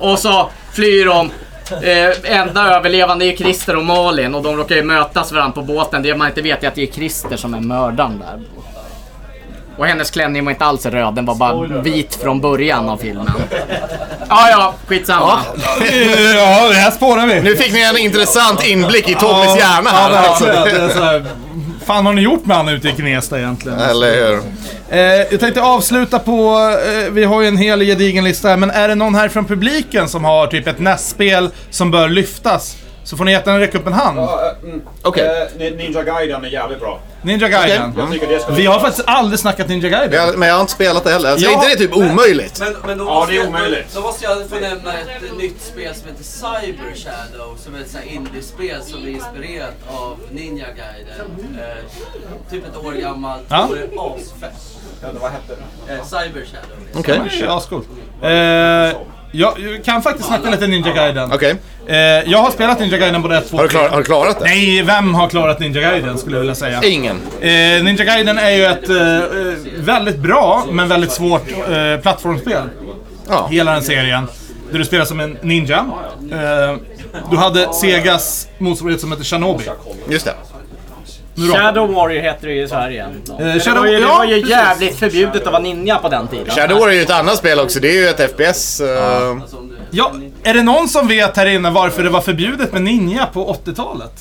Speaker 4: Och så flyr de. Eh, enda överlevande är ju Christer och Malin och de råkar ju mötas varandra på båten. Det man inte vet är att det är Christer som är mördaren där. Och hennes klänning var inte alls röd, den var bara vit från början av filmen. Ja, ja, skitsamma.
Speaker 2: ja, det här spårar vi.
Speaker 3: Nu fick ni en intressant inblick i Tommys hjärna
Speaker 2: Ja,
Speaker 3: här.
Speaker 2: det
Speaker 3: alltså.
Speaker 2: alltså, det är så här, fan har ni gjort med han ute i Gnesta egentligen?
Speaker 3: Eller hur?
Speaker 2: Eh, jag tänkte avsluta på, eh, vi har ju en hel gedigen lista här, men är det någon här från publiken som har typ ett nästspel som bör lyftas? Så får ni jättegärna räcka upp en hand.
Speaker 3: Okej.
Speaker 5: Ninja Gaiden är jävligt bra.
Speaker 2: Ninja Gaiden.
Speaker 5: Jag tycker det ska...
Speaker 2: Vi har faktiskt aldrig snackat Ninja Gaiden.
Speaker 3: Jag- Men jag har inte spelat det heller. Alltså,
Speaker 2: Jag-
Speaker 3: Är inte det typ omöjligt?
Speaker 10: Men, men då,
Speaker 5: Ja,
Speaker 10: måste
Speaker 5: det är
Speaker 10: jag,
Speaker 5: omöjligt.
Speaker 10: då måste jag få nämna ett eh, nytt spel som heter Cyber Shadow. Som är ett sånt här indie-spel som är inspirerat av Ninja Gaiden. Eh, typ ett år gammalt.
Speaker 2: Ja.
Speaker 10: Och det är asfett.
Speaker 5: Vad hette det?
Speaker 10: Eh, Cyber Shadow.
Speaker 3: Okej.
Speaker 2: Ja, skål. Eh, jag, jag kan faktiskt snacka lite Ninja Gaiden.
Speaker 3: Okej.
Speaker 2: Eh, jag har spelat Ninja Gaiden både 1, 2,
Speaker 3: Har, du klar, har du klarat det?
Speaker 2: Nej, vem har klarat Ninja Gaiden skulle jag vilja säga.
Speaker 3: Ingen.
Speaker 2: Eh, Ninja Gaiden är ju ett eh, eh, väldigt bra, men väldigt svårt eh, plattformsspel.
Speaker 3: Ja.
Speaker 2: Hela den serien. Där du spelar som en ninja. Eh, du hade Segas motsvarighet som heter Shinobi.
Speaker 3: Just det.
Speaker 4: Shadow Warrior heter det ju i Sverige.
Speaker 2: Eh,
Speaker 4: Det
Speaker 2: Shadow,
Speaker 4: var ju, det
Speaker 2: ja,
Speaker 4: var ju
Speaker 2: precis.
Speaker 4: jävligt förbjudet att vara ninja på den tiden.
Speaker 3: Shadow War är ju ett annat spel också. Det är ju ett FPS. eh,
Speaker 10: Som du,
Speaker 2: ja, är det någon som vet här inne varför det var förbjudet med ninja på 80-talet?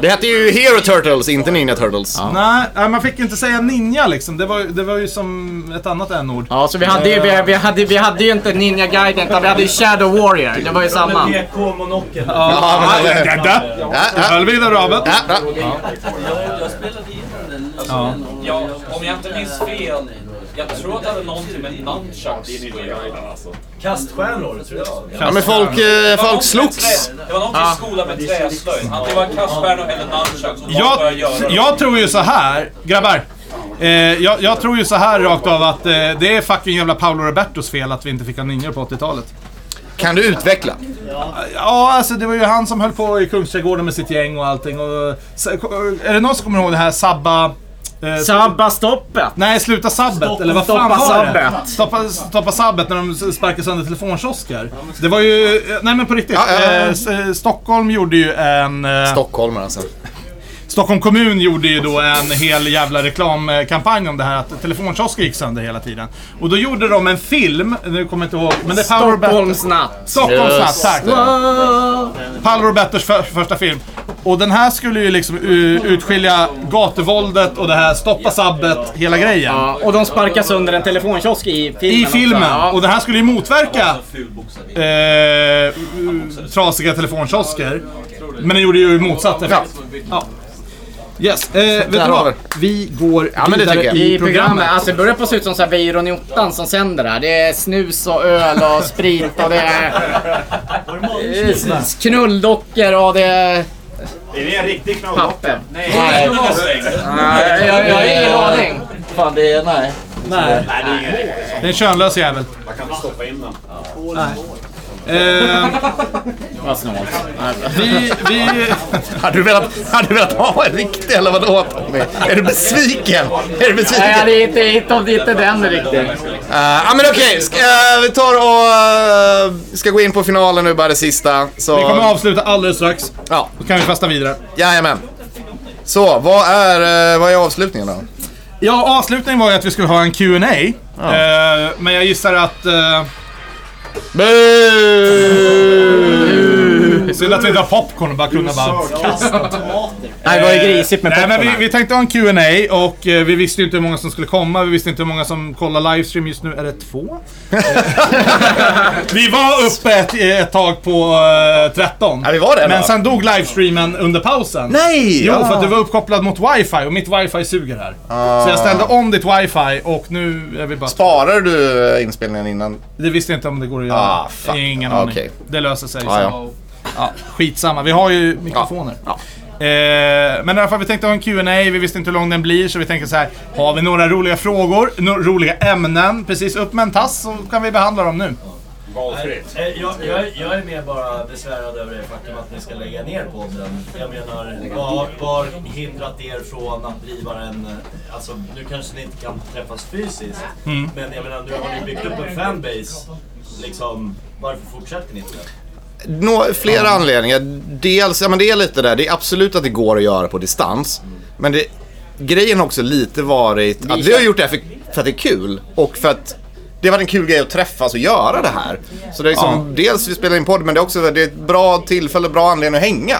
Speaker 3: Det hette ju Hero Turtles, inte Ninja Turtles.
Speaker 2: Nej, nej, man fick inte säga ninja liksom. Det var, det var ju som ett annat n-ord.
Speaker 4: Ja, så vi hade ju, vi, vi hade, vi hade ju inte Ninja Gaiden utan vi hade ju Shadow Warrior. Det var ju samma.
Speaker 5: PK-monokel.
Speaker 3: Ja, men
Speaker 2: Ja,
Speaker 3: eller-
Speaker 2: där, där.
Speaker 3: Ja,
Speaker 2: Du
Speaker 3: ja,
Speaker 2: höll vi i rabet.
Speaker 3: ja, ja.
Speaker 10: jag spelade igenom den. Alltså,
Speaker 2: Ja.
Speaker 10: den och-
Speaker 5: Ja, om jag inte minns fel. Jag tror att det hade någonting med nunchucks att göra. Kaststjärnor, tror jag.
Speaker 3: ja, men folk, eh, folk slogs.
Speaker 5: Det var någonting i skolan med träslöjd. Antingen var det kaststjärnor eller nunchucks. Och jag
Speaker 2: jag,
Speaker 5: började göra det.
Speaker 2: jag tror ju så här, grabbar. Eh, jag, jag tror ju så här rakt av att eh, det är fucking jävla Paolo Robertos fel att vi inte fick ha ninjor på 80-talet.
Speaker 3: Kan du utveckla?
Speaker 2: Ja, alltså det var ju han som höll på i Kungsträdgården med sitt gäng och allting. Och, s- är det någon som kommer ihåg det här Sabba... eh,
Speaker 4: Sabba stoppet!
Speaker 2: Nej, sluta sabbet, eller vad fan
Speaker 4: stoppa
Speaker 2: var det?
Speaker 4: sabbet.
Speaker 2: Stoppa, stoppa sabbet när de sparkade sönder telefonkiosker. Det var ju, eh, nej men på riktigt.
Speaker 3: Ja, ja, ja.
Speaker 2: Eh, s- eh, Stockholm gjorde ju en... eh,
Speaker 3: Stockholmare alltså.
Speaker 2: Stockholm kommun gjorde ju då en hel jävla reklamkampanj om det här att telefonkiosker gick sönder hela tiden. Och då gjorde de en film, nu kommer jag inte ihåg, men det är Paolo Roberto.
Speaker 4: Stockholmsnatt.
Speaker 2: Stockholms natt,
Speaker 3: Just
Speaker 2: tack. Paolo Robertos för, första film. Och den här skulle ju liksom u- utskilja gatuvåldet och det här stoppa sabbet, hela grejen.
Speaker 4: Ja, och de sparkas under en telefonkiosk i filmen.
Speaker 2: I filmen.
Speaker 4: Också.
Speaker 2: Och det här skulle ju motverka
Speaker 10: Ful boxare.
Speaker 2: eh, trasiga telefonkiosker. Men den gjorde ju motsatt effekt. Ja. Yes, eh, vet du
Speaker 3: Där har
Speaker 2: vad? Vi går
Speaker 3: Ja, men det
Speaker 2: vidare
Speaker 3: tycker jag.
Speaker 4: I programmet. Alltså det börjar på att se ut som så här byrån i ottan som sänder det här. Det är snus och öl och sprit och det är... Eh, s- Knulldockor och det är
Speaker 5: Är det en riktig knalldopp?
Speaker 4: papper. Nej,
Speaker 10: Nej,
Speaker 4: jag, jag, har ingen aning.
Speaker 10: fan det är... Nej.
Speaker 2: Nej,
Speaker 5: Nej, det är ingen riktig.
Speaker 2: det är en könlös jävel.
Speaker 5: Man kan inte stoppa in den.
Speaker 2: Eh,
Speaker 4: Vad snålt.
Speaker 2: vi, vi...
Speaker 3: Hade du velat, hade du velat ha en riktig eller vadå Tommy? Är du besviken? Är
Speaker 4: Nej,
Speaker 3: du besviken?
Speaker 4: det är inte, inte, om det inte är den riktigt.
Speaker 3: Eh, Ja men okej, Sk- eh, vi tar och eh, ska gå in på finalen nu bara det sista. Så,
Speaker 2: Vi kommer avsluta alldeles strax.
Speaker 3: ja,
Speaker 2: Då kan vi fasta vidare.
Speaker 3: jajamän. Så, vad är, eh, vad är avslutningen då?
Speaker 2: Ja, avslutningen var ju att vi skulle ha en Q&A eh, Men jag gissar att... Eh, synd att vi drar popcorn och bara kunde bara... Eh,
Speaker 4: Nej, det var ju grisigt med
Speaker 2: Nej, men vi,
Speaker 4: popcorn.
Speaker 2: vi tänkte ha en Q&A och eh, vi visste ju inte hur många som skulle komma. Vi visste inte hur många som kollar livestream just nu. Är det
Speaker 4: *laughs*
Speaker 2: två? Eh, vi var uppe ett, ett tag på eh, 13.
Speaker 3: Ja, vi var det då.
Speaker 2: Men sen dog livestreamen under pausen.
Speaker 3: Nej!
Speaker 2: Jo,
Speaker 4: Ah.
Speaker 3: Ja.
Speaker 2: för att du var uppkopplad mot wifi och mitt wifi suger här. Så jag ställde om ditt wifi och nu är vi bara...
Speaker 3: Sparar du eh, inspelningen innan?
Speaker 2: Det visste jag inte om det går att göra.
Speaker 3: Ah, fuck.
Speaker 2: Ingen
Speaker 3: Ah,
Speaker 2: aning.
Speaker 3: okej.
Speaker 2: Det löser sig.
Speaker 3: Ah,
Speaker 2: så.
Speaker 3: ja.
Speaker 2: Ja, skitsamma, vi har ju mikrofoner.
Speaker 3: Ja.
Speaker 2: Eh, men i alla fall, vi tänkte ha en Q&A. vi visste inte hur lång den blir, så vi tänker så här. Har vi några roliga frågor, no roliga ämnen, precis upp med en tass så kan vi behandla dem nu.
Speaker 6: Valfritt.
Speaker 11: Eh, Jag, jag, är- jag är mer bara besvärad över det faktum att ni ska lägga ner podden. Jag menar, vad har- vad har hindrat er från att driva en... eh, Alltså, nu kanske ni inte kan träffas fysiskt,
Speaker 2: Mm.
Speaker 11: men jag menar, nu har ni byggt upp en fanbase. Liksom, varför fortsätter ni inte?
Speaker 3: Nå, flera anledningar. Dels, ja men det är lite där, det är absolut att det går att göra på distans. Men det, grejen har också lite varit att vi har gjort det här för, för att det är kul. Och för att det var en kul grej att träffas och göra det här. Så det är liksom, dels vi spelar in podd men det är också det är ett bra tillfälle, bra anledning att hänga.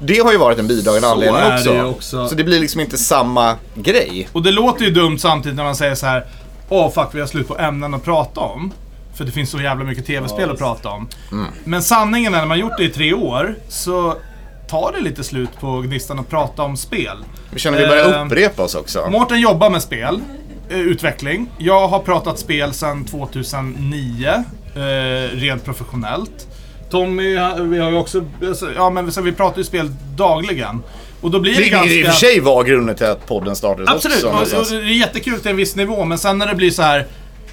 Speaker 3: Det har ju varit en bidragande
Speaker 2: Så
Speaker 3: anledning
Speaker 2: är det
Speaker 3: också.
Speaker 2: ju också.
Speaker 3: Så det blir liksom inte samma grej.
Speaker 2: Och det låter ju dumt samtidigt när man säger så här. Åh fuck, vi har slut på ämnen att prata om. För det finns så jävla mycket tv-spel att prata om.
Speaker 3: Mm.
Speaker 2: Men sanningen är, när man gjort det i tre år, så tar det lite slut på gnistan att prata om spel.
Speaker 3: Vi känner att vi börjar
Speaker 2: Ehm,
Speaker 3: upprepa oss också.
Speaker 2: Mårten jobbar med spel, eh, utveckling. Jag har pratat spel sedan 2009, eh, rent professionellt. Tommy, han- vi har ju också, alltså, ja men så vi pratar ju spel dagligen. Och då blir det,
Speaker 3: Vilket
Speaker 2: ganska...
Speaker 3: i och för sig var grunden till att podden startades
Speaker 2: Absolut,
Speaker 3: också.
Speaker 2: och, och
Speaker 3: någonstans.
Speaker 2: det är jättekul till en viss nivå, men sen när det blir så här.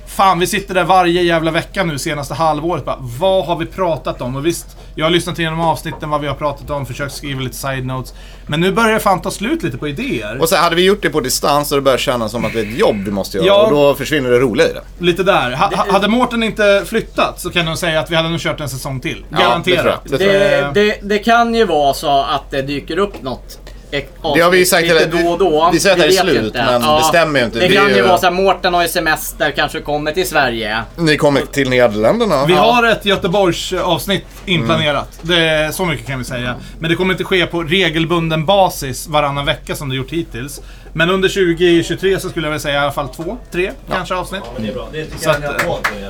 Speaker 2: Fan, vi sitter där varje jävla vecka nu senaste halvåret bara, vad har vi pratat om? Och visst, jag har lyssnat igenom avsnitten vad vi har pratat om, försökt skriva lite side notes. Men nu börjar det fan ta slut lite på idéer.
Speaker 3: Och så hade vi gjort det på distans och det börjar kännas som att det är ett jobb vi måste göra
Speaker 2: Ja.
Speaker 3: och då försvinner det roliga i det.
Speaker 2: Lite där. Ha, ha- hade Mårten inte flyttat så kan de säga att vi hade nog kört en säsong till.
Speaker 3: Ja,
Speaker 2: Garanterat. Eh,
Speaker 3: det tror jag.
Speaker 4: Det, det, det kan ju vara så att det dyker upp något. ek-
Speaker 3: Det har vi ju sagt
Speaker 4: lite
Speaker 3: hela-
Speaker 4: då och då.
Speaker 3: vi säger att det
Speaker 4: Vi
Speaker 3: är
Speaker 4: vet
Speaker 3: slut,
Speaker 4: inte.
Speaker 3: men det stämmer ju inte.
Speaker 4: Det
Speaker 3: Det
Speaker 4: kan
Speaker 3: är
Speaker 4: ju
Speaker 3: ju-
Speaker 4: vara såhär, Mårten har ju semester, kanske kommer till Sverige.
Speaker 3: Ni kommer till Nederländerna.
Speaker 2: Vi har ett Göteborgs-avsnitt inplanerat.
Speaker 3: Mm.
Speaker 2: Det, så mycket kan vi säga. Men det kommer inte ske på regelbunden basis varannan vecka som det gjort hittills. Men under 2023 så skulle jag vilja säga i alla fall två, tre kanske avsnitt.
Speaker 11: Ja, men det är typ bra. Det tycker
Speaker 2: Så
Speaker 11: jag ni
Speaker 2: att,
Speaker 11: har
Speaker 2: eh,
Speaker 11: fått nu.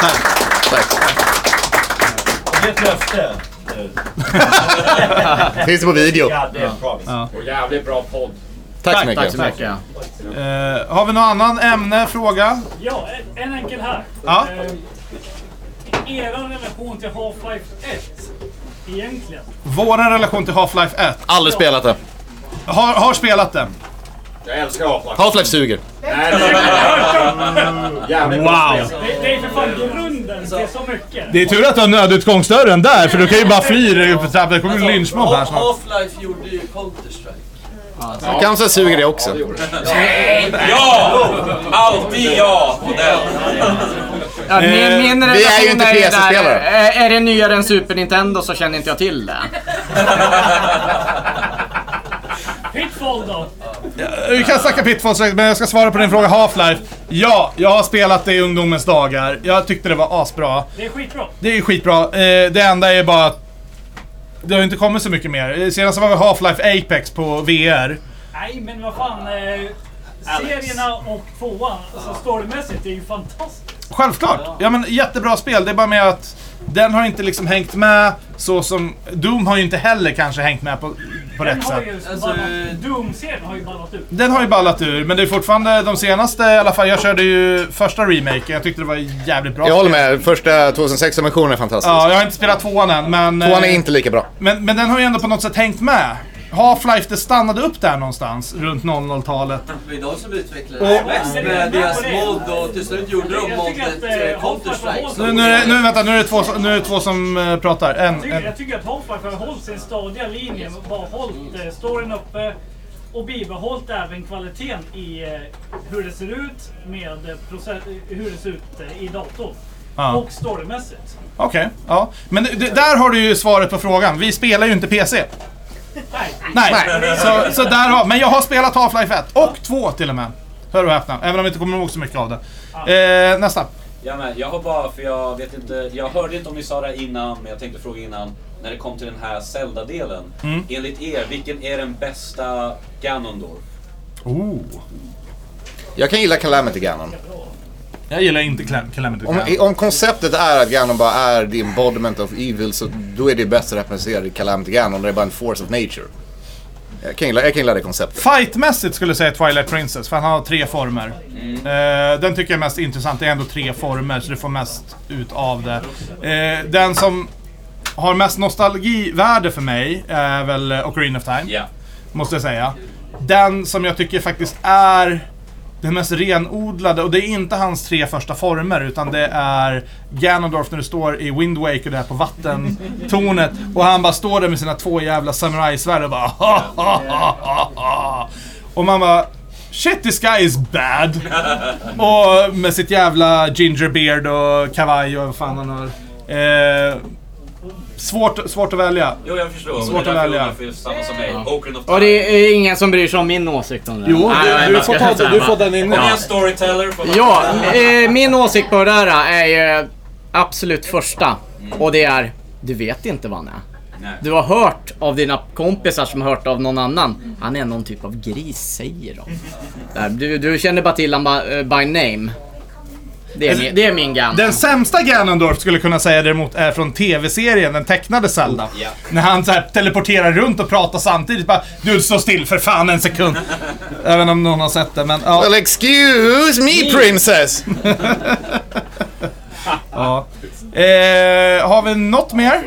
Speaker 3: Tack.
Speaker 11: Det är ett löfte. nu.
Speaker 3: Finns det på video.
Speaker 11: Ja, det är en promise.
Speaker 2: Ja.
Speaker 6: Och jävligt bra podd.
Speaker 3: Tack så mycket.
Speaker 2: Eh, har vi något annat ämne, fråga?
Speaker 7: Ja, en- en enkel här.
Speaker 2: Ja.
Speaker 7: Eh, er relation till Half-Life 1, egentligen.
Speaker 2: Vår relation till Half-Life 1.
Speaker 3: Aldrig spelat det.
Speaker 2: Har, har spelat den.
Speaker 6: Jag älskar Apak.
Speaker 3: Half-Life suger.
Speaker 6: Nej, det är- Jävligt bra
Speaker 2: Wow.
Speaker 6: spel.
Speaker 7: Det, det är för fan grunden till så mycket.
Speaker 2: Det är tur att du har nödutgångsdörren där, för du kan ju bara fly. Det kommer en lynchmobb här snart.
Speaker 10: Half-Life gjorde ju Counter-Strike.
Speaker 3: Ja. Kanske suger det också.
Speaker 5: Ja! Alltid ja på den.
Speaker 4: Ja, min,
Speaker 2: Eh,
Speaker 4: min
Speaker 3: vi är ju
Speaker 4: relation
Speaker 3: inte
Speaker 4: ju
Speaker 3: PC-spelare.
Speaker 4: där, eh, Är det nyare än Super Nintendo så känner inte jag till det.
Speaker 7: Pitfall då?
Speaker 2: Vi kan snacka pitfall strax, men jag ska svara på din fråga Half-Life. Ja, jag har spelat det i ungdomens dagar. Jag tyckte det var asbra.
Speaker 7: Det är skitbra.
Speaker 2: Det är ju skitbra. Eh, Det enda är bara att det har ju inte kommit så mycket mer. Eh, Senast var vi Half-Life Apex på VR.
Speaker 7: Nej, men vad fan. Eh, serierna och tvåan, alltså storymässigt, det är ju fantastiskt.
Speaker 2: Självklart! Ja men jättebra spel, det är bara med att den har inte liksom hängt med så som... Doom har ju inte heller kanske hängt med på, på
Speaker 7: Den
Speaker 2: rätt
Speaker 7: har
Speaker 2: sätt.
Speaker 7: ju
Speaker 10: Alltså,
Speaker 7: ballat- Doom-serien har ju ballat ut.
Speaker 2: Den har ju ballat ur, men det är fortfarande de senaste i alla fall. Jag körde ju första remaken, jag tyckte det var jävligt bra.
Speaker 3: Jag håller med. Första 2006-versionen är fantastisk.
Speaker 2: Ja, jag har inte spelat tvåan än, men...
Speaker 3: Tvåan är
Speaker 2: eh,
Speaker 3: inte lika bra.
Speaker 2: Men, men den har ju ändå på något sätt hängt med. Half-Life, det stannade upp där någonstans runt 00-talet.
Speaker 10: Det är de som utvecklade det mest med deras mod och till slut gjorde de
Speaker 7: Jag tycker
Speaker 10: modet
Speaker 7: att, eh,
Speaker 10: eh, Counter-Strike.
Speaker 2: Nu,
Speaker 10: Så-
Speaker 2: nu, är det- nu, vänta, nu är det två, som- nu är det två som eh, pratar. En,
Speaker 7: Jag tycker,
Speaker 2: en.
Speaker 7: jag tycker att Half-Life har hållit sin stadiga linje, bara hållit eh, storyn uppe och bibehållit även kvaliteten i eh, hur det ser ut med eh, process, hur det ser ut eh, i datorn.
Speaker 2: Ja.
Speaker 7: Och storymässigt.
Speaker 2: Okej, ja. Men det, det, där har du ju svaret på frågan. Vi spelar ju inte PC.
Speaker 7: Nej,
Speaker 2: Nej. Så, så där har, men jag har spelat Half-Life 1 och 2 till och med. Hör och häpna, även om jag inte kommer ihåg så mycket av det. Eh, nästa.
Speaker 5: Ja, men jag har bara, för jag vet inte, jag hörde inte om ni sa det här innan, men jag tänkte fråga innan. När det kom till den här Zelda-delen,
Speaker 2: Mm.
Speaker 5: enligt er, vilken är den bästa Ganondorf?
Speaker 2: Oh.
Speaker 3: Jag kan gilla Calamity Ganon.
Speaker 2: Jag gillar inte Clem- Calamity
Speaker 3: Om,
Speaker 2: Ganon.
Speaker 3: om konceptet är att Ganon bara är the embodiment of evil så då är det bäst representerat i Calamity Ganon. Det är bara en force of nature. Jag kan gilla, jag kan gilla det konceptet.
Speaker 2: Fightmässigt skulle jag säga Twilight Princess, för han har tre former. Eh, den tycker jag är mest intressant. Det är ändå tre former, så du får mest ut av det. Eh, den som har mest nostalgivärde för mig är väl Ocarina of Time. Måste jag säga. Den som jag tycker faktiskt är den mest renodlade, och det är inte hans tre första former, utan det är Ganondorf när du står i Wind Waker där på vattentornet. Och han bara står där med sina två jävla samurajsvärd och bara ha, ha, ha, ha, ha. Och man bara Shit this guy is bad! och med sitt jävla ginger beard och kavaj och vad fan han har. Eh, svårt, svårt att välja.
Speaker 5: Jo, jag förstår.
Speaker 2: Svårt att välja.
Speaker 5: Det är samma som mig. Ocarina of Time.
Speaker 4: Och det är ingen som bryr sig om min åsikt om det.
Speaker 5: Jo,
Speaker 4: Nej,
Speaker 5: du-
Speaker 4: jag
Speaker 5: du
Speaker 4: bara
Speaker 5: får
Speaker 4: ska
Speaker 5: ta-
Speaker 4: säga
Speaker 5: du
Speaker 4: bara.
Speaker 5: får den in. Om jag är en storyteller får man-
Speaker 4: Ja, eh, min åsikt på det där är ju absolut första. Och det är, du vet inte vad han är. Du har hört av dina kompisar som har hört av någon annan. Han är någon typ av gris, säger de. Där, Du, du känner bara till honom by, by name. Det är,
Speaker 5: Alltså,
Speaker 4: min- det är min gamla.
Speaker 2: Den sämsta Ganondorf skulle kunna säga däremot är från TV-serien, den tecknade Zelda.
Speaker 4: Oh, Ja.
Speaker 2: När han så här teleporterar runt och pratar samtidigt. Bara, du står still för fan
Speaker 4: *laughs*
Speaker 2: en sekund. Även om någon har sett det, men ja.
Speaker 3: Well, excuse me princess!
Speaker 2: ja. Eh, har vi något mer?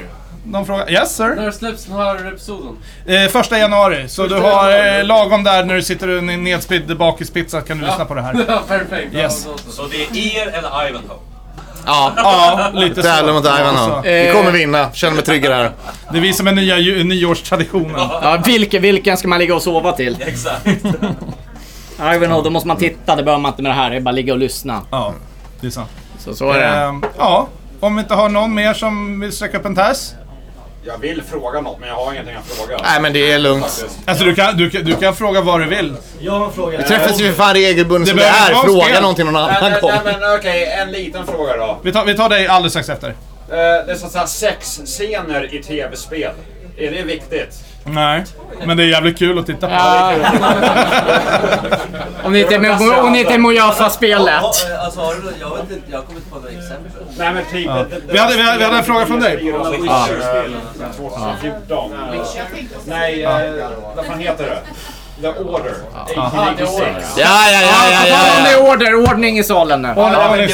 Speaker 2: Någon fråga? Yes sir?
Speaker 12: När släpps den här episoden?
Speaker 2: Eh, första januari, så
Speaker 12: Första
Speaker 2: du har eh,
Speaker 12: januari.
Speaker 2: lagom där när du sitter i en nedspridd bakispizza kan du lyssna på det här.
Speaker 4: *laughs*
Speaker 12: Ja, perfekt.
Speaker 2: Yes.
Speaker 5: Så det är er eller Ivanhoe?
Speaker 4: Ja,
Speaker 2: ja lite så. Eh.
Speaker 3: Tävla mot Ivanhoe.
Speaker 4: Eh.
Speaker 3: Vi kommer vinna, känner mig trygg där.
Speaker 2: Det är vi som är nya ju- nyårstraditionen.
Speaker 4: Ja, vilken, vilken ska man ligga och sova till?
Speaker 5: Exakt.
Speaker 4: Ivanhoe, då måste man titta. Det behöver man inte med det här. Det är bara ligga och lyssna.
Speaker 2: Ja, det är sant.
Speaker 4: Så, så är det.
Speaker 2: Ehm, ja, om vi inte har någon mer som vill sträcka upp en tass?
Speaker 13: Jag vill fråga något men jag har ingenting att fråga.
Speaker 3: Nej, men det är lugnt.
Speaker 13: Faktiskt.
Speaker 2: Alltså du kan, du, kan- du kan fråga vad du vill.
Speaker 11: Jag har en fråga.
Speaker 3: Vi träffas ju för fan regelbundet
Speaker 2: Det
Speaker 3: som det
Speaker 2: behöver
Speaker 3: är.
Speaker 2: inte vara
Speaker 3: Fråga
Speaker 2: spel.
Speaker 3: någonting någon annan
Speaker 13: Nej,
Speaker 3: gång.
Speaker 13: nej, nej, men okej, en liten fråga då.
Speaker 2: Vi tar, vi tar dig alldeles strax efter.
Speaker 13: Eh, Det är sånt här sexscener i tv-spel. Är det viktigt?
Speaker 2: Nej, men det är jävligt kul att titta på.
Speaker 4: *laughs* Om ni inte är med, om ni inte är med och gör fast spelet.
Speaker 10: Alltså, har du, jag vet inte, jag kommer inte på några exempel.
Speaker 13: Nej men typ...
Speaker 2: Ja. Vi hade- vi hade- vi hade en fråga från dig. Ja.
Speaker 13: Witcher-spelen från 2014. Nej, eh, vad fan heter det? The Order.
Speaker 4: Ja, The Order.
Speaker 13: 1896.
Speaker 4: Ja, ja, ja, ja, ja, ja. order, ordning i salen nu.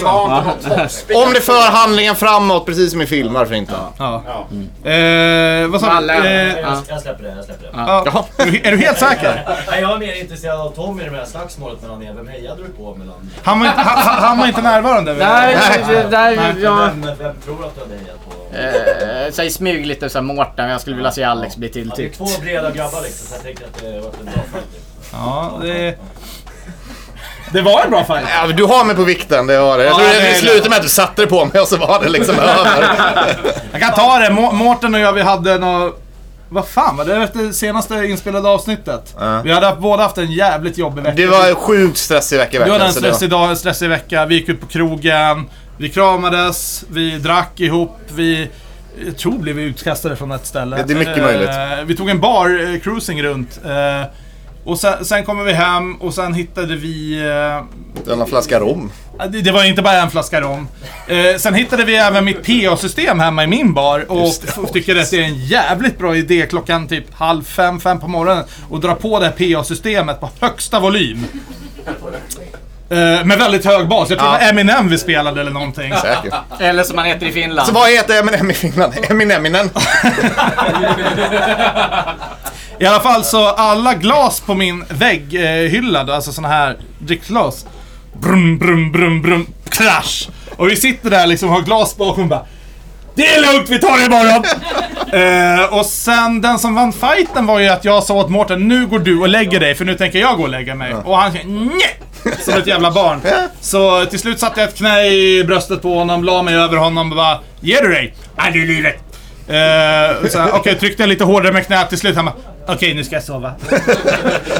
Speaker 13: liksom-
Speaker 3: Om det för handlingen framåt, precis som i film, varför inte?
Speaker 2: Ja. Eh, vad sa du? Eh,
Speaker 11: jag, jag släpper det, jag släpper det.
Speaker 2: Ja. Är du- är du helt säker?
Speaker 11: Nej, jag är mer intresserad av Tommy i det här slagsmålet mellan er. Vem hejade du på mellan?
Speaker 2: Han var inte, han, han- han var inte närvarande.
Speaker 4: Nej, det- där- jag-
Speaker 11: Vem, vem tror att du hade hejat på?
Speaker 4: Eh, Säg smyg lite såhär Mårten, men jag skulle vilja se Alex bli
Speaker 11: Ja, det är
Speaker 4: tilltyckt.
Speaker 11: två breda grabbar liksom, så jag tänker att det var en bra fight.
Speaker 2: Ja, det... Det var en bra fight.
Speaker 3: Ja, men du har mig på vikten, det har det. Jag
Speaker 2: Ja,
Speaker 3: tror
Speaker 2: det
Speaker 3: det
Speaker 2: är
Speaker 3: slutade med att du satte det på mig och så var det
Speaker 2: *laughs*
Speaker 3: liksom över.
Speaker 2: Jag kan ta det. Må- Mårten och jag, vi hade nå... Vad fan var det? Efter senaste inspelade avsnittet.
Speaker 3: Ja.
Speaker 2: Vi hade haft- båda haft en jävligt jobbig vecka.
Speaker 3: Det var en sjukt stressig vecka
Speaker 2: Du hade
Speaker 3: verkligen.
Speaker 2: en
Speaker 3: så det var-
Speaker 2: stressig dag, en stressig vecka. Vi gick ut på krogen. Vi kramades. Vi drack ihop. Vi... Jag tror blev vi utkastade från ett ställe.
Speaker 3: Det- det är mycket
Speaker 2: Eh,
Speaker 3: möjligt.
Speaker 2: Vi tog en bar, eh, cruising runt. eh, Och sen, sen kommer vi hem och sen hittade vi... eh,
Speaker 3: Det var en flaska rom.
Speaker 2: Ja, Det, det var ju inte bara en flaska rom. Eh, sen hittade vi även mitt PA-system hemma i min bar och
Speaker 3: Just det,
Speaker 2: f- tycker att det är en jävligt bra idé klockan typ halv fem, fem på morgonen och dra på det här PA-systemet på högsta volym. Eh, med väldigt hög bas. Jag tror det var Eminem vi spelade eller någonting.
Speaker 3: Säkert.
Speaker 4: Eller som man heter i Finland.
Speaker 3: Så vad heter Eminem i Finland?
Speaker 2: *laughs*
Speaker 3: Emineminen.
Speaker 2: I alla fall så alla glas på min vägghylla, alltså såna här dricksglas. Brum, brum, brum, brum, krasch! Och vi sitter där liksom och har glas bakom och bara Det är lugnt, vi tar det imorgon! Eh, och sen den som vann fighten var ju att jag sa åt Mårten, nu går du och lägger dig för nu tänker jag gå och lägga mig. Och han sa nej Som ett jävla barn. Så till slut satte jag ett knä i bröstet på honom, la mig över honom och bara Ger du dig? Nej, det är livet. Eh, så här, Okej, tryckte jag lite hårdare med knät till slut. Han bara, okej nu ska jag sova.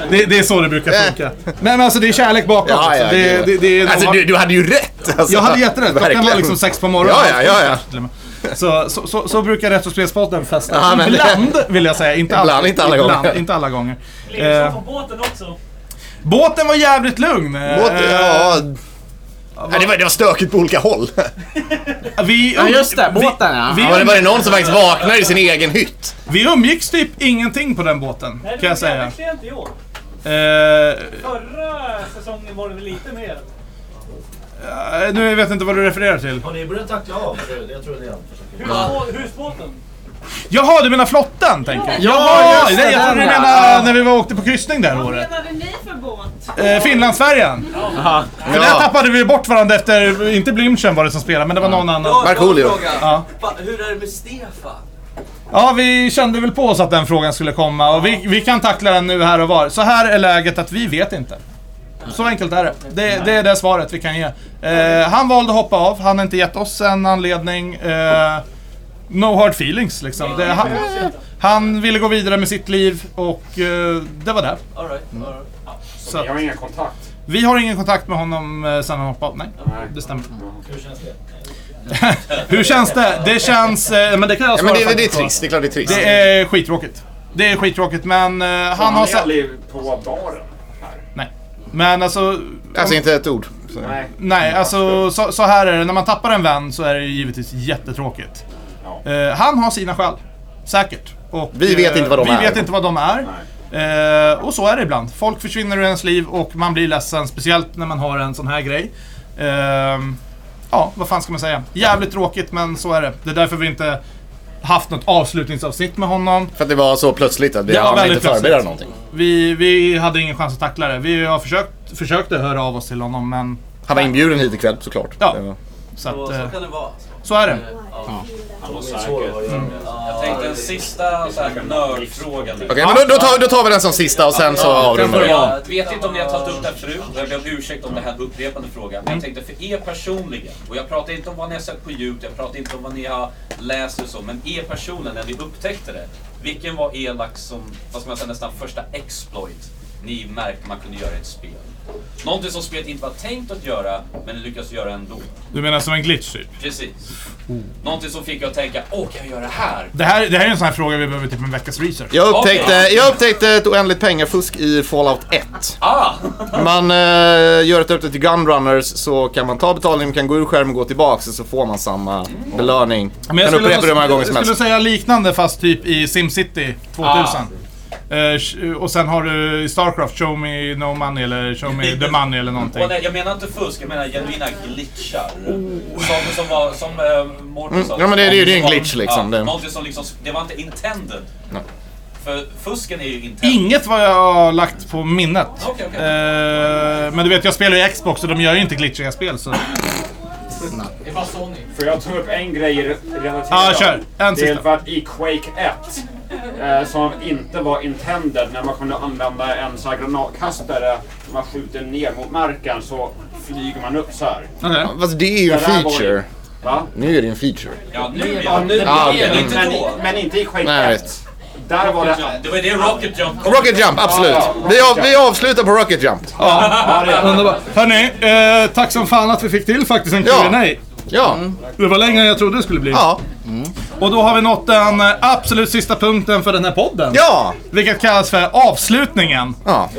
Speaker 2: det, det är så det brukar funka. Men, men alltså det är kärlek bakom.
Speaker 3: Ja, ja,
Speaker 2: alltså, det,
Speaker 3: gud.
Speaker 2: det, det är,
Speaker 3: Alltså, du- du hade ju rätt, alltså.
Speaker 2: jag hade jätterätt. Klockan var
Speaker 3: Verkligen.
Speaker 2: liksom sex på morgonen.
Speaker 3: Ja, ja, ja,
Speaker 2: Så, så, så, så brukar Rätt och Spelspodden festa.
Speaker 3: Ja, men-
Speaker 2: ibland, vill jag säga. Inte
Speaker 3: Ibland,
Speaker 2: alltid.
Speaker 3: inte alla
Speaker 2: ibland,
Speaker 3: gånger.
Speaker 2: Inte alla gånger.
Speaker 7: Ligger
Speaker 2: Eh,
Speaker 7: så på båten också.
Speaker 2: båten var jävligt lugn. Eh,
Speaker 3: Båt, ja. Nej, det, var, det var stökigt på olika håll.
Speaker 2: eh, Vi,
Speaker 4: Ja, just det, båten, ja.
Speaker 2: vi- um-
Speaker 3: Ja, det var ju någon som faktiskt vaknade i sin egen hytt.
Speaker 2: Vi umgicks typ ingenting på den båten,
Speaker 7: Nej, det
Speaker 2: kan
Speaker 7: var
Speaker 2: jag säga.
Speaker 7: jävligt klent i år.
Speaker 2: Eh,
Speaker 7: Förra säsongen var det väl lite mer.
Speaker 2: Eh, Nu vet jag inte vad du refererar till.
Speaker 11: Har ni börjat tackla av? Jag tror det är han.
Speaker 7: Hur- Husbåten.
Speaker 2: Jaha, du menar flotten tänker
Speaker 12: Ja,
Speaker 2: jag. Jaha,
Speaker 12: just
Speaker 2: det,
Speaker 12: det,
Speaker 2: jag trodde du
Speaker 12: den, ja.
Speaker 2: menade när vi var åkte på kryssning det här året.
Speaker 9: Vad är ni för båt?
Speaker 2: Eh, Finlandsfärjan.
Speaker 4: Jaha.
Speaker 2: För där tappade vi bort varandra efter, inte Blümchen var det som spelade, men det var någon annan. Ja.
Speaker 10: Ja. Hur är det med Stefan?
Speaker 2: Ja, vi kände väl på oss att den frågan skulle komma och vi, vi kan tackla den nu här och var. Så här är läget att vi vet inte. Så enkelt är det. Det, det är det svaret vi kan ge. Eh, han valde att hoppa av, han har inte gett oss en anledning. Eh, no hard feelings liksom. Det, han, han ville gå vidare med sitt liv och eh, det var det.
Speaker 10: All right, all right.
Speaker 13: Så vi har ingen kontakt.
Speaker 2: Vi har ingen kontakt med honom eh, sen han hoppade av. Nej, det stämmer.
Speaker 11: Hur känns det?
Speaker 2: *laughs* Hur känns det? Det känns... eh, Men det kan jag
Speaker 3: Ja, men
Speaker 2: svara
Speaker 3: det- det är
Speaker 2: faktiskt på.
Speaker 3: trist, det är klart det är trist.
Speaker 2: Det är skittråkigt. Det är skittråkigt men eh,
Speaker 13: Så
Speaker 2: han har
Speaker 13: är
Speaker 2: sett...
Speaker 13: aldrig på baren.
Speaker 2: Nej. Men alltså...
Speaker 3: Alltså inte ett ord. Så.
Speaker 13: Nej.
Speaker 2: Nej, alltså så, så här är det. När man tappar en vän så är det ju givetvis jättetråkigt. Eh, han har sina skäl. Säkert. Och, eh,
Speaker 3: Vi vet inte vad de
Speaker 2: vi
Speaker 3: är.
Speaker 2: Vi vet inte vad de är. Eh, och så är det ibland. Folk försvinner ur ens liv och man blir ledsen. Speciellt när man har en sån här grej. Ehm, ja, vad fan ska man säga? Jävligt tråkigt men så är det. Det är därför vi inte haft något avslutningsavsnitt med honom.
Speaker 3: För att det var så plötsligt att vi
Speaker 2: Det var
Speaker 3: hann
Speaker 2: väldigt
Speaker 3: inte förbereda
Speaker 2: plötsligt.
Speaker 3: någonting.
Speaker 2: Vi, vi hade ingen chans att tackla det. Vi har försökt, försökte höra av oss till honom men...
Speaker 3: Han var inbjuden hit ikväll såklart.
Speaker 2: Ja.
Speaker 3: Det var-
Speaker 2: Så, att,
Speaker 10: Så-
Speaker 2: eh,
Speaker 10: så kan det vara.
Speaker 2: Så är det.
Speaker 10: Ja.
Speaker 5: Han var
Speaker 10: säker.
Speaker 3: Mm.
Speaker 5: Jag tänkte en sista så här nördfråga nu.
Speaker 3: Okej, men då, då, tar, då tar vi den som sista och sen så avrundar vi.
Speaker 5: Jag vet inte om ni har tagit upp det här förut och jag ber om ursäkt om det här är en upprepande fråga. Men jag tänkte för er personligen, och jag pratar inte om vad ni har sett på YouTube, jag pratar inte om vad ni har läst och så, men er personen när ni upptäckte det, vilken var er lax som, vad ska man säga, nästan första exploit ni märkte man kunde göra i ett spel? Någonting som spelet inte var tänkt att göra, men ni lyckades göra ändå.
Speaker 2: Du menar som en glitch typ?
Speaker 5: Precis. Någonting som fick er att tänka, åh, kan jag göra det här?
Speaker 2: Det här, det här är en sån här fråga vi behöver typ en veckas research.
Speaker 3: Jag upptäckte, jag upptäckte ett oändligt pengafusk i Fallout 1.
Speaker 5: Ah!
Speaker 3: Man eh, gör ett uppdrag till Gunrunners så kan man ta betalning, man kan gå ur skärmen och gå tillbaks och så får man samma belöning.
Speaker 2: Men jag
Speaker 3: kan
Speaker 2: skulle, alltså-
Speaker 3: upprepa det hur många gånger som
Speaker 2: jag skulle
Speaker 3: helst.
Speaker 2: säga liknande fast typ i Simcity 2000. Eh, och sen har du i Starcraft Show Me No Money eller Show Me The Money eller någonting.
Speaker 5: Åh, nej, jag menar inte fusk, jag menar genuina glitchar. Som, som, var, som äh, Mårten
Speaker 3: Mm,
Speaker 5: sa.
Speaker 3: ja, men det- det är ju en
Speaker 5: Som-
Speaker 3: glitch, liksom.
Speaker 5: Ja,
Speaker 3: Det-
Speaker 5: någonting som liksom, det var inte intended.
Speaker 3: Nej.
Speaker 5: För fusken är ju intended.
Speaker 2: Inget vad jag har lagt på minnet.
Speaker 5: Okej, okej.
Speaker 2: Eh, men du vet, jag spelar ju Xbox och de gör ju inte glitchiga spel så...
Speaker 13: Det var Sony. Får jag ta upp en grej re- relaterat?
Speaker 2: Ja, kör. En sista.
Speaker 13: Det var i Quake 1. Eh, som inte var intended när man kunde använda en sån här granatkastare. När man skjuter ner mot marken så flyger man upp så här.
Speaker 3: Ja, Fast det är ju en
Speaker 13: där var
Speaker 3: feature.
Speaker 13: Va?
Speaker 3: Nu är det en feature.
Speaker 5: Ja, nu
Speaker 13: ju-
Speaker 5: ja.
Speaker 13: nu-
Speaker 3: Ah,
Speaker 13: men-
Speaker 3: okej.
Speaker 13: men, men inte i Quake
Speaker 3: Nej,
Speaker 13: 1. Där var det...
Speaker 5: Det var det Rocket Jump
Speaker 3: Rocket Jump, absolut.
Speaker 13: Ja, ja.
Speaker 3: Vi, av, vi avslutar på Rocket Jump.
Speaker 2: Ja, underbart. Hörni, eh, tack som fan att vi fick till faktiskt en
Speaker 3: Ja.
Speaker 2: Q&A.
Speaker 3: Ja.
Speaker 2: Det var längre än jag trodde det skulle bli.
Speaker 3: Ja.
Speaker 2: Och då har vi nått den eh, absolut sista punkten för den här podden.
Speaker 3: Ja!
Speaker 2: Vilket kallas för avslutningen.
Speaker 3: Ja.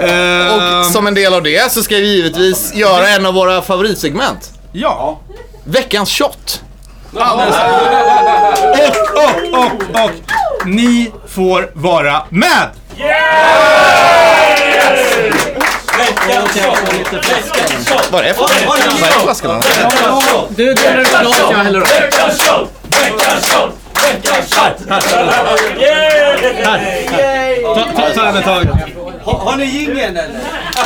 Speaker 2: Ehm.
Speaker 3: Och som en del av det så ska vi givetvis göra en av våra favoritsegment.
Speaker 2: Ja.
Speaker 3: Veckans shot.
Speaker 2: Alldeles Och, och, och, och. Ni får vara med!
Speaker 3: Vad är det för Vad är det för flaskorna?
Speaker 4: Du delar ut glas, jag häller upp.
Speaker 2: Ta, ta, ta en ett tag.
Speaker 10: Har, har ni jingeln eller?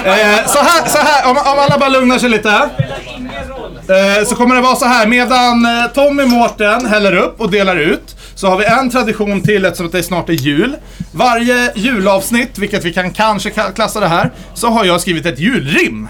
Speaker 2: Eh, så här, så här om, om alla bara lugnar sig lite. Eh, så kommer det vara så här, medan eh, Tommy Mårten häller upp och delar ut så har vi en tradition till eftersom det snart är jul. Varje julavsnitt, vilket vi kan kanske ka- klassa det här, så har jag skrivit ett julrim.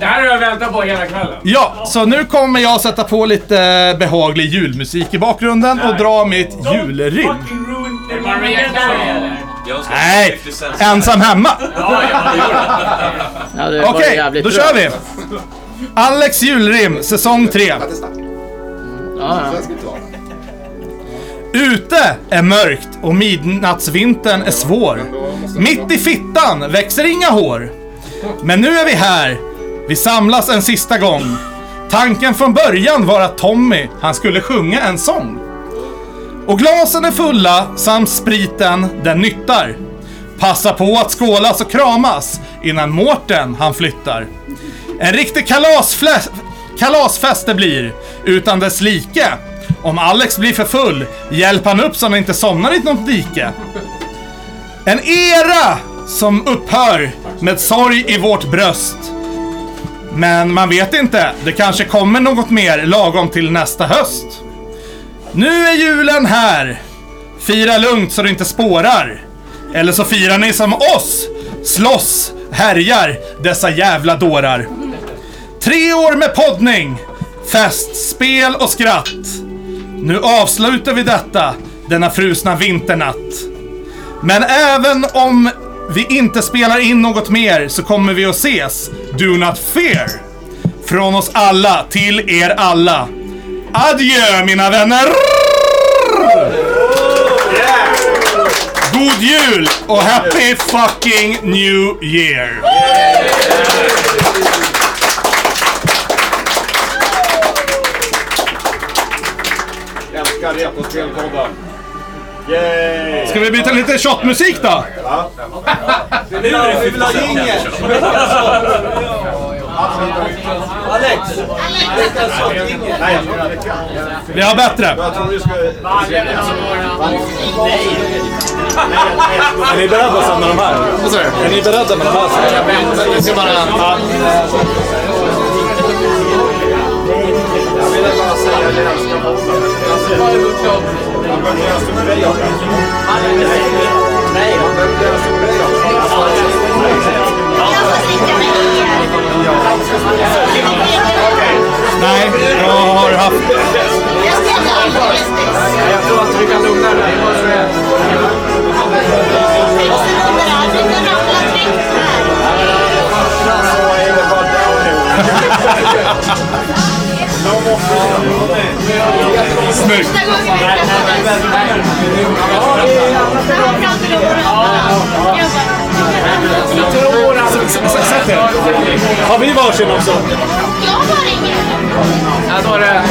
Speaker 6: Det här har jag väntat på hela kvällen.
Speaker 2: Ja, så nu kommer jag sätta på lite eh, behaglig julmusik i bakgrunden och dra mitt julrim.
Speaker 6: Är Maria Carey eller?
Speaker 2: Nej, ensam hemma.
Speaker 4: Ja, det var
Speaker 2: Okej,
Speaker 4: jävligt
Speaker 2: då
Speaker 4: bra.
Speaker 2: kör vi. Alex julrim, säsong 3.
Speaker 4: Ja, ja.
Speaker 2: Ute är mörkt och midnattsvintern är svår. Mitt i fittan växer inga hår. Men nu är vi här. Vi samlas en sista gång. Tanken från början var att Tommy, han skulle sjunga en sång. Och glasen är fulla samt spriten, den nyttar. Passa på att skålas och kramas innan Mårten han flyttar. En riktig kalasfle- kalasfest det blir, utan dess like. Om Alex blir för full, hjälp han upp så han inte somnar i något dike. En era som upphör med sorg i vårt bröst. Men man vet inte, det kanske kommer något mer lagom till nästa höst. Nu är julen här. Fira lugnt så du inte spårar. Eller så firar ni som oss. Slåss, härjar, dessa jävla dårar. Tre år med poddning, fest, spel och skratt. Nu avslutar vi detta, denna frusna vinternatt. Men även om vi inte spelar in något mer så kommer vi att ses. Do not fear. Från oss alla till er alla. Adjö mina vänner! God jul och happy fucking new year!
Speaker 13: Jag älskar Retrospelpodden. Yay!
Speaker 2: Ska vi byta lite shotmusik då?
Speaker 13: Ja.
Speaker 11: Vi vill ha jingel! Alex! Veckans shot-jingel!
Speaker 2: Vi har bättre.
Speaker 11: Jag tror du ska...
Speaker 12: Är ni beredda sen med de här? Är ni beredda med de här? sen?
Speaker 11: Jag ska bara-
Speaker 12: Ja.
Speaker 2: Nej, jag har haft...
Speaker 11: Jag tror att vi kan lugna dig.
Speaker 2: Snyggt!
Speaker 12: Sätt er. Har vi varsin också?
Speaker 4: Jag tar det.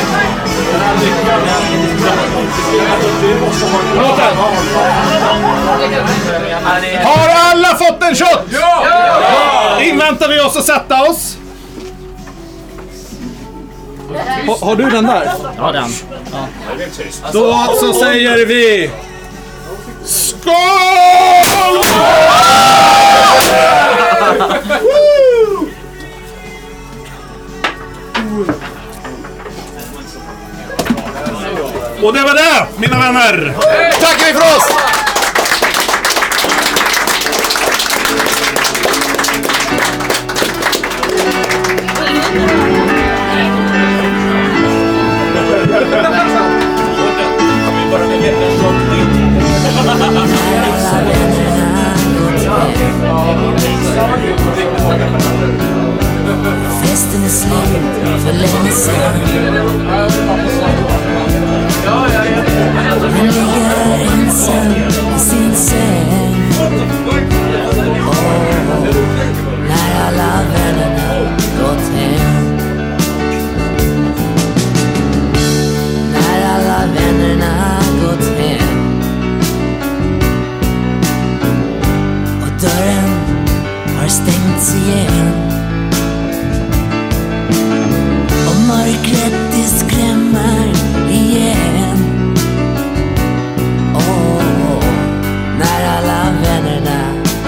Speaker 2: Har alla fått en shot? Ja! Inväntar vi oss att sätta oss?
Speaker 12: Har, har du den där?
Speaker 4: Ja, den.
Speaker 2: Då så säger vi... Skål! Och det var det, mina vänner!
Speaker 3: Tackar vi för oss!
Speaker 14: Festen är slut för länge sedan. Han ligger ensam i sin säng. Och när alla vännerna gått hem. När alla vännerna gått hem. Och dörren har stängts igen. Och mörkret det skrämmer igen Åh, när alla vännerna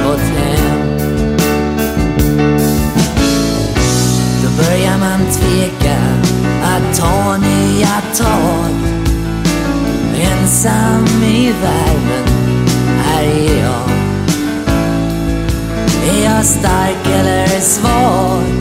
Speaker 14: gått hem Då börjar man tveka att ta nya tag Ensam i värmen, här är jag Är jag stark eller svag?